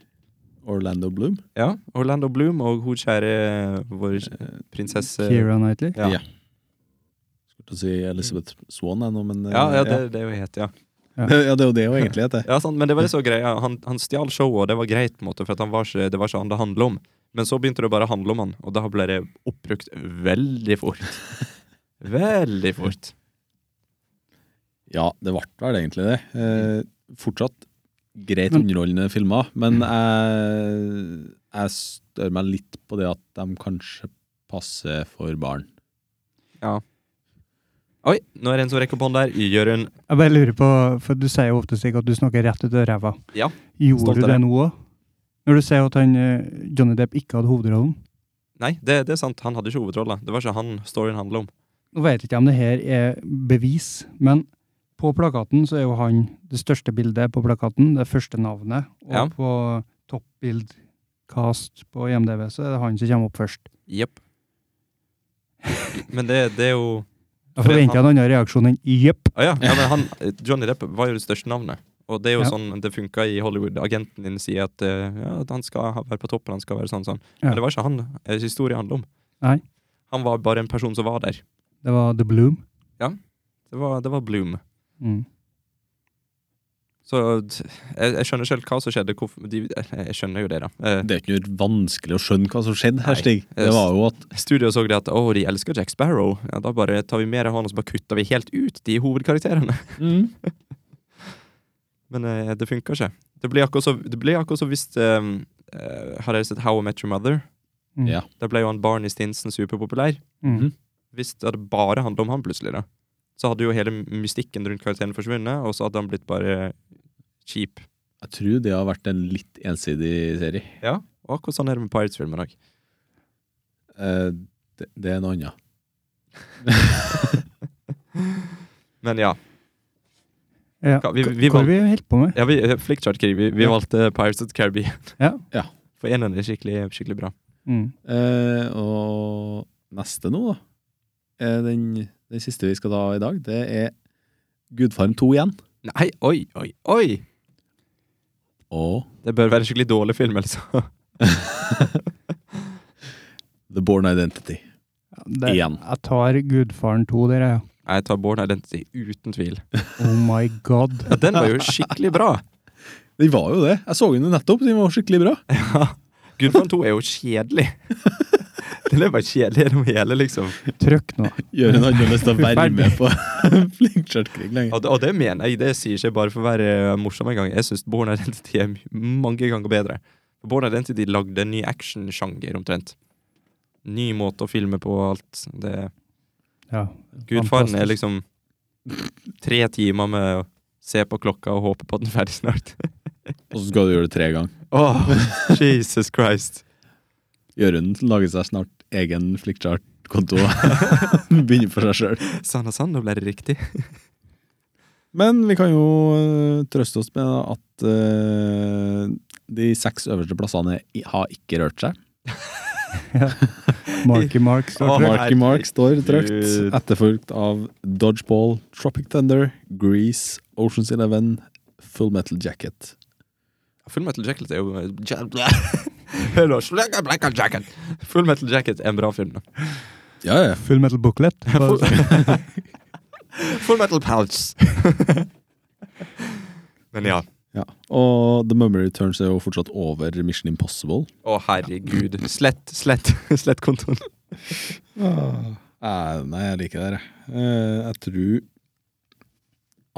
S3: Orlando Bloom.
S2: Ja, Orlando Bloom og hun kjære eh, vår
S3: Eh,
S2: prinsesse
S1: Keira Knightley
S2: Ja.
S3: Ja. Skulle til å si Elizabeth Swan ennå, men eh,
S2: Ja, ja, det, det er jo het, ja.
S3: *laughs* ja, det er jo det hun egentlig heter.
S2: ja sant, men det var det så greia. Han, han stjal showet, og det var greit, på en måte, for at han var ikke, det var ikke han det handla om. Men så begynte det bare å handle om han, og da ble det oppbrukt veldig fort. Veldig fort.
S3: Ja, det ble vel egentlig det. Eh, fortsatt greit underholdende filmer, men jeg, jeg stør meg litt på det at de kanskje passer for barn.
S2: Oi, nå er det en som rekker opp hånden der. Jørund.
S1: Jeg bare lurer på, for du sier jo ofte Stig, at du snakker rett ut av ræva.
S2: Ja, stolt
S1: Gjorde
S2: av
S1: du
S2: det.
S1: det nå òg? Når du sier at han, eh, Johnny Depp ikke hadde hovedrollen?
S2: Nei, det, det er sant. Han hadde ikke hovedrolla. Det var ikke han storyen handla om.
S1: Nå vet ikke jeg om det her er bevis, men på plakaten så er jo han det største bildet på plakaten, det første navnet, og
S2: Ja.
S1: på toppbildcast på IMDv så er det han som kommer opp først.
S2: Jepp. Men det, det er jo
S1: Jeg forventer en annen reaksjon enn jepp.
S2: Å Ah, ja. ja, men han, Johnny Depp var jo det største navnet. Og det er jo
S1: Ja.
S2: sånn det funka i Hollywood. Agenten din sier at, eh, ja, at han skal ha- være på toppen, han skal være sånn sånn.
S1: Ja.
S2: Men det var ikke han eh, historien handler om.
S1: Nei.
S2: Han var bare en person som var der.
S1: Det var The Bloom.
S2: Det var, det var Bloom.
S1: Mm.
S2: Så t- jeg, jeg skjønner ikke helt hva som skjedde. Hvorfor, de, eh, jeg skjønner jo det, da. Eh,
S3: Det er jo ikke noe vanskelig å skjønne hva som skjedde her,
S2: Nei.
S3: Stig. Det var jo at
S2: Studio så det at å, de elsker Jack Sparrow. Ja, da bare tar vi mer av han, og så bare kutter vi helt ut de hovedkarakterene. *laughs* Men eh, det funka ikke. Det blir akkurat så- det blir akkurat som hvis eh, eh, Har dere sett How I Met Your Mother?
S1: Mm.
S3: Ja.
S2: Da ble jo han Barney Stinson superpopulær.
S1: Mm.
S2: Mhm. Hvis det hadde bare handla om han plutselig, da, så hadde jo hele mystikken rundt karakteren forsvunnet, og så hadde han blitt bare kjip.
S3: Jeg tror det har vært en litt ensidig serie.
S2: Ja, og akkurat sånn er det med Pirates-filmen òg.
S3: Eh, det, det er noe annet.
S2: Men ja.
S1: Ja.
S2: Hva- vi- vi
S1: Hva
S2: valg-
S1: er det vi holdt på med?
S2: ja vi, eh, Flickchart-krig. Vi, vi
S1: Ja.
S2: valgte Pirates of the Caribbean.
S1: Ja.
S3: Ja.
S2: For eneren er skikkelig, skikkelig bra.
S1: Mm.
S3: Eh, og neste nå, da. eh, Den, den siste vi skal ta i dag, det er Gudfarm 2 igjen.
S2: Nei, oi, oi, oi!
S3: Og
S2: Det bør være en skikkelig dårlig film, altså. *laughs*
S3: The Born Identity.
S1: Ja, det-
S3: Igjen.
S1: Jeg tar Gudfaren 2 der, jeg.
S2: Jeg tar Born Identity uten tvil.
S1: Oh my god.
S2: Ja, den var jo skikkelig bra!
S3: Den var jo det. Jeg så den jo nettopp. Den var skikkelig bra.
S2: Gudfaren 2 er jo kjedelig. *laughs* Den er bare kjedelig gjennom hele, liksom.
S1: Trykk nå.
S3: Jørund hadde jo lyst til å *laughs* være med på Flinkskjørtkrig lenge.
S2: Og, det- og det mener jeg. Det sier ikke bare for å være morsom en gang. Jeg syns Born Identity er my- mange ganger bedre. Born Identity lagde en ny actionsjanger, omtrent. Ny måte å filme på og alt. Det,
S1: Ja.
S2: Gudfaren er
S1: Fantastisk.
S2: liksom tre timer med å se på klokka og håpe på at den er ferdig snart.
S3: Og så skal du gjøre det tre ganger.
S2: *laughs* Åh, Jesus Christ.
S3: Jørund lager seg snart egen Flinkskjørt-konto. *laughs* Begynner for seg sjøl.
S2: Sann og sann, da ble det riktig.
S3: Men vi kan jo øh, trøste oss med at øh, de seks øverste plassene i- har ikke rørt seg.
S1: Marky Mark står
S2: liksom- Åh,
S1: trykk.
S3: Marky Mark står
S2: Herregud.
S3: trøkt, etterfulgt av Dodgeball, Tropic Thunder, Grease, Oceans Eleven, Full Metal Jacket.
S2: Full Metal Jacket er jo *laughs* Hør nå, Black- Black Jacket. Full Metal Jacket er en bra film. da.
S3: Ja, ja.
S1: Full metal
S2: *laughs*
S1: booklet.
S2: Full Metal Pouch. *laughs* Men ja.
S3: ja. Og The Mummy Returns er jo fortsatt over Mission Impossible.
S2: Å, herregud. Slett, slett, slett kontoen.
S3: Eh, nei, jeg liker det her. jeg. Eh, jeg tror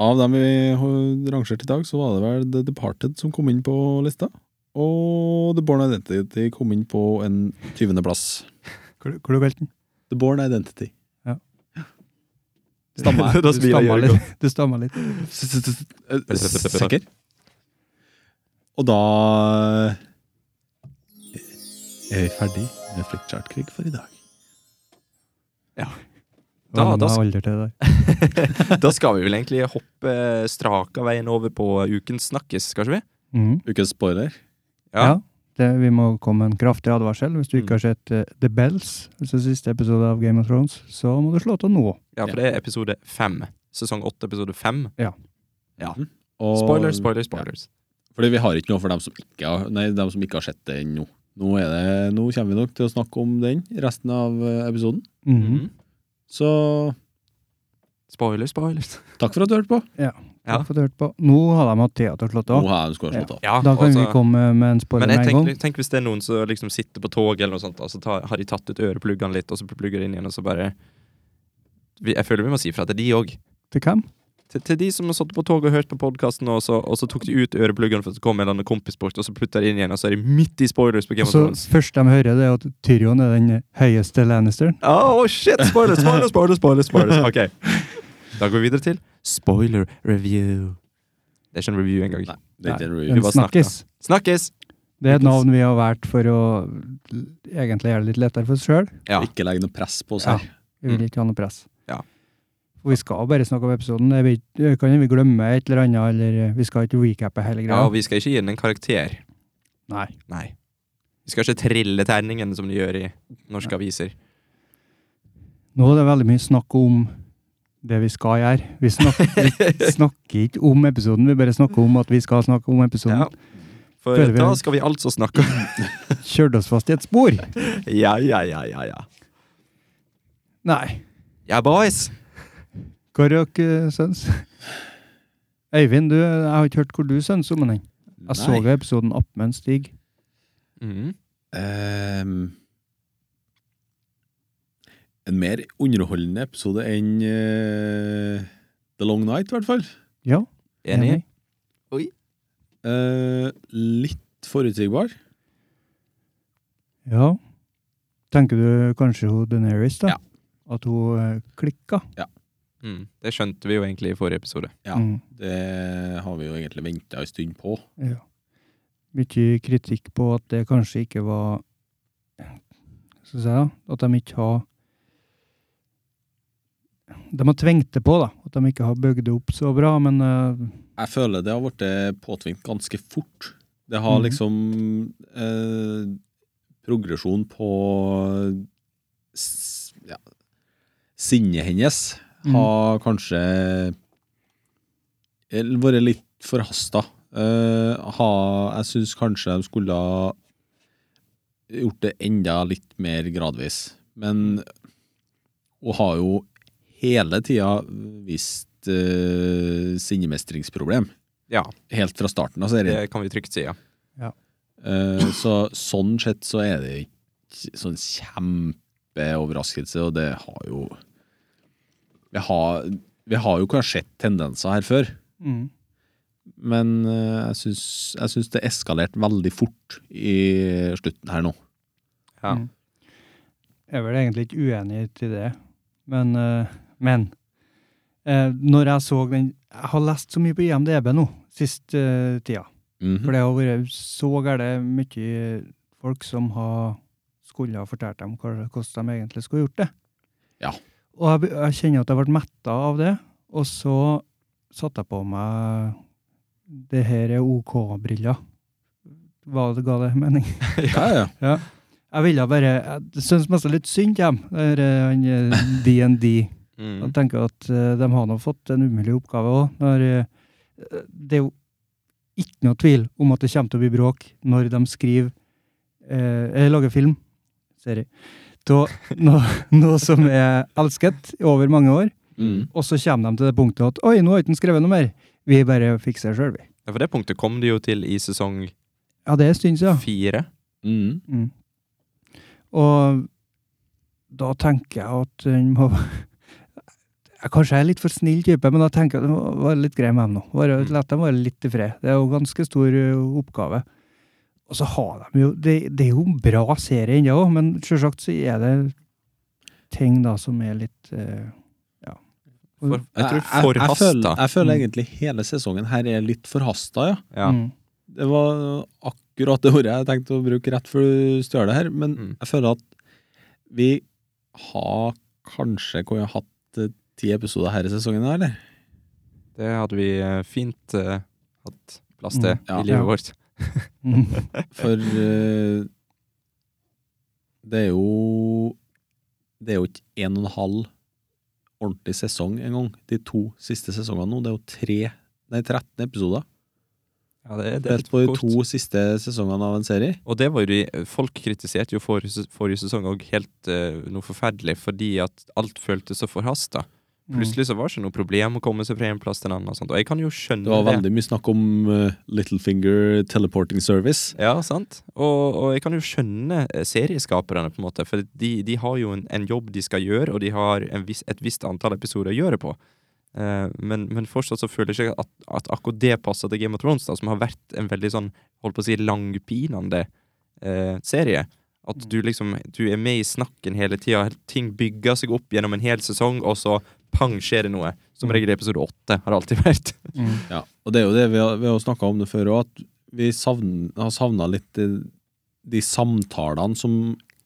S3: Av dem vi har rangert i dag, så var det vel The Departed som kom inn på lista. Og The Born Identity kom inn på en 20. plass.
S1: Hvor, hvor du kalte den?
S3: The Born Identity.
S2: Stammer.
S1: Du
S2: *laughs* Da smiler jeg
S1: stammer
S2: godt.
S1: litt. Du stammer litt.
S3: Eh, Sikker? Og da eh, er vi ferdig med Flickchart-krig for i dag.
S2: *laughs* Da-
S1: Å, nå
S2: da
S1: er
S2: sk-
S1: alder til det.
S2: Da skal vi vel egentlig hoppe straka veien over på ukens snakkes, kanskje vi?
S1: Mhm.
S3: Ukens spoiler.
S1: Ja. det, vi må komme med en kraftig advarsel. Hvis du
S2: Mm.
S1: ikke har sett eh, The Bells, altså siste episode av Game of Thrones, så må du slå til nå.
S2: Ja, for det er episode fem. Sesong åtte, episode fem.
S3: Og-
S2: Spoiler, spoiler, spoilers.
S3: Fordi vi har ikke noe for dem som ikke har, nei, dem som ikke har sett det ennå. Nå, er det, nå kommer vi nok til å snakke om den resten av eh, episoden.
S1: Mhm.
S2: Mhm.
S3: Så
S2: Spoiler, spoilers.
S3: takk for at du hørte på.
S2: Ja.
S1: Takk for at du hørte på. Nå har de hatt tid til å slå
S3: Nå
S1: til.
S3: har jeg en skåret slått av.
S2: Ja,
S1: Da kan
S2: altså-
S1: vi komme med en spoiler
S2: Men
S1: med
S2: jeg
S1: en gang.
S2: tenker, tenk hvis det er noen som liksom sitter på toget, eller noe sånt, og så tar- har de tatt ut ørepluggene litt, og så plugger de inn igjen, og så bare vi, Jeg føler vi må si ifra til de òg.
S1: Til hvem?
S2: Til, til de som har sittet på toget og hørt på podkasten, og, så- og så tok de ut ørepluggene for at det kom en eller annen kompis bort, og så putta de inn igjen, og så er de midt i spoilers på Game of
S1: Så
S2: Thrones.
S1: Altså, først de hører, det er at Tyrion er den høyeste Lannisteren.
S2: Oh shit! Spoilers, spoilers, spoilers, spoilers,
S1: *laughs*
S2: spoilers. Ok. Da går vi videre til spoiler review. Det er ikke en review engang.
S3: Nei, det er ikke en
S1: En
S3: review.
S2: bare
S1: snakkis.
S2: Snakkes!
S1: Det er et navn vi har valgt for å l- egentlig gjøre det litt lettere for oss sjøl.
S2: Ja.
S3: Ikke legg noe press på oss her.
S1: Vi vil ikke ha noe press.
S2: Mm. Ja.
S1: Og vi skal bare snakke om episoden. Det er vi- det kan vi glemme et eller annet, eller eh, vi skal ikke recappe hele
S2: ja,
S1: greia.
S2: og vi skal ikke gi den en karakter.
S1: Nei.
S2: Nei. Vi skal ikke trille terningen som de gjør i norske aviser.
S1: Nå er det veldig mye snakk om det vi skal gjøre. Vi
S2: *laughs*
S1: snakker, vi snakker ikke om episoden, vi bare snakker om at vi skal snakke om episoden.
S2: Ja. For
S1: Føler vi-
S2: da skal vi altså snakke om *laughs*
S1: Kjørte oss fast i et spor!
S2: Ja, ja, ja, ja, ja.
S1: Nei.
S2: Ja, boys!
S1: Hva er dere syns? Øyvind, du, jeg har ikke hørt hvor du syns om den. Jeg så jo episoden opp med en Stig. Mm.
S2: Mhm.
S3: Ehm, en mer underholdende episode enn eh, The Long Night, i hvert fall.
S1: Ja,
S2: Enig?
S3: Eh, litt forutsigbar.
S1: Ja. Tenker du kanskje hun Deneris, da?
S3: Ja.
S1: At hun eh, klikka?
S2: Mm. Det skjønte vi jo egentlig i forrige episode.
S3: Ja.
S1: Mm,
S3: Det har vi jo egentlig venta en stund på.
S1: ja. Mye kritikk på at det kanskje ikke var Skal vi si da, at de ikke har De har tvengt det på, da. At de ikke har bygd det opp så bra, men eh,
S3: Jeg føler det har blitt påtvingt ganske fort. Det har
S1: Mhm.
S3: liksom eh, progresjon på s- ja, Sinnet hennes
S1: mm,
S3: har kanskje el- vært litt forhasta. Eh, ha- jeg syns kanskje de skulle ha gjort det enda litt mer gradvis. Men hun har jo hele tida vist eh, sinnemestringsproblem.
S2: Ja,
S3: Helt fra starten av serien.
S2: det kan vi trygt si, ja.
S3: Eh, så sånn sett så er det ikke sånn kjempeoverraskelse, og det har jo Vi har, vi har jo kanskje sett tendenser her før,
S1: mm.
S3: men eh, jeg syns, jeg syns det eskalerte veldig fort i slutten her nå.
S2: ja.
S1: Mm. Jeg er vel egentlig ikke uenig til det, men, eh, men eh, når jeg så den Jeg har lest så mye på IMDb nå, sist eh, tida.
S3: Mhm.
S1: For det har vært så gære mye folk som har skulle ha fortalt dem hva- hvordan de egentlig skulle gjort det.
S3: Ja.
S1: Og jeg, be- jeg kjenner at jeg ble metta av det, og så satte jeg på meg det her er OK-briller. Hva det ga det mening?
S3: Ja, ja.
S1: Ja. Jeg ville bare Jeg syns mest litt synd på dem, der, eh, han eh, DND.
S2: Mm.
S1: Jeg tenker at eh, de har nå fått en umulig oppgave òg. det er jo ikke noe tvil om at det kommer til å bli bråk når de skriver eh, Eller lager film. Serie. Av *laughs* noe, noe som er elsket over mange år.
S3: Mhm.
S1: Og så kommer de til det punktet at Oi, nå har ikke han skrevet noe mer. Vi bare fikser det sjøl, vi.
S2: ja, for det punktet kom det jo til i sesong
S1: Ja, det er en stund siden.
S2: fire.
S3: Mhm.
S1: Mm. Og da tenker jeg at den må *laughs* jeg Kanskje jeg er litt for snill type, men da tenker jeg at det må være litt grei med dem nå. Bare,
S2: Mm.
S1: La dem være litt i fred. Det er jo ganske stor ø, oppgave. Og så har de jo Det, det er jo en bra serie ennå, òg, men selvsagt så er det ting da som er litt eh, Ja.
S2: For, jeg tror
S3: jeg, jeg, føler,
S2: forhasta.
S3: jeg føler
S1: Mm.
S3: egentlig hele sesongen her er litt forhasta, ja.
S2: Ja.
S1: Mm.
S3: Det var akkurat det ordet jeg tenkte å bruke rett før du stjal det her, men
S2: Mm.
S3: jeg føler at vi har kanskje kunne hatt eh, ti episoder her i sesongen, her, eller?
S2: Det hadde vi eh, fint eh, hatt plass til
S3: Mm. Ja.
S2: i livet
S1: Ja.
S2: vårt. *laughs*
S1: Mm.
S3: For eh, det er jo Det er jo ikke en og en halv ordentlig sesong engang. De to siste sesongene nå, det er jo tre Nei, 13 episoder.
S2: Ja, det, det er
S3: Delt
S2: litt
S3: på de
S2: kort.
S3: to siste sesongene av en serie.
S2: Og det var jo de, folk kritiserte jo forrige, ses- forrige sesong òg helt eh, noe forferdelig, fordi at alt føltes så forhasta.
S3: Mm.
S2: Plutselig så var det ikke noe problem å komme seg fra en plass til en annen. Og, sånt. og jeg kan jo skjønne
S3: Det var veldig mye snakk om eh, Littlefinger Teleporting Service.
S2: Ja, sant. Og, og jeg kan jo skjønne eh, serieskaperne, på en måte. For de, de har jo en, en jobb de skal gjøre, og de har en viss, et visst antall episoder å gjøre på. Eh, men, men fortsatt så føler jeg ikke at, at akkurat det passer til Game of Thrones, da, som har vært en veldig sånn, holdt på å si, langpinende eh, serie. At du liksom du er med i snakken hele tida. Ting bygger seg opp gjennom en hel sesong, og så pang, skjer det noe. Som regel i episode åtte, har det alltid vært.
S1: Mm.
S3: Ja, og det er jo det vi har, vi har snakka om det før òg, at vi savn- har savna litt eh, de samtalene som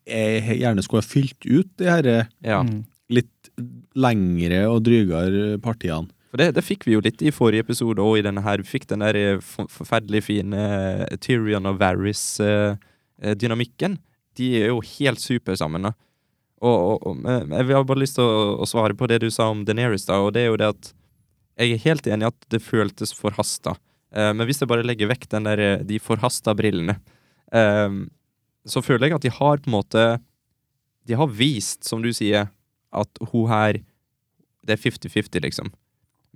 S3: jeg gjerne skulle ha fylt ut de herre
S2: Ja.
S1: Mm.
S3: litt lengre og drygere partiene.
S2: For det, det fikk vi jo litt i forrige episode og i denne her. Vi fikk den der eh, for- forferdelig fine eh, Tyrion og Varys-dynamikken. De er jo helt super sammen, da. Og, og, og men jeg har bare lyst til å, å svare på det du sa om Daenerys, da, og det er jo det at jeg er helt enig i at det føltes forhasta. Eh, men hvis jeg bare legger vekk den der, eh, de forhasta brillene, eh, så føler jeg at de har på en måte De har vist, som du sier, at hun her Det er 50-50, liksom.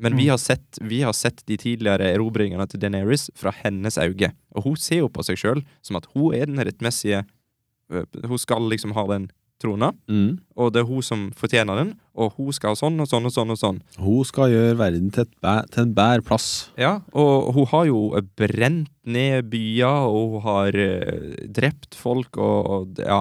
S2: Men vi
S1: Mm.
S2: har, sett, vi har sett de tidligere erobringene til Daenerys fra hennes øyne. Og hun ser jo på seg sjøl som at hun er den rettmessige øh, Hun skal liksom ha den trona, og det er hun som fortjener den, og hun skal ha sånn og sånn og sånn. og sånn.
S3: Hun skal gjøre verden til, et bæ til en bedre plass.
S2: Ja, og hun har jo brent ned byer, og hun har eh, drept folk, og, og det- ja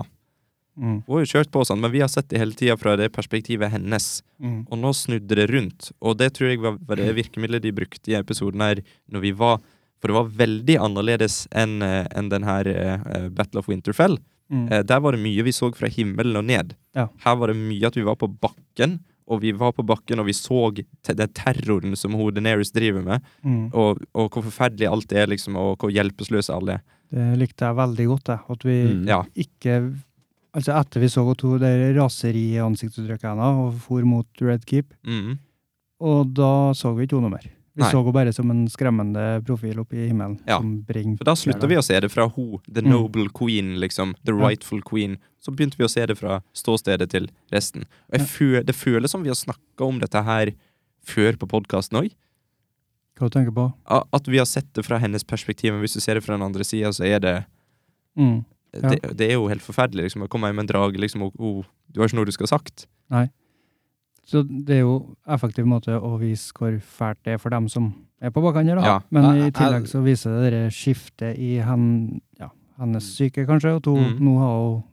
S1: Mm.
S2: Hun har jo kjørt på sånn, men vi har sett det hele tida fra det perspektivet hennes.
S1: Mm.
S2: Og nå snudde det rundt, og det tror jeg var, var det virkemidlet de brukte i episoden her når vi var For det var veldig annerledes enn eh, enn den her eh, eh, Battle of Winterfell.
S1: Mm.
S2: Eh, der var det mye vi så fra himmelen og ned.
S1: Ja.
S2: Her var det mye at vi var på bakken, og vi var på bakken, og vi så te den terroren som hun Daenerys driver med
S1: Mm.
S2: og, og hvor forferdelig alt er, liksom, og hvor hjelpeløse alle er.
S1: Det likte jeg veldig godt, jeg. At vi
S3: Mm.
S2: Ja.
S1: ikke Altså, etter vi så at hun der raseriet i ansiktsuttrykket hennes og for mot Red Keep,
S2: Mm.
S1: og da så vi ikke henne mer. Vi
S2: Nei.
S1: så henne bare som en skremmende profil oppe i himmelen.
S2: Ja.
S1: Som
S2: For da slutta vi å se det fra ho, the
S1: Mm.
S2: noble queen, liksom, the
S1: Ja.
S2: rightful queen. Så begynte vi å se det fra ståstedet til resten. Og jeg føl, Det føles som vi har snakka om dette her før på podkasten òg.
S1: Hva du tenker på?
S2: At vi har sett det fra hennes perspektiv, men hvis du ser det fra den andre sida, så er det
S1: Mm. Ja.
S2: det, det er jo helt forferdelig. liksom, Å komme hjem med en drage, liksom, og og du har ikke noe du skal ha sagt.
S1: Så det er jo en effektiv måte å vise hvor fælt det er for dem som er på bakkene. da.
S2: Ja.
S1: Men
S3: Jeg-
S1: i
S3: jeg-
S1: tillegg så viser det det skiftet i hen, ja, hennes syke, kanskje, at hun
S2: Mm.
S1: nå har hun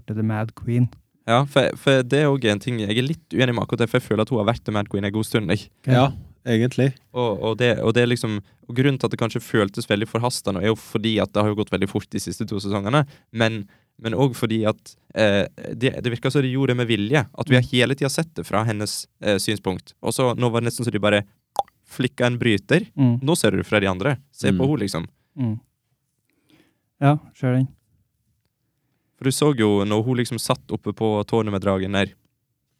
S1: blitt The Mad Queen.
S2: Ja, for, for det er òg en ting jeg er litt uenig med akkurat det, for jeg føler at hun har vært The Mad Queen en god stund. Jeg.
S3: Ja, egentlig.
S2: Og, og, det, og det er liksom og Grunnen til at det kanskje føltes veldig forhasta nå, er jo fordi at det har jo gått veldig fort de siste to sesongene, men men òg fordi at eh, det, det virka som de gjorde det med vilje. At vi har hele tida sett det fra hennes eh, synspunkt. Og så nå var det nesten så de bare flikka en bryter.
S1: Mm.
S2: Nå ser du det fra de andre. Se
S3: Mm.
S2: på henne, liksom.
S1: Mm. Ja, ser den.
S2: For du så jo når hun liksom satt oppe på tårnet med dragen der,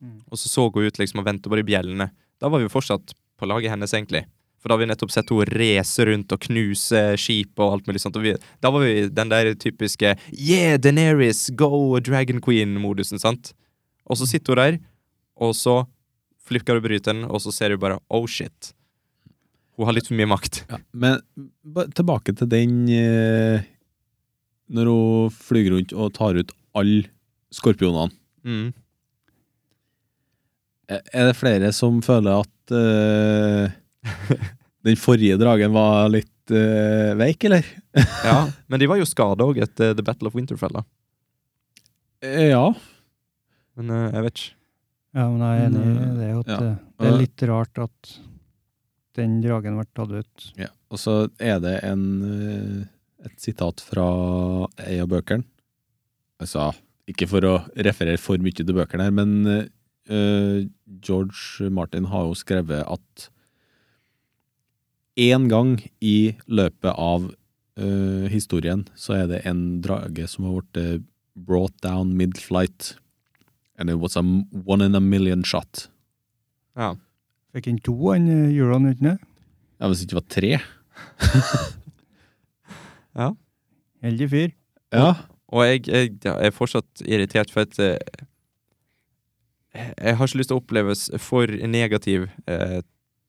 S1: Mm.
S2: og så så hun ut liksom og venta på de bjellene. Da var vi jo fortsatt på laget hennes, egentlig. For da har vi nettopp sett henne race rundt og knuse skip og alt mulig sånt. Og vi, da var vi i den der typiske Yeah, Daenerys, go Dragon Queen-modusen, sant? Og så sitter hun der, og så flikker du bryteren, og så ser du bare oh shit. Hun har litt for mye makt.
S3: Ja. Men ba- tilbake til den eh, når hun flyr rundt og tar ut alle skorpionene.
S2: Mm.
S3: Er- Er *laughs* det flere som føler at eh, den forrige eh, dragen var litt litt eh, veik, eller?
S2: Ja, men de var jo skada òg etter The Battle of Winterfell, da.
S3: Eh, ja.
S2: Men eh, jeg vet ikke.
S1: Ja, men jeg er enig i
S3: Mm,
S1: det. At
S3: ja.
S1: eh, det er litt rart at den dragen ble tatt ut.
S3: Ja, og så er det en, eh, et sitat fra ei av bøkene. Altså, ikke for å referere for mye til bøkene her, men eh, George Martin har jo skrevet at én gang i løpet av eh, historien så er det en drage som har blitt eh, brought down mid-flight. And it was a m- one in a million shot.
S2: Ja.
S1: Fikk han to han eh, hjulene uten det?
S3: Ja, Hvis det ikke var tre.
S1: Heldig fyr.
S3: Ja,
S2: Og jeg, jeg, ja, jeg er fortsatt irritert, for at eh, Jeg har ikke lyst til å oppleves for negativ eh,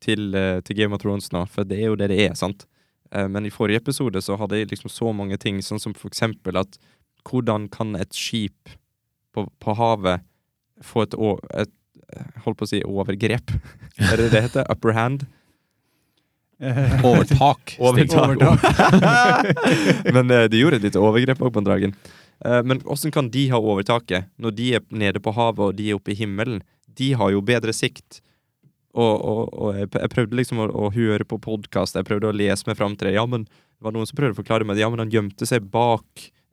S2: til, eh, til Game of Thrones nå, for det er jo det det er, sant? Eh, men i forrige episode så hadde jeg liksom så mange ting, sånn som for eksempel at hvordan kan et skip på, på havet få et, å- et eh, Holdt på å si overgrep? *laughs* er det det heter? Upper hand?
S1: Eh,
S2: *laughs*
S3: Overtak.
S1: Overtak.
S2: men eh, de gjorde et lite overgrep også på en dragen. Eh, men hvordan kan de ha overtaket når de er nede på havet og de er oppe i himmelen? De har jo bedre sikt. Og, og, og jeg, p- jeg prøvde liksom å, å høre på podkast, jeg prøvde å lese meg fram til det. Ja, men det var noen som prøvde å forklare meg det. Ja, men han gjemte seg bak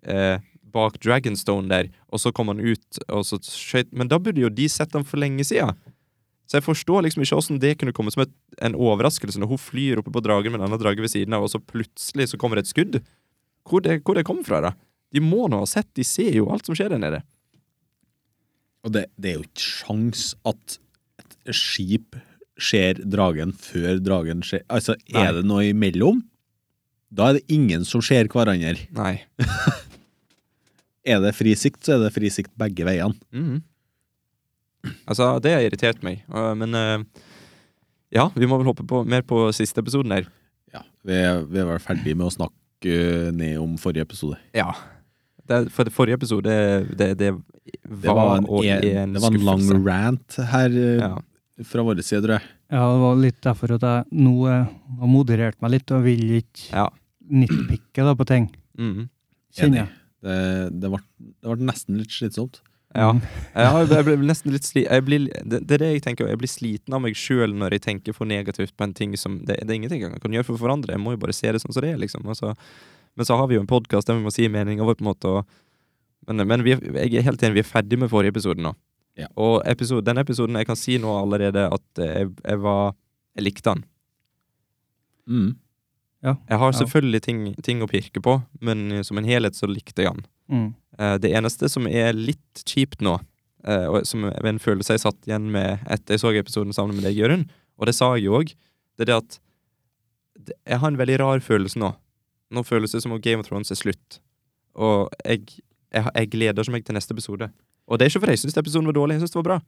S2: eh, Bak Dragonstone der, og så kom han ut, og så skjøt Men da burde jo de sett han for lenge siden. Så jeg forstår liksom ikke hvordan det kunne komme som et en overraskelse når hun flyr oppe på dragen med en annen drage ved siden av, og så plutselig så kommer det et skudd. Hvor det, hvor det kommer fra, da? De må nå ha sett, de ser jo alt som skjer der nede.
S3: Og det, det er jo ikke sjans at et skip ser dragen før dragen ser Altså, er
S2: Nei.
S3: det noe imellom? Da er det ingen som ser hverandre.
S2: Nei.
S3: Er det fri sikt, så er det fri sikt begge veiene.
S2: Mhm. Altså, det har irritert meg, øh, men øh, ja, vi må vel hoppe på, mer på siste episoden her.
S3: Ja, vi er, vi er vel ferdig med å snakke eh, ned om forrige episode.
S2: Ja. Det, for det forrige episode, det, det var,
S3: Det var en,
S2: og er
S3: en, det var en lang
S2: skuffelse.
S3: rant her eh,
S2: Ja.
S3: fra vår side, tror jeg.
S1: *laughs* ja, det var litt derfor at jeg nå eh, har moderert meg litt og vil ikke
S2: Ja.
S1: nitpikke da på ting.
S2: Mhm.
S1: Kjenner jeg.
S3: Det, det, ble, det ble nesten litt slitsomt.
S2: Ja. Jeg, har, jeg blir nesten litt sli, jeg blir, det, det er det jeg tenker. Jeg blir sliten av meg sjøl når jeg tenker for negativt på en ting som Det, det er ingenting jeg kan gjøre for å forandre. Jeg må jo bare se det sånn som det er, liksom. Og så- men så har vi jo en podkast der vi må si meninga vår, på en måte. Og, men men vi, er- jeg er helt enig, vi er ferdig med forrige episode nå.
S3: Ja.
S2: Og episode, denne episoden, jeg kan si nå allerede at eh, jeg, jeg var Jeg likte den.
S3: Mm.
S2: Jeg har
S1: Ja.
S2: selvfølgelig ting, ting å pirke på, men eh, som en helhet så likte jeg den.
S1: Mm.
S2: Eh, Det eneste som er litt kjipt nå, eh, og som er en følelse jeg satt igjen med etter jeg så episoden sammen med deg, Jørund, og det sa jeg jo òg, det er det at det- jeg har en veldig rar følelse nå. Nå føles det som om Game of Thrones er slutt. Og jeg, jeg, jeg gleder meg til neste episode. Og det er ikke fordi jeg syns episoden var dårlig, jeg syns det var bra.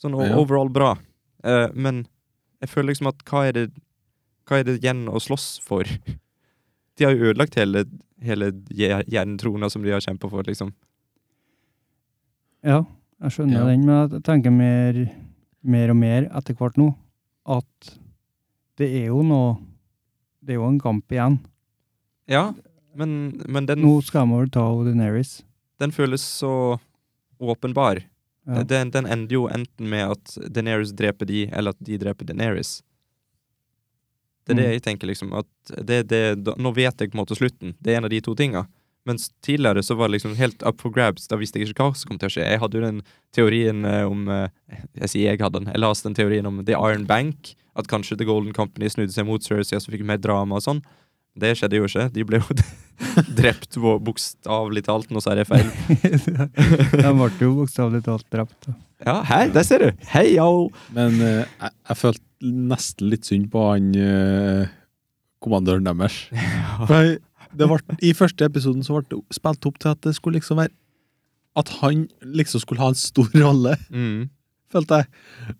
S2: Sånn o-
S3: Ja.
S2: overall bra. Eh, men jeg føler liksom at hva er det Hva er det igjen å slåss for? *laughs* De har jo ødelagt hele, hele jer- jerntrona som de har kjempa for, liksom.
S1: Ja, jeg skjønner
S3: Ja.
S1: den, men jeg tenker mer, mer og mer etter hvert nå at det er jo noe Det er jo en kamp igjen.
S2: Ja, men, men den,
S1: Nå skal man vel ta Daenerys.
S2: den føles så åpenbar.
S1: Ja.
S2: Eh, Den, den ender jo enten med at Daenerys dreper de, eller at de dreper Daenerys. Det er det
S1: Mm.
S2: jeg tenker, liksom. At det, det, da, nå vet jeg på en måte slutten. Det er en av de to tinga. Mens tidligere så var det liksom helt up for grabs. Da visste jeg ikke hva som kom til å skje. Jeg hadde jo den teorien eh, om eh, Jeg sier jeg hadde den. Jeg leste den teorien om The Iron Bank. At kanskje The Golden Company snudde seg mot Cersei, og så fikk vi mer drama og sånn. Det skjedde jo ikke. De ble jo *laughs* drept på bokstavelig talt. Nå sa jeg det feil.
S1: *laughs* De ble jo bokstavelig talt drept.
S2: Ja, hei, der ser du! Hei, yo!
S3: Men eh, jeg, jeg følte nesten litt synd på han eh, kommandøren *laughs* deres. For jeg- det var, I første episoden så ble det spilt opp til at det skulle liksom være At han liksom skulle ha en stor *laughs* rolle,
S2: Mm.
S3: følte jeg.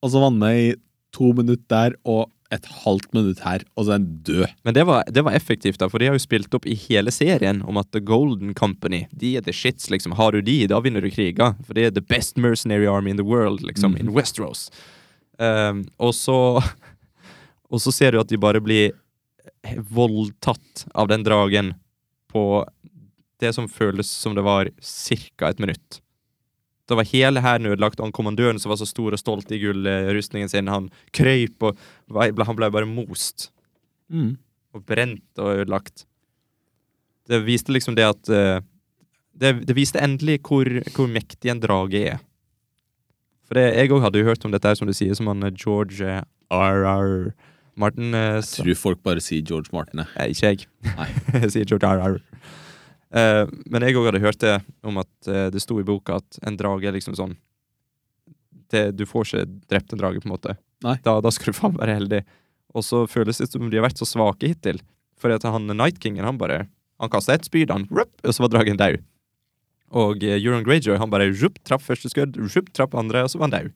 S3: Og så var han med i to minutter der og et halvt minutt her, og så er han død.
S2: Men det var, det var effektivt, da, for de har jo spilt opp i hele serien om at The Golden Company de er the shits. liksom. Har du de, da vinner du kriger. For det er the best mercenary army in the world, liksom, in Ehm, *laughs* Westeros. Um, og så Og så ser du at de bare blir voldtatt av den dragen på det som føles som det var ca. et minutt. Da var hele hæren ødelagt, og han kommandøren som var så stor og stolt i gullrustningen sin, han krøyp og var- ble- han ble bare most
S3: Mm.
S2: og brent og ødelagt. Det viste liksom det at eh, det, det viste endelig hvor, hvor mektig en drage er. For det, jeg òg hadde jo hørt om dette, her, som du sier, som han eh, George eh, R.R. Martin eh, sa.
S3: Tror folk bare sier George Martin. jeg.
S2: Nei, Eh, ikke jeg.
S3: Nei.
S2: *laughs* jeg sier George R.R. Eh, men jeg òg hadde hørt det om at eh, det sto i boka at en drage er liksom sånn det, Du får ikke drept en drage, på en måte.
S3: Nei.
S2: Da, da skal du faen være heldig. Og så føles det som de har vært så svake hittil. For at han Night Kingen, han bare Han kasta ett spyd, han, rup, og så var dragen daud. Og eh, Euron Greyjoy, han bare rup, traff første skudd, rup, traff andre, og så var han daud.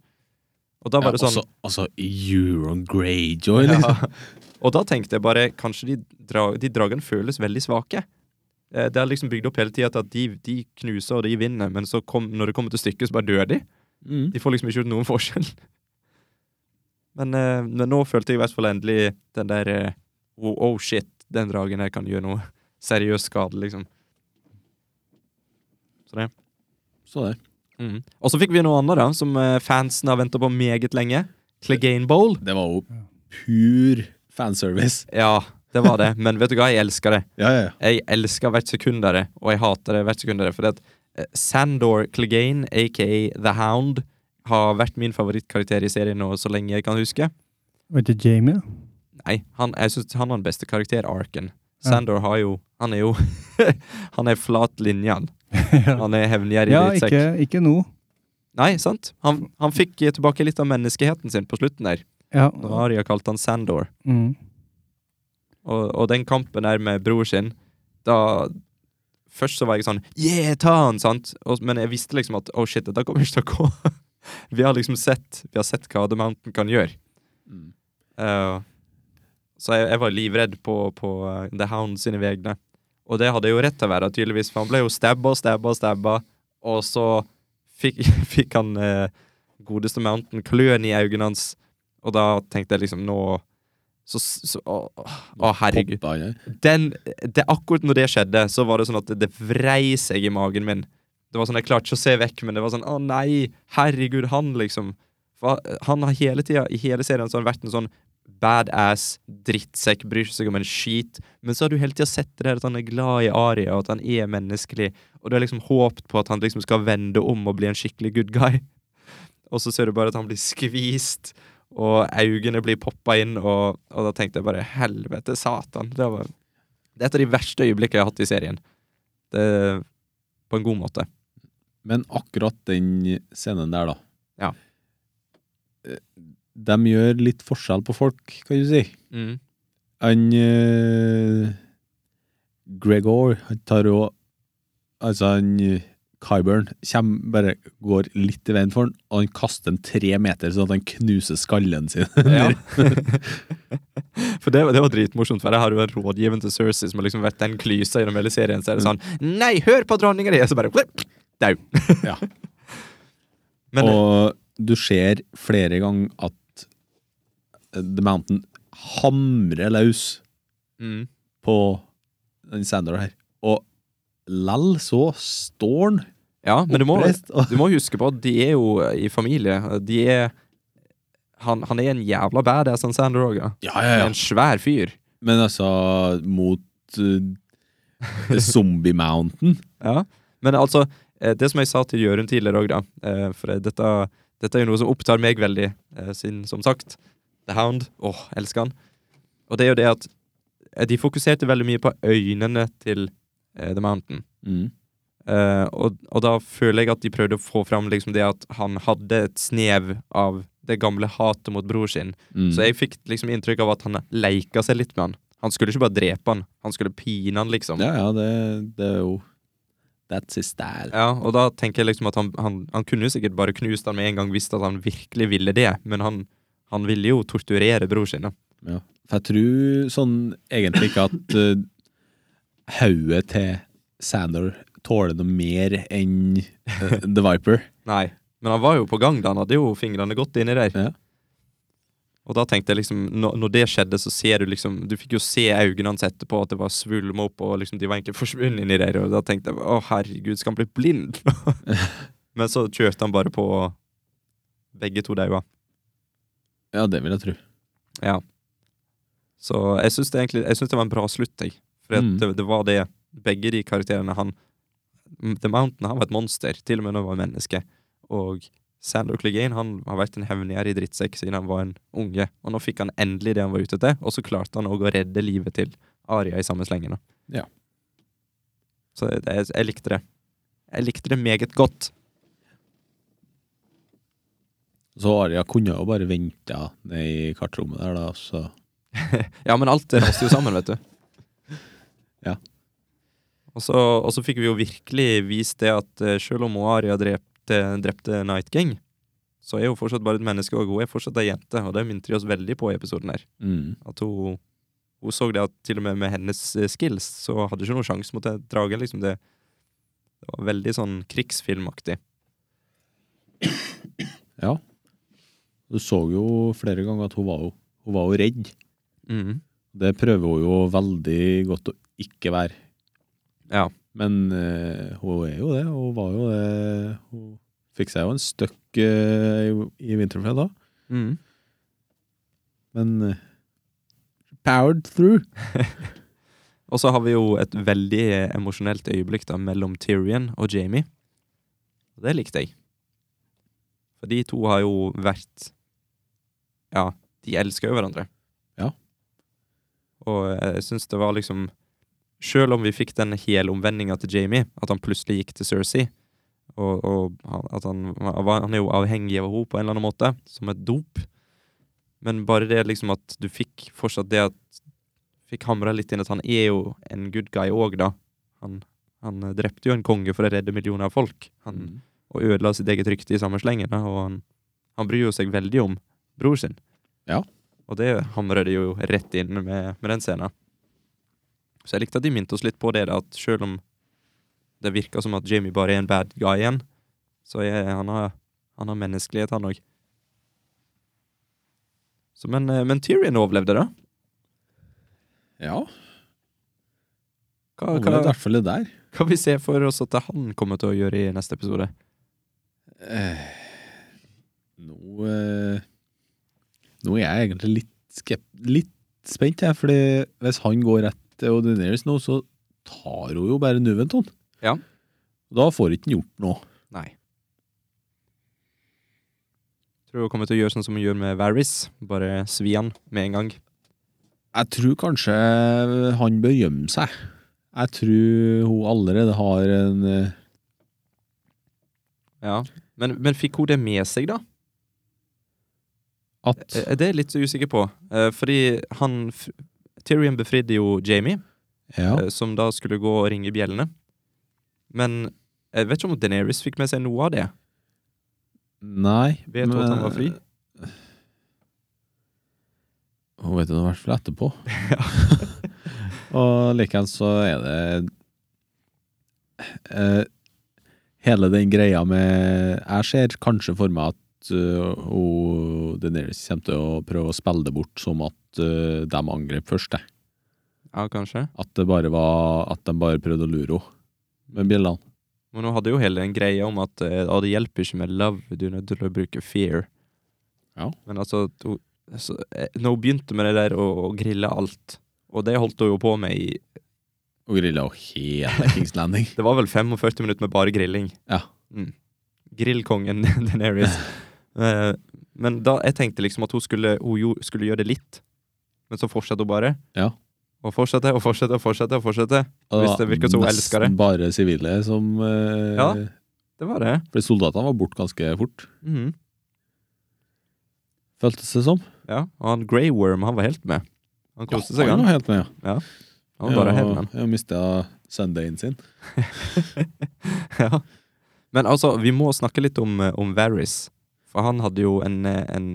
S2: Og da var det
S3: Ja,
S2: sånn
S3: altså, altså Euron Greyjoy, liksom.
S2: ja. Og da tenkte jeg bare Kanskje de, dra, de dragene føles veldig svake. Eh, Det har liksom bygd opp hele tida at de, de knuser og de vinner, men så kom, når det kommer til stykket, så bare dør de.
S3: Mm.
S2: De får liksom ikke gjort noen *laughs* forskjell. Men, eh, men nå følte jeg i hvert fall endelig den der eh, oh, oh shit, den dragen her kan gjøre noe seriøs skade, liksom.
S3: Så det.
S2: Mhm. Og så fikk vi noe annet, da, som eh, fansen har venta på meget lenge. Clegane Bowl.
S3: Det var jo pur fanservice.
S2: Ja, det var det, men vet du hva, jeg elsker det.
S3: Ja, ja, ja.
S2: Jeg elsker hvert sekund av det, og jeg hater det hvert sekund av det. Fordi at eh, Sandor Clegane, aka The Hound, har vært min favorittkarakter i serien nå så lenge jeg kan huske.
S1: Var ikke Jamie, da?
S2: Nei, han, jeg synes han har den beste karakter-arken.
S1: Ja.
S2: Sandor har jo Han er jo *laughs* Han er flat linje, han. Han er hevngjerrig
S1: *laughs* ja,
S2: drittsekk.
S1: ikke, ikke nå.
S2: Nei, sant? Han, han fikk eh, tilbake litt av menneskeheten sin på slutten der.
S1: Ja.
S2: Når Arya kalte han Sandor.
S1: Mm.
S2: Og, og den kampen der med bror sin Da Først så var jeg sånn Yeah, ta han! sant? Og, men jeg visste liksom at Oh shit, dette kommer ikke til å gå. *laughs* vi har liksom sett Vi har sett hva The Mountain kan gjøre.
S3: Mm.
S2: Eh, så jeg, jeg var livredd på, på eh, The Hound sine vegne. Og det hadde jeg jo rett til å være, tydeligvis, for han ble jo stabba og stabba og stabba, og så fikk, *laughs* fikk han eh, godeste Mountain kløen i øynene hans, og da tenkte jeg liksom nå Så, så å, å, å, herregud
S3: Poppa han her.
S2: den, det, akkurat når det skjedde, så var det sånn at det, det vrei seg i magen min. Det var sånn, Jeg klarte ikke å se vekk, men det var sånn Å nei, herregud, han, liksom. For han har hele tida, i hele serien, så har han vært en sånn badass, drittsekk, bryr seg om en skit. Men så har du hele tida sett det der at han er glad i Aria, og at han er menneskelig. Og du har liksom håpt på at han liksom skal vende om og bli en skikkelig good guy. *laughs* Og så ser du bare at han blir skvist, og øynene blir poppa inn, og, og da tenkte jeg bare helvete, satan. Det var det er et av de verste øyeblikkene jeg har hatt i serien. Det, på en god måte.
S3: Men akkurat den scenen der, da.
S2: Ja.
S3: Eh, De gjør litt forskjell på folk, kan du si. Han eh, Gregor han tar jo Altså, han eh, Kyburn kjem, bare går litt i veien for han, og han kaster han tre meter, sånn at han knuser skallen sin. *laughs*
S2: Ja. for det, var- det var dritmorsomt, for jeg har jo en rådgiver til Cersei som har liksom vært den klysa gjennom hele serien. Så er det sånn Nei, hør på dronninga di! Og så bare whip, Dau.
S3: Ja.
S2: *laughs* Men
S3: og du ser flere ganger at eh, The Mountain hamrer løs
S2: mm,
S3: på den Sandor her. Og lell så står han
S2: Ja, men du må,
S3: oppreist. Og,
S2: du må huske på at de er jo i familie. De er Han, han er en jævla badass, han Sander òg. Ja.
S3: ja, ja, ja.
S2: En svær fyr.
S3: Men altså, mot eh, Zombie Mountain
S2: *laughs* Ja, men altså eh, Det som jeg sa til Jørund tidligere òg, da eh, For eh, dette, dette er jo noe som opptar meg veldig, eh, siden, som sagt The Hound. Åh, elsker han. Og det er jo det at eh, de fokuserte veldig mye på øynene til eh, The Mountain.
S3: mm.
S2: Eh, og, og da føler jeg at de prøvde å få fram liksom det at han hadde et snev av det gamle hatet mot bror sin.
S3: Mm.
S2: Så jeg fikk liksom inntrykk av at han leika seg litt med han. Han skulle ikke bare drepe han, han skulle pine han, liksom.
S3: Ja, ja, det, det er jo That's his style.
S2: Ja, og da tenker jeg liksom at han, han, han kunne jo sikkert bare knust han med en gang visste at han virkelig ville det, men han, han ville jo torturere bror sin. da.
S3: Ja. For jeg tror sånn egentlig ikke at uh, hodet til Sandor tåler noe mer enn eh, The Viper.
S2: Nei. Men han var jo på gang da, han hadde jo fingrene godt inni der.
S3: Ja.
S2: Og da tenkte jeg liksom, når, når det skjedde, så ser du liksom Du fikk jo se øynene hans etterpå, at det var svulm opp, og liksom, de var egentlig forsvunnet inni der. Og da tenkte jeg å herregud, skal han bli blind? Men så kjørte han bare på og begge to daua.
S3: Ja, det vil jeg tro.
S2: Så jeg syns det, egentlig- jeg synes det var en bra slutt, jeg. For at
S3: Mm.
S2: det, det var det begge de karakterene han The Mountain han var et monster, til og med når han var menneske. Og Sander Clegane han har vært en hevngjerrig drittsekk siden han var en unge. Og nå fikk han endelig det han var ute etter, og så klarte han òg å redde livet til Aria i samme slengen. da.
S3: Ja.
S2: Så jeg, jeg, jeg likte det. Jeg likte det meget godt.
S3: Så Aria kunne jo bare venta ned i kartrommet der, da, så
S2: Ja, men alt raste jo sammen, vet du.
S3: Ja.
S2: Og så, og så fikk vi jo virkelig vist det at eh, selv om Aria drepte, drepte eh, Night King, så er hun fortsatt bare et menneske, og hun er fortsatt ei jente, og det minte de oss veldig på i episoden her.
S3: mm.
S2: At hun, hun så det at til og med med hennes eh, skills, så hadde hun ikke noen sjanse mot den dragen, liksom. Det, det var veldig sånn krigsfilmaktig.
S3: Ja. Du så jo flere ganger at hun var jo, hun var jo redd.
S2: Mhm.
S3: Det prøver hun jo veldig godt å ikke være.
S2: Ja.
S3: Men eh, hun er jo det. Hun var jo det. Hun fikk seg jo en støkk eh, i, i Winterfell da,
S2: Mhm.
S3: men eh, Powered through.
S2: Og så har vi jo et veldig eh, emosjonelt øyeblikk da, mellom Tyrion og Jamie. Og det likte jeg. For de to har jo vært Ja, de elsker jo hverandre.
S3: Ja.
S2: Og eh, jeg syns det var liksom Sjøl om vi fikk den helomvendinga til Jamie, at han plutselig gikk til Cersei, og, og han- at han, var- han er jo avhengig av henne på en eller annen måte, som et dop, men bare det liksom at du fikk fortsatt det at fikk hamra litt inn at han er jo en good guy òg, da. Han, han eh, drepte jo en konge for å redde millioner av folk, han, og ødela sitt eget rykte i samme slengen. da, Og han, han bryr jo seg veldig om bror sin.
S3: Ja.
S2: Og det hamra de jo rett inn med, med den scenen. Så jeg likte at de minte oss litt på det, da, at sjøl om det virka som at Jamie bare er en bad guy igjen, så er han har, han har menneskelighet, han òg. Men, eh, men Tyrion overlevde, da.
S3: Ja,
S2: Hva,
S3: hun var i
S2: hva,
S3: hvert fall det der.
S2: Kan vi se for oss at det han kommer til å gjøre i neste episode?
S3: Eh, Nå eh, Nå er jeg egentlig litt, skep litt spent, jeg, fordi hvis han går rett til Ordinaries nå, så tar hun jo bare Nuventon.
S2: Ja.
S3: Da får ikke han gjort noe.
S2: Nei. Tror hun kommer til å gjøre sånn som hun gjør med Varys. Bare svi han med en gang.
S3: Jeg tror kanskje han bør gjemme seg. Jeg tror hun allerede har en eh,
S2: Ja. Men, men fikk hun det med seg, da?
S3: At
S2: Eh, Det er jeg litt usikker på. Eh, Fordi han f- Tyrion befridde jo Jamie,
S3: Ja.
S2: eh, som da skulle gå og ringe bjellene. Men jeg vet ikke om Deneris fikk med seg noe av det.
S3: Nei.
S2: Vet hun at han
S3: men-
S2: var fri?
S3: Hun vet jo det i hvert
S2: *laughs*
S3: fall etterpå. og likeens så er det eh, Hele den greia med Jeg ser kanskje for meg at eh, hun Daenerys kommer til å prøve å spille det bort som at eh, de angrep først. Det.
S2: Ja, kanskje.
S3: At det bare var At de bare prøvde å lure henne med bjellene.
S2: Men hun hadde jo hele en greie om at eh, ah, det hjelper ikke med love, du er nødt til å bruke fear.
S3: Ja.
S2: Men altså, at hun, altså eh, Når hun begynte med det der å, å grille alt, og det holdt hun jo på med i
S3: Og grilla henne hele Kings
S2: *laughs*
S3: Landing.
S2: Det var vel 45 minutter med bare grilling.
S3: Ja.
S2: Mm. Grillkongen *laughs* Deneris. men da, jeg tenkte liksom at hun skulle, hun jo, skulle gjøre det litt, men så fortsatte hun bare.
S3: Ja.
S2: Og fortsatte og fortsatte og fortsatte. og fortsatte.
S3: Og
S2: Hvis det virker som hun elsker det.
S3: Nesten bare sivile som eh,
S2: Ja. Det var det.
S3: For soldatene var borte ganske fort,
S2: Mhm.
S3: føltes det som.
S2: Ja, og han Grey Worm, han var helt med. Han koste seg,
S3: han
S2: han.
S3: var helt med, ja.
S2: Han var bare
S3: ja,
S2: helt med.
S3: Jeg mista Sundayen sin.
S2: ja. Men altså, vi må snakke litt om, eh, om Varys. For han hadde jo en, eh, en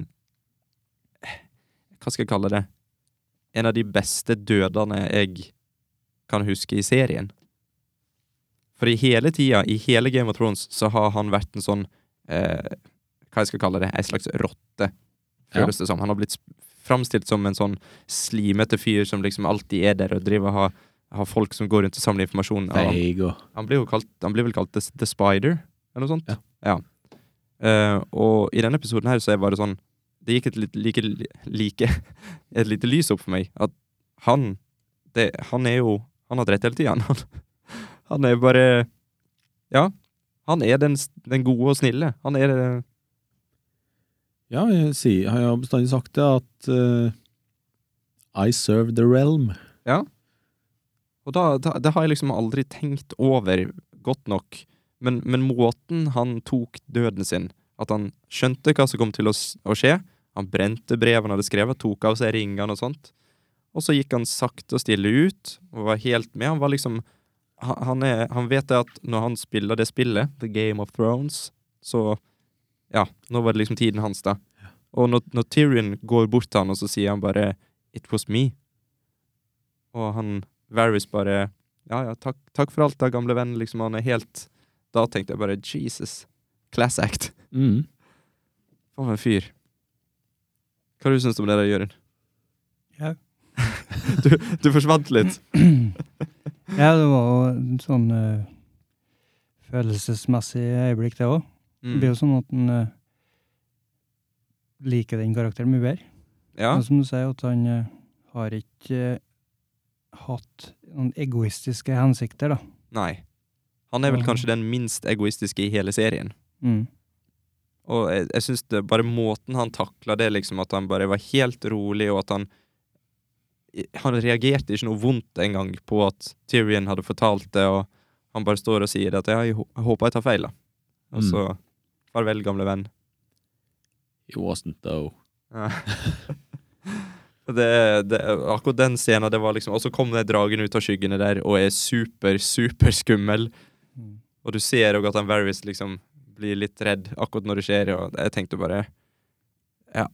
S2: Hva skal jeg kalle det? En av de beste dødene jeg kan huske i serien. For i hele tida, i hele Game of Thrones, så har han vært en sånn eh, Hva jeg skal kalle det? Ei slags rotte. føles det som. Han har blitt framstilt som en sånn slimete fyr som liksom alltid er der og driver og har, har folk som går rundt og samler informasjon. av ham.
S3: Feig og
S2: Han blir jo kalt, han blir vel kalt The, the Spider, eller noe sånt.
S3: Ja.
S2: Eh, og i denne episoden her så er bare sånn Det gikk et lite, like, like, *laughs* et lite lys opp for meg at han det, Han er jo Han har hatt rett hele tida. *laughs* Han, han er bare Ja. Han er den, s- den gode og snille. Han er eh,
S3: Ja, jeg sier, har jeg bestandig sagt det, at eh, I serve the realm.
S2: Og da, da, det har jeg liksom aldri tenkt over godt nok. Men, men måten han tok døden sin At han skjønte hva som kom til å, s- å skje. Han brente brevet han hadde skrevet, tok av seg ringene og sånt. Og så gikk han sakte og stille ut, og var helt med. Han var liksom Han, han er, han vet det at når han spiller det spillet, The Game of Thrones, så Ja, nå var det liksom tiden hans, da. Og når, når Tyrion går bort til han, og så sier han bare It was me. Og han Varys bare Ja, ja, takk, takk for alt, da, gamle venn. Liksom, han er helt Da tenkte jeg bare Jesus. Class act. Mm. For en fyr. Hva syns du synes om det der, Jørund? *laughs*
S1: Ja.
S2: du, du forsvant litt.
S1: *clears throat* Ja, det var jo en sånn eh, følelsesmessig øyeblikk, det òg.
S2: Mm.
S1: Det blir jo sånn at en eh, liker den karakteren mye bedre.
S2: Ja.
S1: Men som du sier, at han eh, har ikke eh, hatt noen egoistiske hensikter, da.
S2: Nei. Han er vel kanskje den minst egoistiske i hele serien.
S1: Mm.
S2: Og jeg, jeg syns det bare måten han takla det, liksom, at han bare var helt rolig, og at han Han reagerte ikke noe vondt engang på at Tyrion hadde fortalt det, og han bare står og sier at 'ja, jeg hå- jeg håper jeg tar feil', da. Og
S3: Mm.
S2: så 'farvel, gamle venn'. *laughs*
S3: It wasn't though.
S2: Ja. det, det, akkurat den scenen, det var liksom Og så kom den dragen ut av skyggene der og er super, super skummel.
S1: Mm.
S2: Og du ser òg at han Varys liksom blir litt redd akkurat når det skjer, og jeg tenkte bare Ja.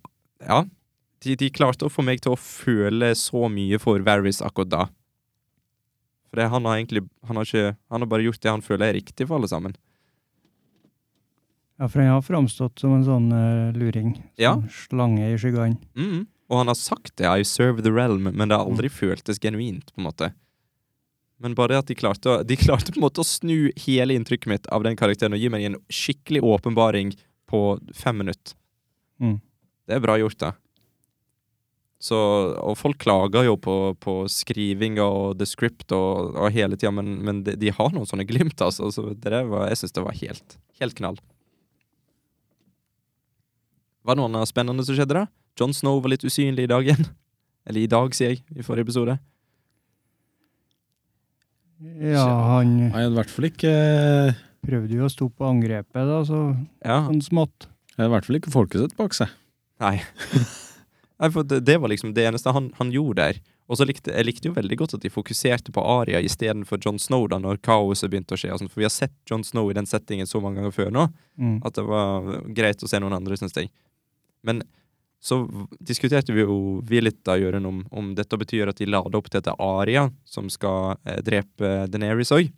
S2: ja. De, de klarte å få meg til å føle så mye for Varys akkurat da. For det, han har egentlig han har, ikke, han har bare gjort det han føler er riktig for alle sammen.
S1: Ja, for han har framstått som en sånn eh, luring. Som
S2: Ja.
S1: Slange i skyggene.
S2: Mm. Og han har sagt det, I serve the realm, men det har aldri føltes genuint, på en måte. Men bare det at de klarte, å, de klarte på en måte å snu hele inntrykket mitt av den karakteren og gi meg en skikkelig åpenbaring på fem minutter.
S1: Mm.
S2: Det er bra gjort, da. Så, og folk klager jo på, på skriving og the script og, og hele tida, men, men de, de har noen sånne glimt, altså. Så det der var, jeg syns det var helt, helt knall. Var det noe annet spennende som skjedde, da? John Snow var litt usynlig i dag igjen. Eller i dag, sier jeg, i forrige episode.
S1: Ja, han
S3: Jeg hadde i hvert fall ikke Jeg
S1: prøvde jo å stå på angrepet, da, så
S2: Ja,
S1: sånn smått.
S3: hadde i hvert fall ikke folket sitt bak seg.
S2: Nei, for det, det var liksom det eneste han, han gjorde der. Og så likte jeg likte jo veldig godt at de fokuserte på Aria istedenfor John Snow da når kaoset begynte å skje. Og sånt, for vi har sett John Snow i den settingen så mange ganger før nå
S1: Mm.
S2: at det var greit å se noen andre, syns jeg. Men så v- diskuterte vi jo vi litt da, Jørund, om, om dette betyr at de lader opp til at det er Aria som skal eh, drepe Deneris òg.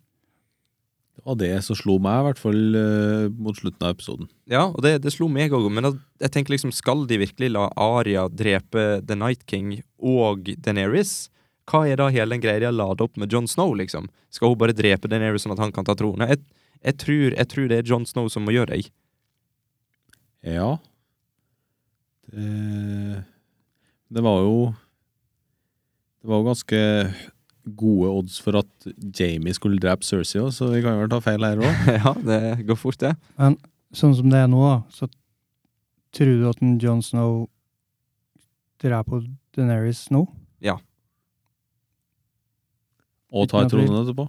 S3: Det var det som slo meg, i hvert fall eh, mot slutten av episoden.
S2: Ja, og det, det slo meg òg, men at, jeg tenker liksom, skal de virkelig la Aria drepe The Night King og Deneris? Hva er da hele den greia de har ladet opp med Jon Snow, liksom? Skal hun bare drepe Deneris sånn at han kan ta tronen? Jeg, jeg, tror, jeg tror det er Jon Snow som må gjøre det. jeg.
S3: Ja. Det, det var jo Det var jo ganske gode odds for at Jamie skulle drepe Cersei òg, så vi kan vel ta feil her òg.
S2: *laughs* ja, det går fort, det.
S1: Sånn som det er nå, da, så tror du at en Jon Snow dreper Deneris nå?
S3: Og ta i tronen etterpå.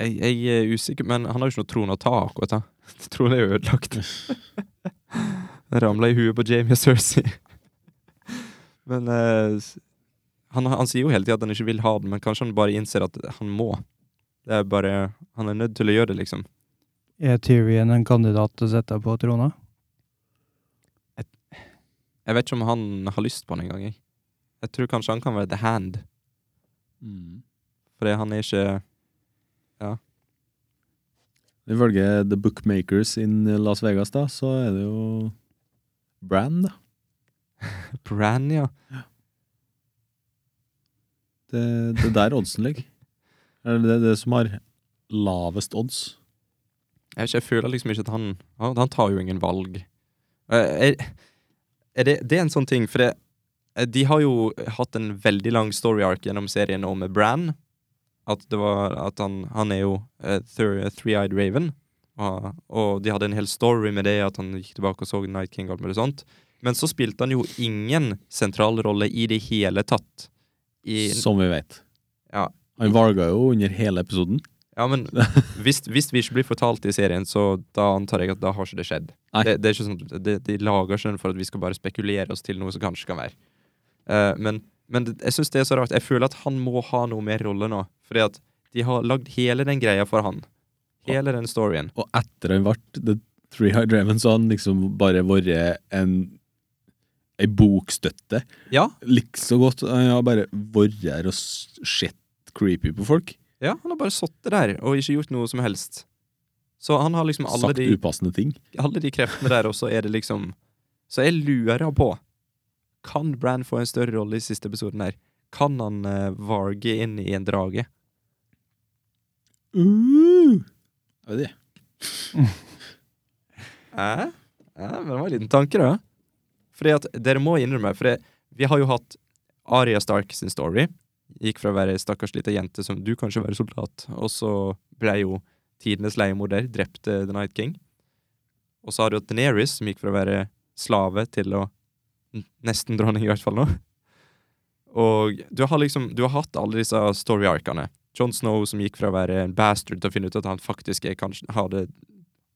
S2: Jeg, jeg er usikker, men han har jo ikke noe tron å ta akkurat, *laughs* da. Tronen er jo ødelagt. Den ramla i huet på Jamie og Cersei. Men eh, s- han, han sier jo hele tida at han ikke vil ha den, men kanskje han bare innser at han må. Det er bare Han er nødt til å gjøre det, liksom.
S1: Er Tyrion en kandidat til å sette på trona?
S2: Jeg vet ikke om han har lyst på den engang, jeg. Jeg tror kanskje han kan være the hand, Mm. fordi han er ikke
S3: Ifølge The Bookmakers in Las Vegas, da, så er det jo Brand, da.
S2: Bran, ja.
S3: Det det er der oddsen ligger. Det er det, det som har lavest odds.
S2: Jeg, vet ikke, jeg føler liksom ikke at han Han, han tar jo ingen valg. Eh, Er, er det, det er en sånn ting, for det, eh, de har jo hatt en veldig lang story arc gjennom serien nå med Bran. At det var At han, han er jo eh, thir- Three-Eyed Raven. Og, og de hadde en hel story med det, at han gikk tilbake og så Night King og alt mulig sånt. Men så spilte han jo ingen sentral rolle i det hele tatt. I,
S3: Som vi vet.
S2: Ja.
S3: Han valga jo under hele episoden.
S2: ja,
S3: *laughs*
S2: men hvis, hvis vi ikke blir fortalt det i serien, så da antar jeg at da har ikke det skjedd.
S3: Nei.
S2: Det, det er ikke sånn, at- det, de lager ikke den for at vi skal bare spekulere oss til noe som kanskje kan være. Eh, men men det, jeg syns det er så rart. Jeg føler at han må ha noe mer rolle nå. Fordi at de har lagd hele den greia for han. Hele den storyen.
S3: Og etter han ble The Three-Eyed Raven, så har han liksom bare vært en ei bokstøtte.
S2: Ja,
S3: Likså godt. Han har bare vært her og s- sett creepy på folk.
S2: ja han har bare sittet der og ikke gjort noe som helst. Så han har liksom alle
S3: Sagt
S2: de,
S3: upassende ting.
S2: alle de kreftene der, og så er det liksom Så jeg lurer på Kan Bran få en større rolle i siste episoden her? Kan han eh, varge inn i en drage?
S3: Uh. Jeg vet ikke.
S2: Eh? Eh, men det var en liten tanke, da. Fordi at dere må innrømme For det, vi har jo hatt Aria Stark sin story. Gikk fra å være ei stakkars lita jente som du kanskje være soldat, og så ble jo tidenes leiemorder, drepte The Night King. Og så har du hatt Daenerys, som gikk fra å være slave til å n- nesten dronning, i hvert fall nå. Og du har liksom Du har hatt alle disse story-arkene. John Snow som gikk fra å være en bastard til å finne ut at han faktisk er kanskje har det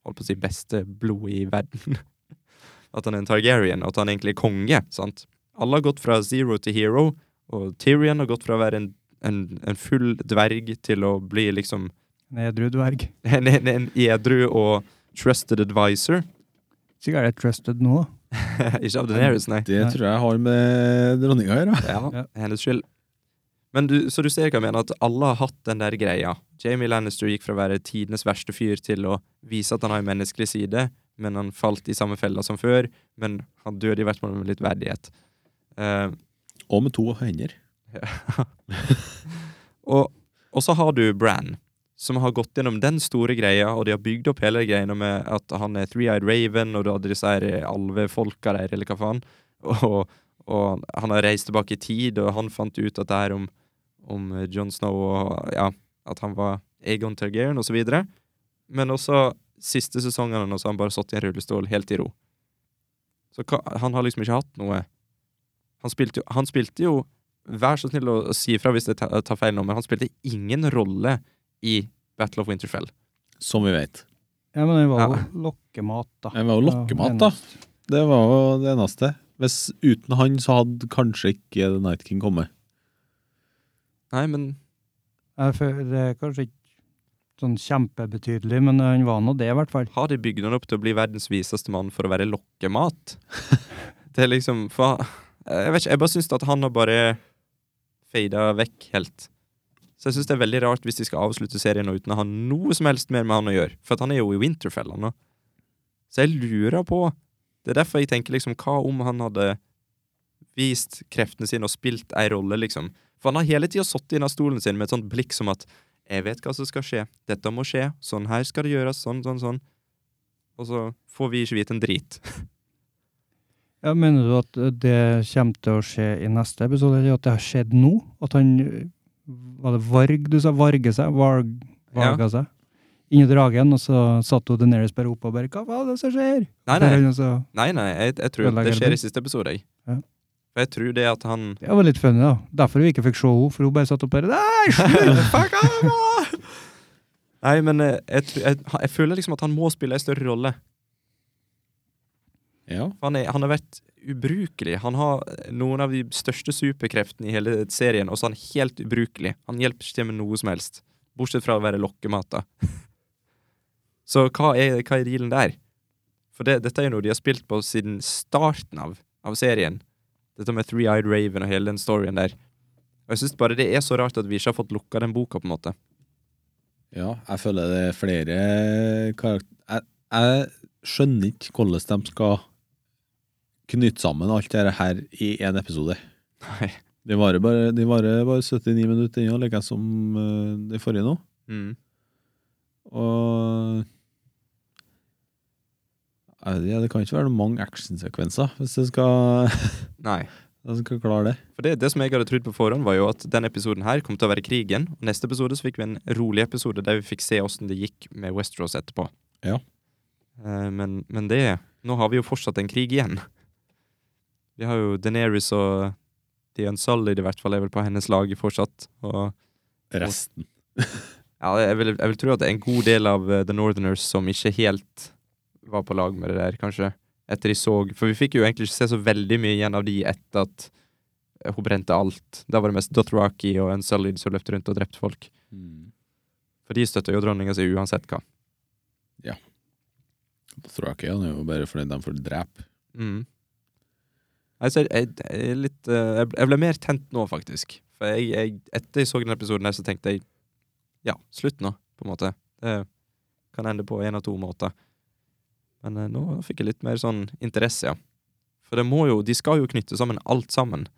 S2: holdt på å si, beste blodet i verden. *laughs* At han er en Targaryen, og at han egentlig er konge. sant? Alle har gått fra zero til hero, og Tyrion har gått fra å være en, en, en full dverg til å bli liksom
S1: En edru dverg.
S2: en, en, en edru og trusted advisor. *laughs*
S1: Sikkert er det trusted nå.
S2: Ikke av Deneris, nei.
S3: Det tror jeg har med dronninga å gjøre.
S2: Ja,
S1: Ja.
S2: hennes skyld. Men du, så du ser hva jeg mener, at alle har hatt den der greia. Jamie Lannister gikk fra å være tidenes verste fyr til å vise at han har en menneskelig side, men han falt i samme fella som før, men han døde i hvert fall med litt verdighet. Eh,
S3: Og med to hender.
S2: *laughs* og, og så har du Bran, som har gått gjennom den store greia, og de har bygd opp hele greia med at han er Three-Eyed Raven, og du hadde disse her eh, alvefolka der, eller hva faen. Og, og han har reist tilbake i tid, og han fant ut at det her om, om eh, Jon Snow og ja, at han var Egon Targaryen, og så videre. Men også siste sesongen hans har han bare sittet i en rullestol helt i ro. Så hva, han har liksom ikke hatt noe Han spilte jo, han spilte jo Vær så snill å å si ifra hvis jeg ta- tar feil nå, men han spilte ingen rolle i Battle of Winterfell.
S3: Som vi vet.
S1: Ja, men den var
S2: Ja.
S1: jo lokkemat, da.
S3: Den var jo lokkemat, da. Det var jo det eneste. Hvis uten han, så hadde kanskje ikke The Night King kommet.
S2: Nei, men
S1: Jeg føler det er kanskje ikke sånn kjempebetydelig, men han var nå det, i hvert fall.
S2: har de bygd han opp til å bli verdens viseste mann for å være lokkemat? Det er liksom for, Jeg vet ikke, jeg bare syns at han har bare fada vekk helt. Så jeg syns det er veldig rart hvis de skal avslutte serien nå uten å ha noe som helst mer med han å gjøre, for at han er jo i Winterfell han nå. Så jeg lurer på Det er derfor jeg tenker liksom, hva om han hadde vist kreftene sine og spilt ei rolle, liksom? For han har hele tida sittet av stolen sin med et sånt blikk som at jeg vet hva som skal skje, dette må skje, sånn her skal det gjøres, sånn, sånn, sånn. Og så får vi ikke vite en drit. *laughs*
S1: Ja, mener du at eh, det kommer til å skje i neste episode, eller at det har skjedd nå? At han eh, Var det Varg du sa? Varge seg? Varg, varga seg? Inn i dragen, og så satt hun Deneris bare opp og bare Hva var det som skjer?
S2: Nei,
S1: Der er
S2: nei,
S1: hun så-
S2: nei, nei jeg, jeg tror at det skjer i siste episode, jeg.
S1: Ja.
S2: For jeg tror det at han
S1: Det var litt funny, da. Derfor vi ikke fikk se henne, for hun bare satt opp der. Nei, slutt!
S2: Fuck off! Nei, men eh, jeg, tr- jeg, ha- jeg føler liksom at han må spille en større rolle.
S3: Ja.
S2: For Han, er, han har vært ubrukelig. Han har noen av de største superkreftene i hele serien, og så er han helt ubrukelig. Han hjelper ikke til med noe som helst. Bortsett fra å være lokkemata. *laughs* Så hva er, hva er dealen der? For det, dette er jo noe de har spilt på siden starten av, av serien. Dette med Three-Eyed Raven og hele den storyen der. Og jeg syns bare det er så rart at vi ikke har fått lukka den boka, på en måte.
S3: ja. Jeg føler det er flere karakter... Jeg, jeg skjønner ikke hvordan de skal knytte sammen alt dette her i én episode.
S2: Nei.
S3: Det varer bare, de varer bare 79 minutter ennå, like som eh, det forrige nå.
S2: Mm.
S3: Og Jeg vet ikke, Det kan ikke være noe mange actionsekvenser hvis du skal,
S2: Nei.
S3: hvis du skal klare det.
S2: For det, det som jeg hadde trodd på forhånd, var jo at denne episoden her kom til å være krigen. Og neste episode så fikk vi en rolig episode der vi fikk se åssen det gikk med Westeros etterpå.
S3: Ja.
S2: Eh, men, men det Nå har vi jo fortsatt en krig igjen. Vi har jo Deneris og The Unsullied, i hvert fall, er vel på hennes lag fortsatt. Og
S3: Resten.
S2: ja, jeg vil, jeg vil tro at det er en god del av eh, The Northerners som ikke helt var på lag med det der, kanskje. Etter de så For vi fikk jo egentlig ikke se så veldig mye igjen av de etter at eh, hun brente alt. Da var det mest Dothraki og Unsullied som løp rundt og drepte folk. For de støtter jo dronninga si uansett hva.
S3: Da tror jeg ikke han er jo bare fornøyd de får drepe.
S2: Mm. Altså, jeg, jeg, jeg, er litt, eh, jeg ble- jeg ble mer tent nå, faktisk. For jeg, jeg, etter jeg så den episoden her, så tenkte jeg ja, slutt nå, på en måte. Det kan ende på én av to måter. Men eh, nå fikk jeg litt mer sånn interesse, ja. For det må jo, de skal jo knytte sammen alt sammen.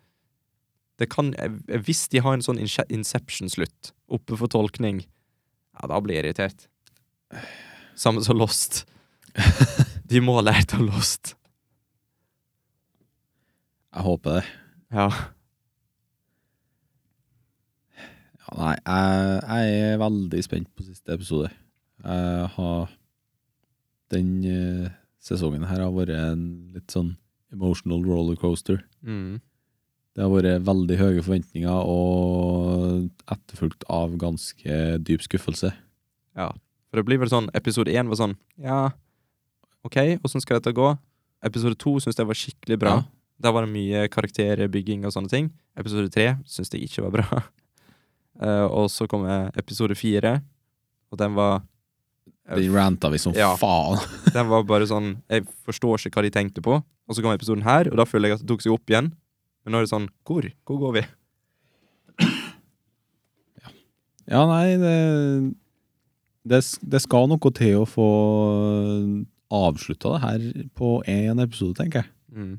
S2: Det kan, jeg- jeg- hvis de har en sånn inse- Inception-slutt oppe for tolkning, ja, da blir jeg irritert. Samme som Lost. De må ha lært av Lost.
S3: Jeg håper det.
S2: Ja.
S3: Ja, nei, jeg, jeg er veldig spent på siste episode. Jeg har Den eh, sesongen her har vært en litt sånn emotional rollercoaster.
S2: Mm.
S3: Det har vært veldig høye forventninger og etterfulgt av ganske dyp skuffelse.
S2: For det blir vel sånn, episode 1 var sånn, ja, ok, hvordan skal dette gå? Episode 2 synes jeg var skikkelig bra.
S3: Ja.
S2: Da var det mye karakterbygging og sånne ting. Episode 3 synes jeg ikke var bra. *laughs* Eh, og så kom eh, episode 4, og den var,
S3: Den ranta vi som
S2: Ja.
S3: faen. *laughs*
S2: den var bare sånn, jeg forstår ikke hva de tenkte på. Og så kom episoden her, og da føler jeg at det tok seg opp igjen. Men nå er det sånn, hvor? Hvor går vi?
S3: Ja, nei, det, det, det skal noe til å få avslutta det her på én episode, tenker jeg.
S2: Mm.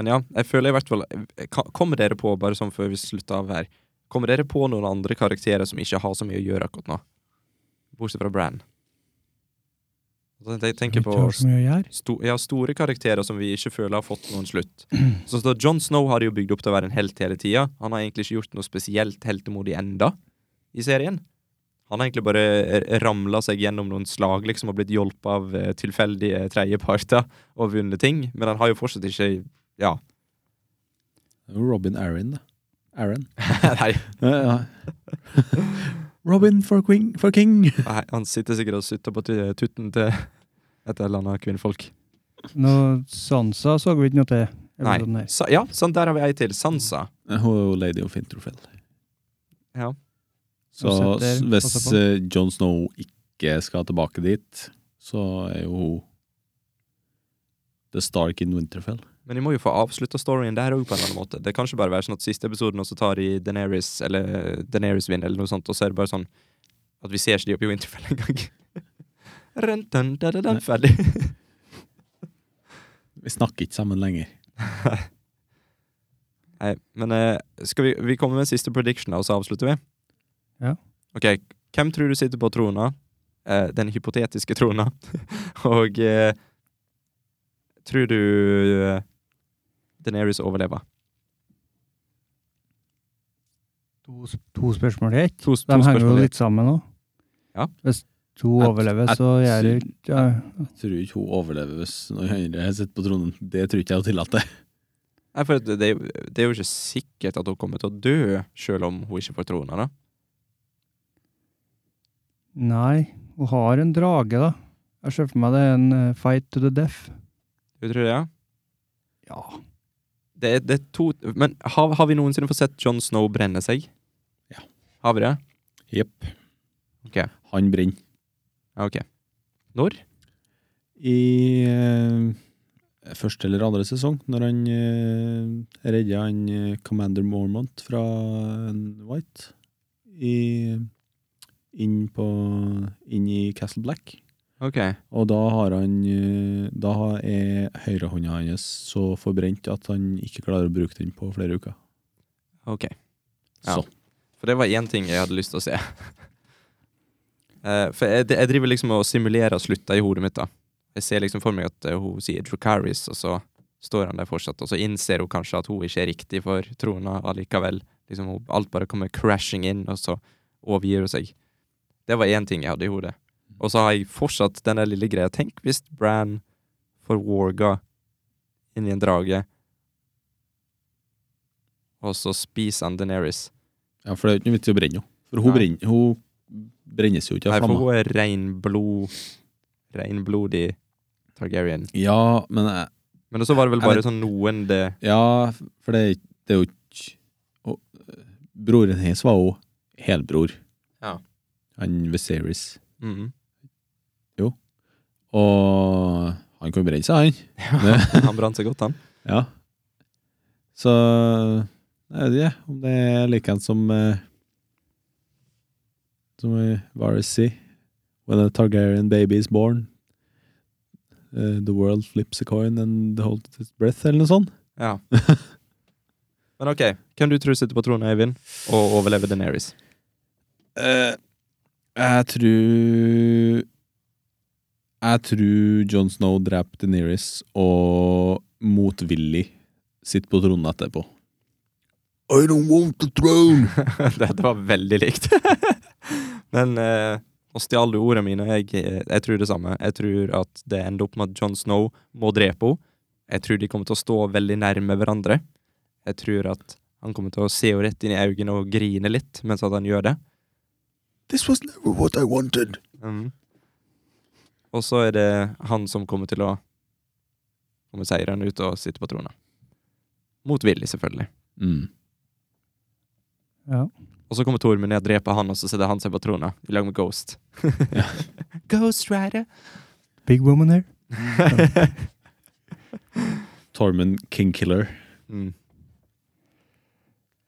S2: Men ja, jeg føler i hvert fall Ka- Kommer dere på, bare sånn før vi slutter av her Kommer dere på noen andre karakterer som ikke har så mye å gjøre akkurat nå? Bortsett fra Bran. Jeg tenker på
S1: Ikke har så mye å gjøre.
S2: sto, ja, store karakterer som vi ikke føler har fått noen slutt. Så, så John Snow har de jo bygd opp til å være en helt hele tida. Han har egentlig ikke gjort noe spesielt heltemodig enda i serien. Han har egentlig bare ramla seg gjennom noen slag liksom og blitt hjulpet av eh, tilfeldige tredjeparter og vunnet ting, men han har jo fortsatt ikke *laughs* Ja.
S3: Robin Aaron, da. Aaron.
S2: Nei,
S3: Ja, ja. *laughs* Robin for, queen, for king.
S2: nei, han sitter sikkert og sutter på tu- tutten til et eller annet kvinnfolk.
S1: Noe Sansa så vi ikke noe til.
S2: Nei.
S1: episoden her.
S2: Sa, ja, sånn, der har vi ei til. Sansa.
S3: Hun er jo lady of Interfell.
S2: Ja.
S3: Så
S1: Og setter-
S3: s- hvis
S1: passer på.
S3: eh, Jon Snow ikke skal tilbake dit, så er jo hun The Stark in Winterfell.
S2: Men de må jo få avslutta storyen der òg, på en eller annen måte. Det kan ikke bare være sånn at siste episoden også tar i Daenerys eller eh, Daenerys vinner, eller noe sånt, og så er det bare sånn at vi ser ikke de oppe i Winterfell engang. *laughs* Run, dun, da, da, da, Ferdig. *laughs*
S3: Vi snakker ikke sammen lenger.
S2: Nei, men eh, skal vi, vi komme med en siste prediction, da, og så avslutter vi?
S1: Ja.
S2: Ok, hvem tror du sitter på trona? Eh, den hypotetiske trona. *laughs* og eh, tror du eh, Daenerys overlever?
S1: To, s- to spørsmål i ett.
S2: To, to
S1: De henger jo
S2: spørsmål.
S1: litt sammen òg.
S2: Ja.
S1: Hvis to
S3: Et-
S1: overlever,
S3: et-
S1: så gjør det ikke ja.
S3: Jeg tror ikke hun overlever hvis noen andre sitter på tronen. Det tror ikke jeg hun tillater.
S2: Nei, for det, det, er jo- det er jo ikke sikkert at hun kommer til å dø, selv om hun ikke får trona, da.
S1: Nei. Hun har en drage, da. Jeg ser for meg det er en eh, fight to the death.
S2: Du tror det, ja?
S1: Ja.
S2: Det, er- det er to Men har, har vi noensinne fått sett John Snow brenne seg?
S3: Ja.
S2: Har vi det?
S3: Jepp.
S2: Ok.
S3: Han brenner.
S2: Ja, ok. Når?
S3: I eh, første eller andre sesong, når han eh, redder han eh, Commander Mormont fra en White i, inn, på, inn i Castle Black.
S2: Ok.
S3: Og da har han eh, Da har- er høyrehånda hans så forbrent at han ikke klarer å bruke den på flere uker.
S2: ok. Ja.
S3: Så.
S2: For det var én ting jeg hadde lyst til å se. Eh, for jeg, jeg driver liksom og simulerer slutta i hodet mitt, da. Jeg ser liksom for meg at eh, hun sier Dracarys, og så står han der fortsatt, og så innser hun kanskje at hun ikke er riktig for trona allikevel. Liksom hun, Alt bare kommer crashing inn, og så overgir hun seg. Det var én ting jeg hadde i hodet. Og så har jeg fortsatt den der lille greia. Tenk hvis Bran får Warga inn i en drage, og så spiser han Daenerys.
S3: Ja, For det er jo ikke noe vits i å brenne henne. For hun,
S2: Nei.
S3: brenner, hun brennes jo ikke
S2: Nei,
S3: av
S2: for
S3: flammer.
S2: hun er reinblod Reinblodig Targaryen.
S3: Ja, men jeg,
S2: Men så var det vel
S3: Jeg
S2: bare
S3: vet-
S2: sånn noen det
S3: Ja, for det, er ikke- det er jo ikke og, øh, Broren hennes var jo helbror.
S2: Ja.
S3: Han Viserys.
S2: *laughs* Mhm.
S3: Og han kunne brenne seg, han.
S2: Han brant seg godt, han.
S3: Ja. Så jeg vet ikke om det er likeens som eh, Som eh, Varys sier. When a Targaryen baby is born, eh, the world flips a coin and holds its breath, eller noe sånt.
S2: Ja. *laughs* Men OK, hvem du tror sitter på tronen, Eivind, og overlever *laughs* Daenerys?
S3: Eh, jeg tror Jeg tror Jon Snow dreper Deneris og motvillig sitter på tronen etterpå. I don't want the throne!
S2: Dette var veldig likt. *laughs* Men eh, og stjal du ordene mine? Jeg, jeg tror det samme. Jeg tror at det ender opp med at Jon Snow må drepe henne. Jeg tror de kommer til å stå veldig nærme hverandre. Jeg tror at han kommer til å se henne rett inn i øynene og grine litt mens at han gjør det.
S3: This was never what I wanted.
S2: Mhm. Og så er det han som kommer til å komme seirende ut og sitte på trona. Motvillig, selvfølgelig.
S3: Mm.
S1: Ja.
S2: Og så kommer Tormund ned og dreper han, og så setter han seg på trona i lag med Ghost. *laughs* Ghost Rider!
S1: Big woman her.
S3: Tormund Kingkiller.
S2: mm.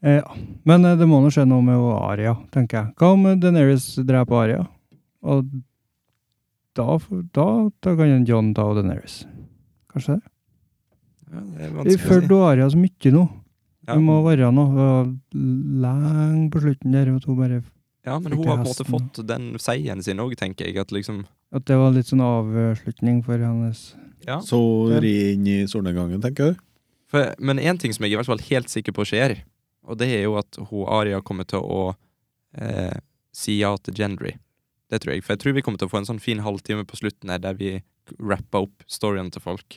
S1: Eh, ja. Men eh, det må nå skje noe med hun Aria, tenker jeg. Hva om eh, Daenerys dreper Aria? Og da, f- da, da kan en John ta og Daenerys. Kanskje det?
S2: Ja, det er
S1: Vi
S2: vanskelig å si.
S1: følger hun Aria så mye nå.
S2: Ja.
S1: Det må være noe lenge på slutten der. At, hun bare,
S2: Ja, men hun har på en måte fått den seieren sin òg, tenker jeg. At liksom
S1: at det var litt sånn avslutning for hennes
S2: Ja.
S3: Så ri inn i solnedgangen, tenker jeg.
S2: For, men én ting som jeg i hvert fall helt sikker på skjer, og det er jo at hun Aria kommer til å eh, si ja til Gendry. Det tror jeg. For jeg tror vi kommer til å få en sånn fin halvtime på slutten her der vi rapper opp storyen til folk.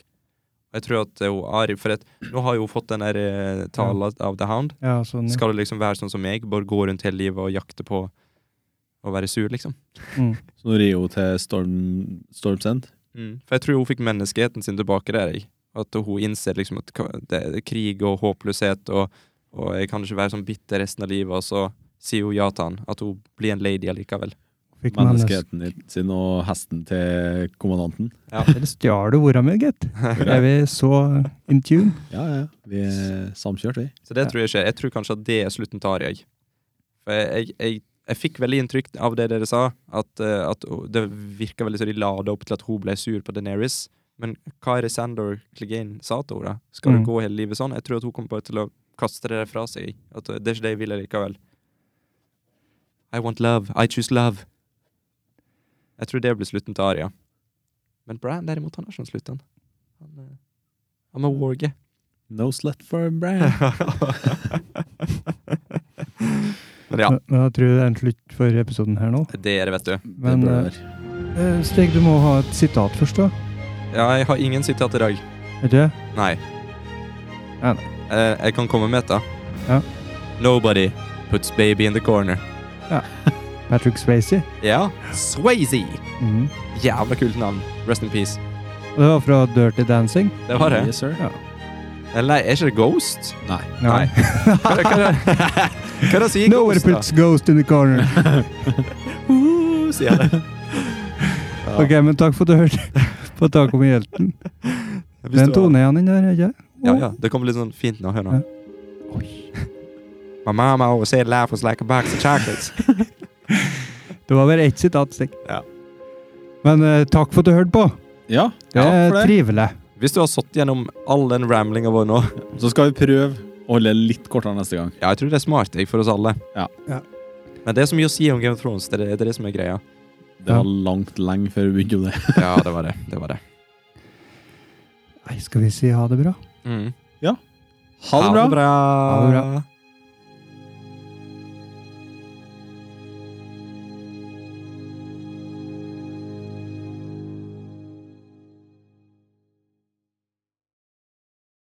S2: Og Jeg tror at eh, hun Ari For at, nå har jo hun fått den der eh, tala av The Hound.
S1: Ja, sånn. ja.
S2: Skal du liksom være sånn som meg, bare gå rundt hele livet og jakte på å være sur, liksom?
S1: Mm.
S3: Så nå rir hun til Storm, Storm's End.
S2: Mm. For jeg tror hun fikk menneskeheten sin tilbake der. Jeg. At hun innser liksom at ka- det er krig og håpløshet, og, og jeg kan ikke være sånn bitter resten av livet. Og så sier hun ja til han. At hun blir en lady allikevel.
S1: Fikk menneske.
S3: Menneskeheten sin og hesten til kommandanten.
S1: Dere stjal jo orda mine,
S2: *laughs*
S1: gitt. Er vi så in tune?
S3: Ja, ja. Vi er samkjørt, vi.
S2: Så det tror jeg skjer. Jeg tror kanskje at det er slutten til Ari. jeg. For jeg, jeg, jeg, jeg fikk veldig inntrykk av det dere sa, at, eh, at hun- det virka veldig så de lada opp til at hun ble sur på Daenerys. Men hva er det Sandor Clegane sa til henne? da? Skal
S1: Mm.
S2: du gå hele livet sånn? Jeg tror at hun kommer bare til å kaste det der fra seg. At eh, det er ikke det jeg vil likevel. I want love. I choose love. Jeg tror det blir slutten til Aria. Men Bran derimot, han har ikke noen slutt, han. Han, eh, han må warge.
S1: *laughs*
S3: No slut for Bran.
S2: Men ja,
S1: Men men jeg tror det er en slutt for episoden her nå.
S2: det er det, vet du.
S1: Men
S3: det
S1: eh,
S3: bør være.
S1: Eh, Stig, du må ha et sitat først, da.
S2: Ja, jeg har ingen sitat i dag.
S1: Er det?
S2: Nei.
S1: Ja,
S2: Eh, jeg kan komme med et, da.
S1: Ja.
S2: Nobody puts baby in the corner.
S1: Patrick Swayze.
S2: Ja. Swayze.
S1: Mhm.
S2: Jævla kult navn. Rest in peace.
S1: Og det var fra Dirty Dancing.
S2: Det var det.
S3: Yes, sir.
S1: Ja.
S2: Eller nei, er ikke det Ghost?
S3: Nei.
S2: Nei. Hva hva er det hva er det han
S1: *laughs*
S2: sier
S1: Nowhere
S2: Ghost, da?
S1: puts ghost in the corner.
S2: Uh,
S1: *laughs*
S2: sier han det. *laughs* Ja.
S1: Ok, men takk for at du hørte
S2: *laughs*
S1: på Takk om hjelten.
S2: Hvis
S1: Det er en
S2: du har-
S1: tone igjen, den der, ikke
S2: Ja, ja. Det kommer litt sånn fint nå. Hør nå.
S1: Ja.
S2: My mama always said life was like a box of chocolates.
S1: Det var bare ett sitat, Stig.
S2: Ja.
S1: Men eh, takk for at du hørte på.
S3: Ja,
S1: Det
S3: ja,
S1: er
S3: for det.
S1: trivelig.
S2: Hvis du har satt gjennom all den ramlinga vår nå
S3: Så skal vi prøve å holde litt kortere neste gang.
S2: Ja, jeg tror det er smart jeg, for oss alle.
S3: Ja.
S1: Ja.
S2: Men det er så mye å si om Game of Thrones. Det er det, det, er det som er greia. *laughs*
S3: Det var langt lenge før vi begynte om det.
S2: Ja, det var det. det, var det.
S1: Nei, skal vi si ha det bra?
S2: Mm.
S3: Ha det bra.
S1: Ha det bra.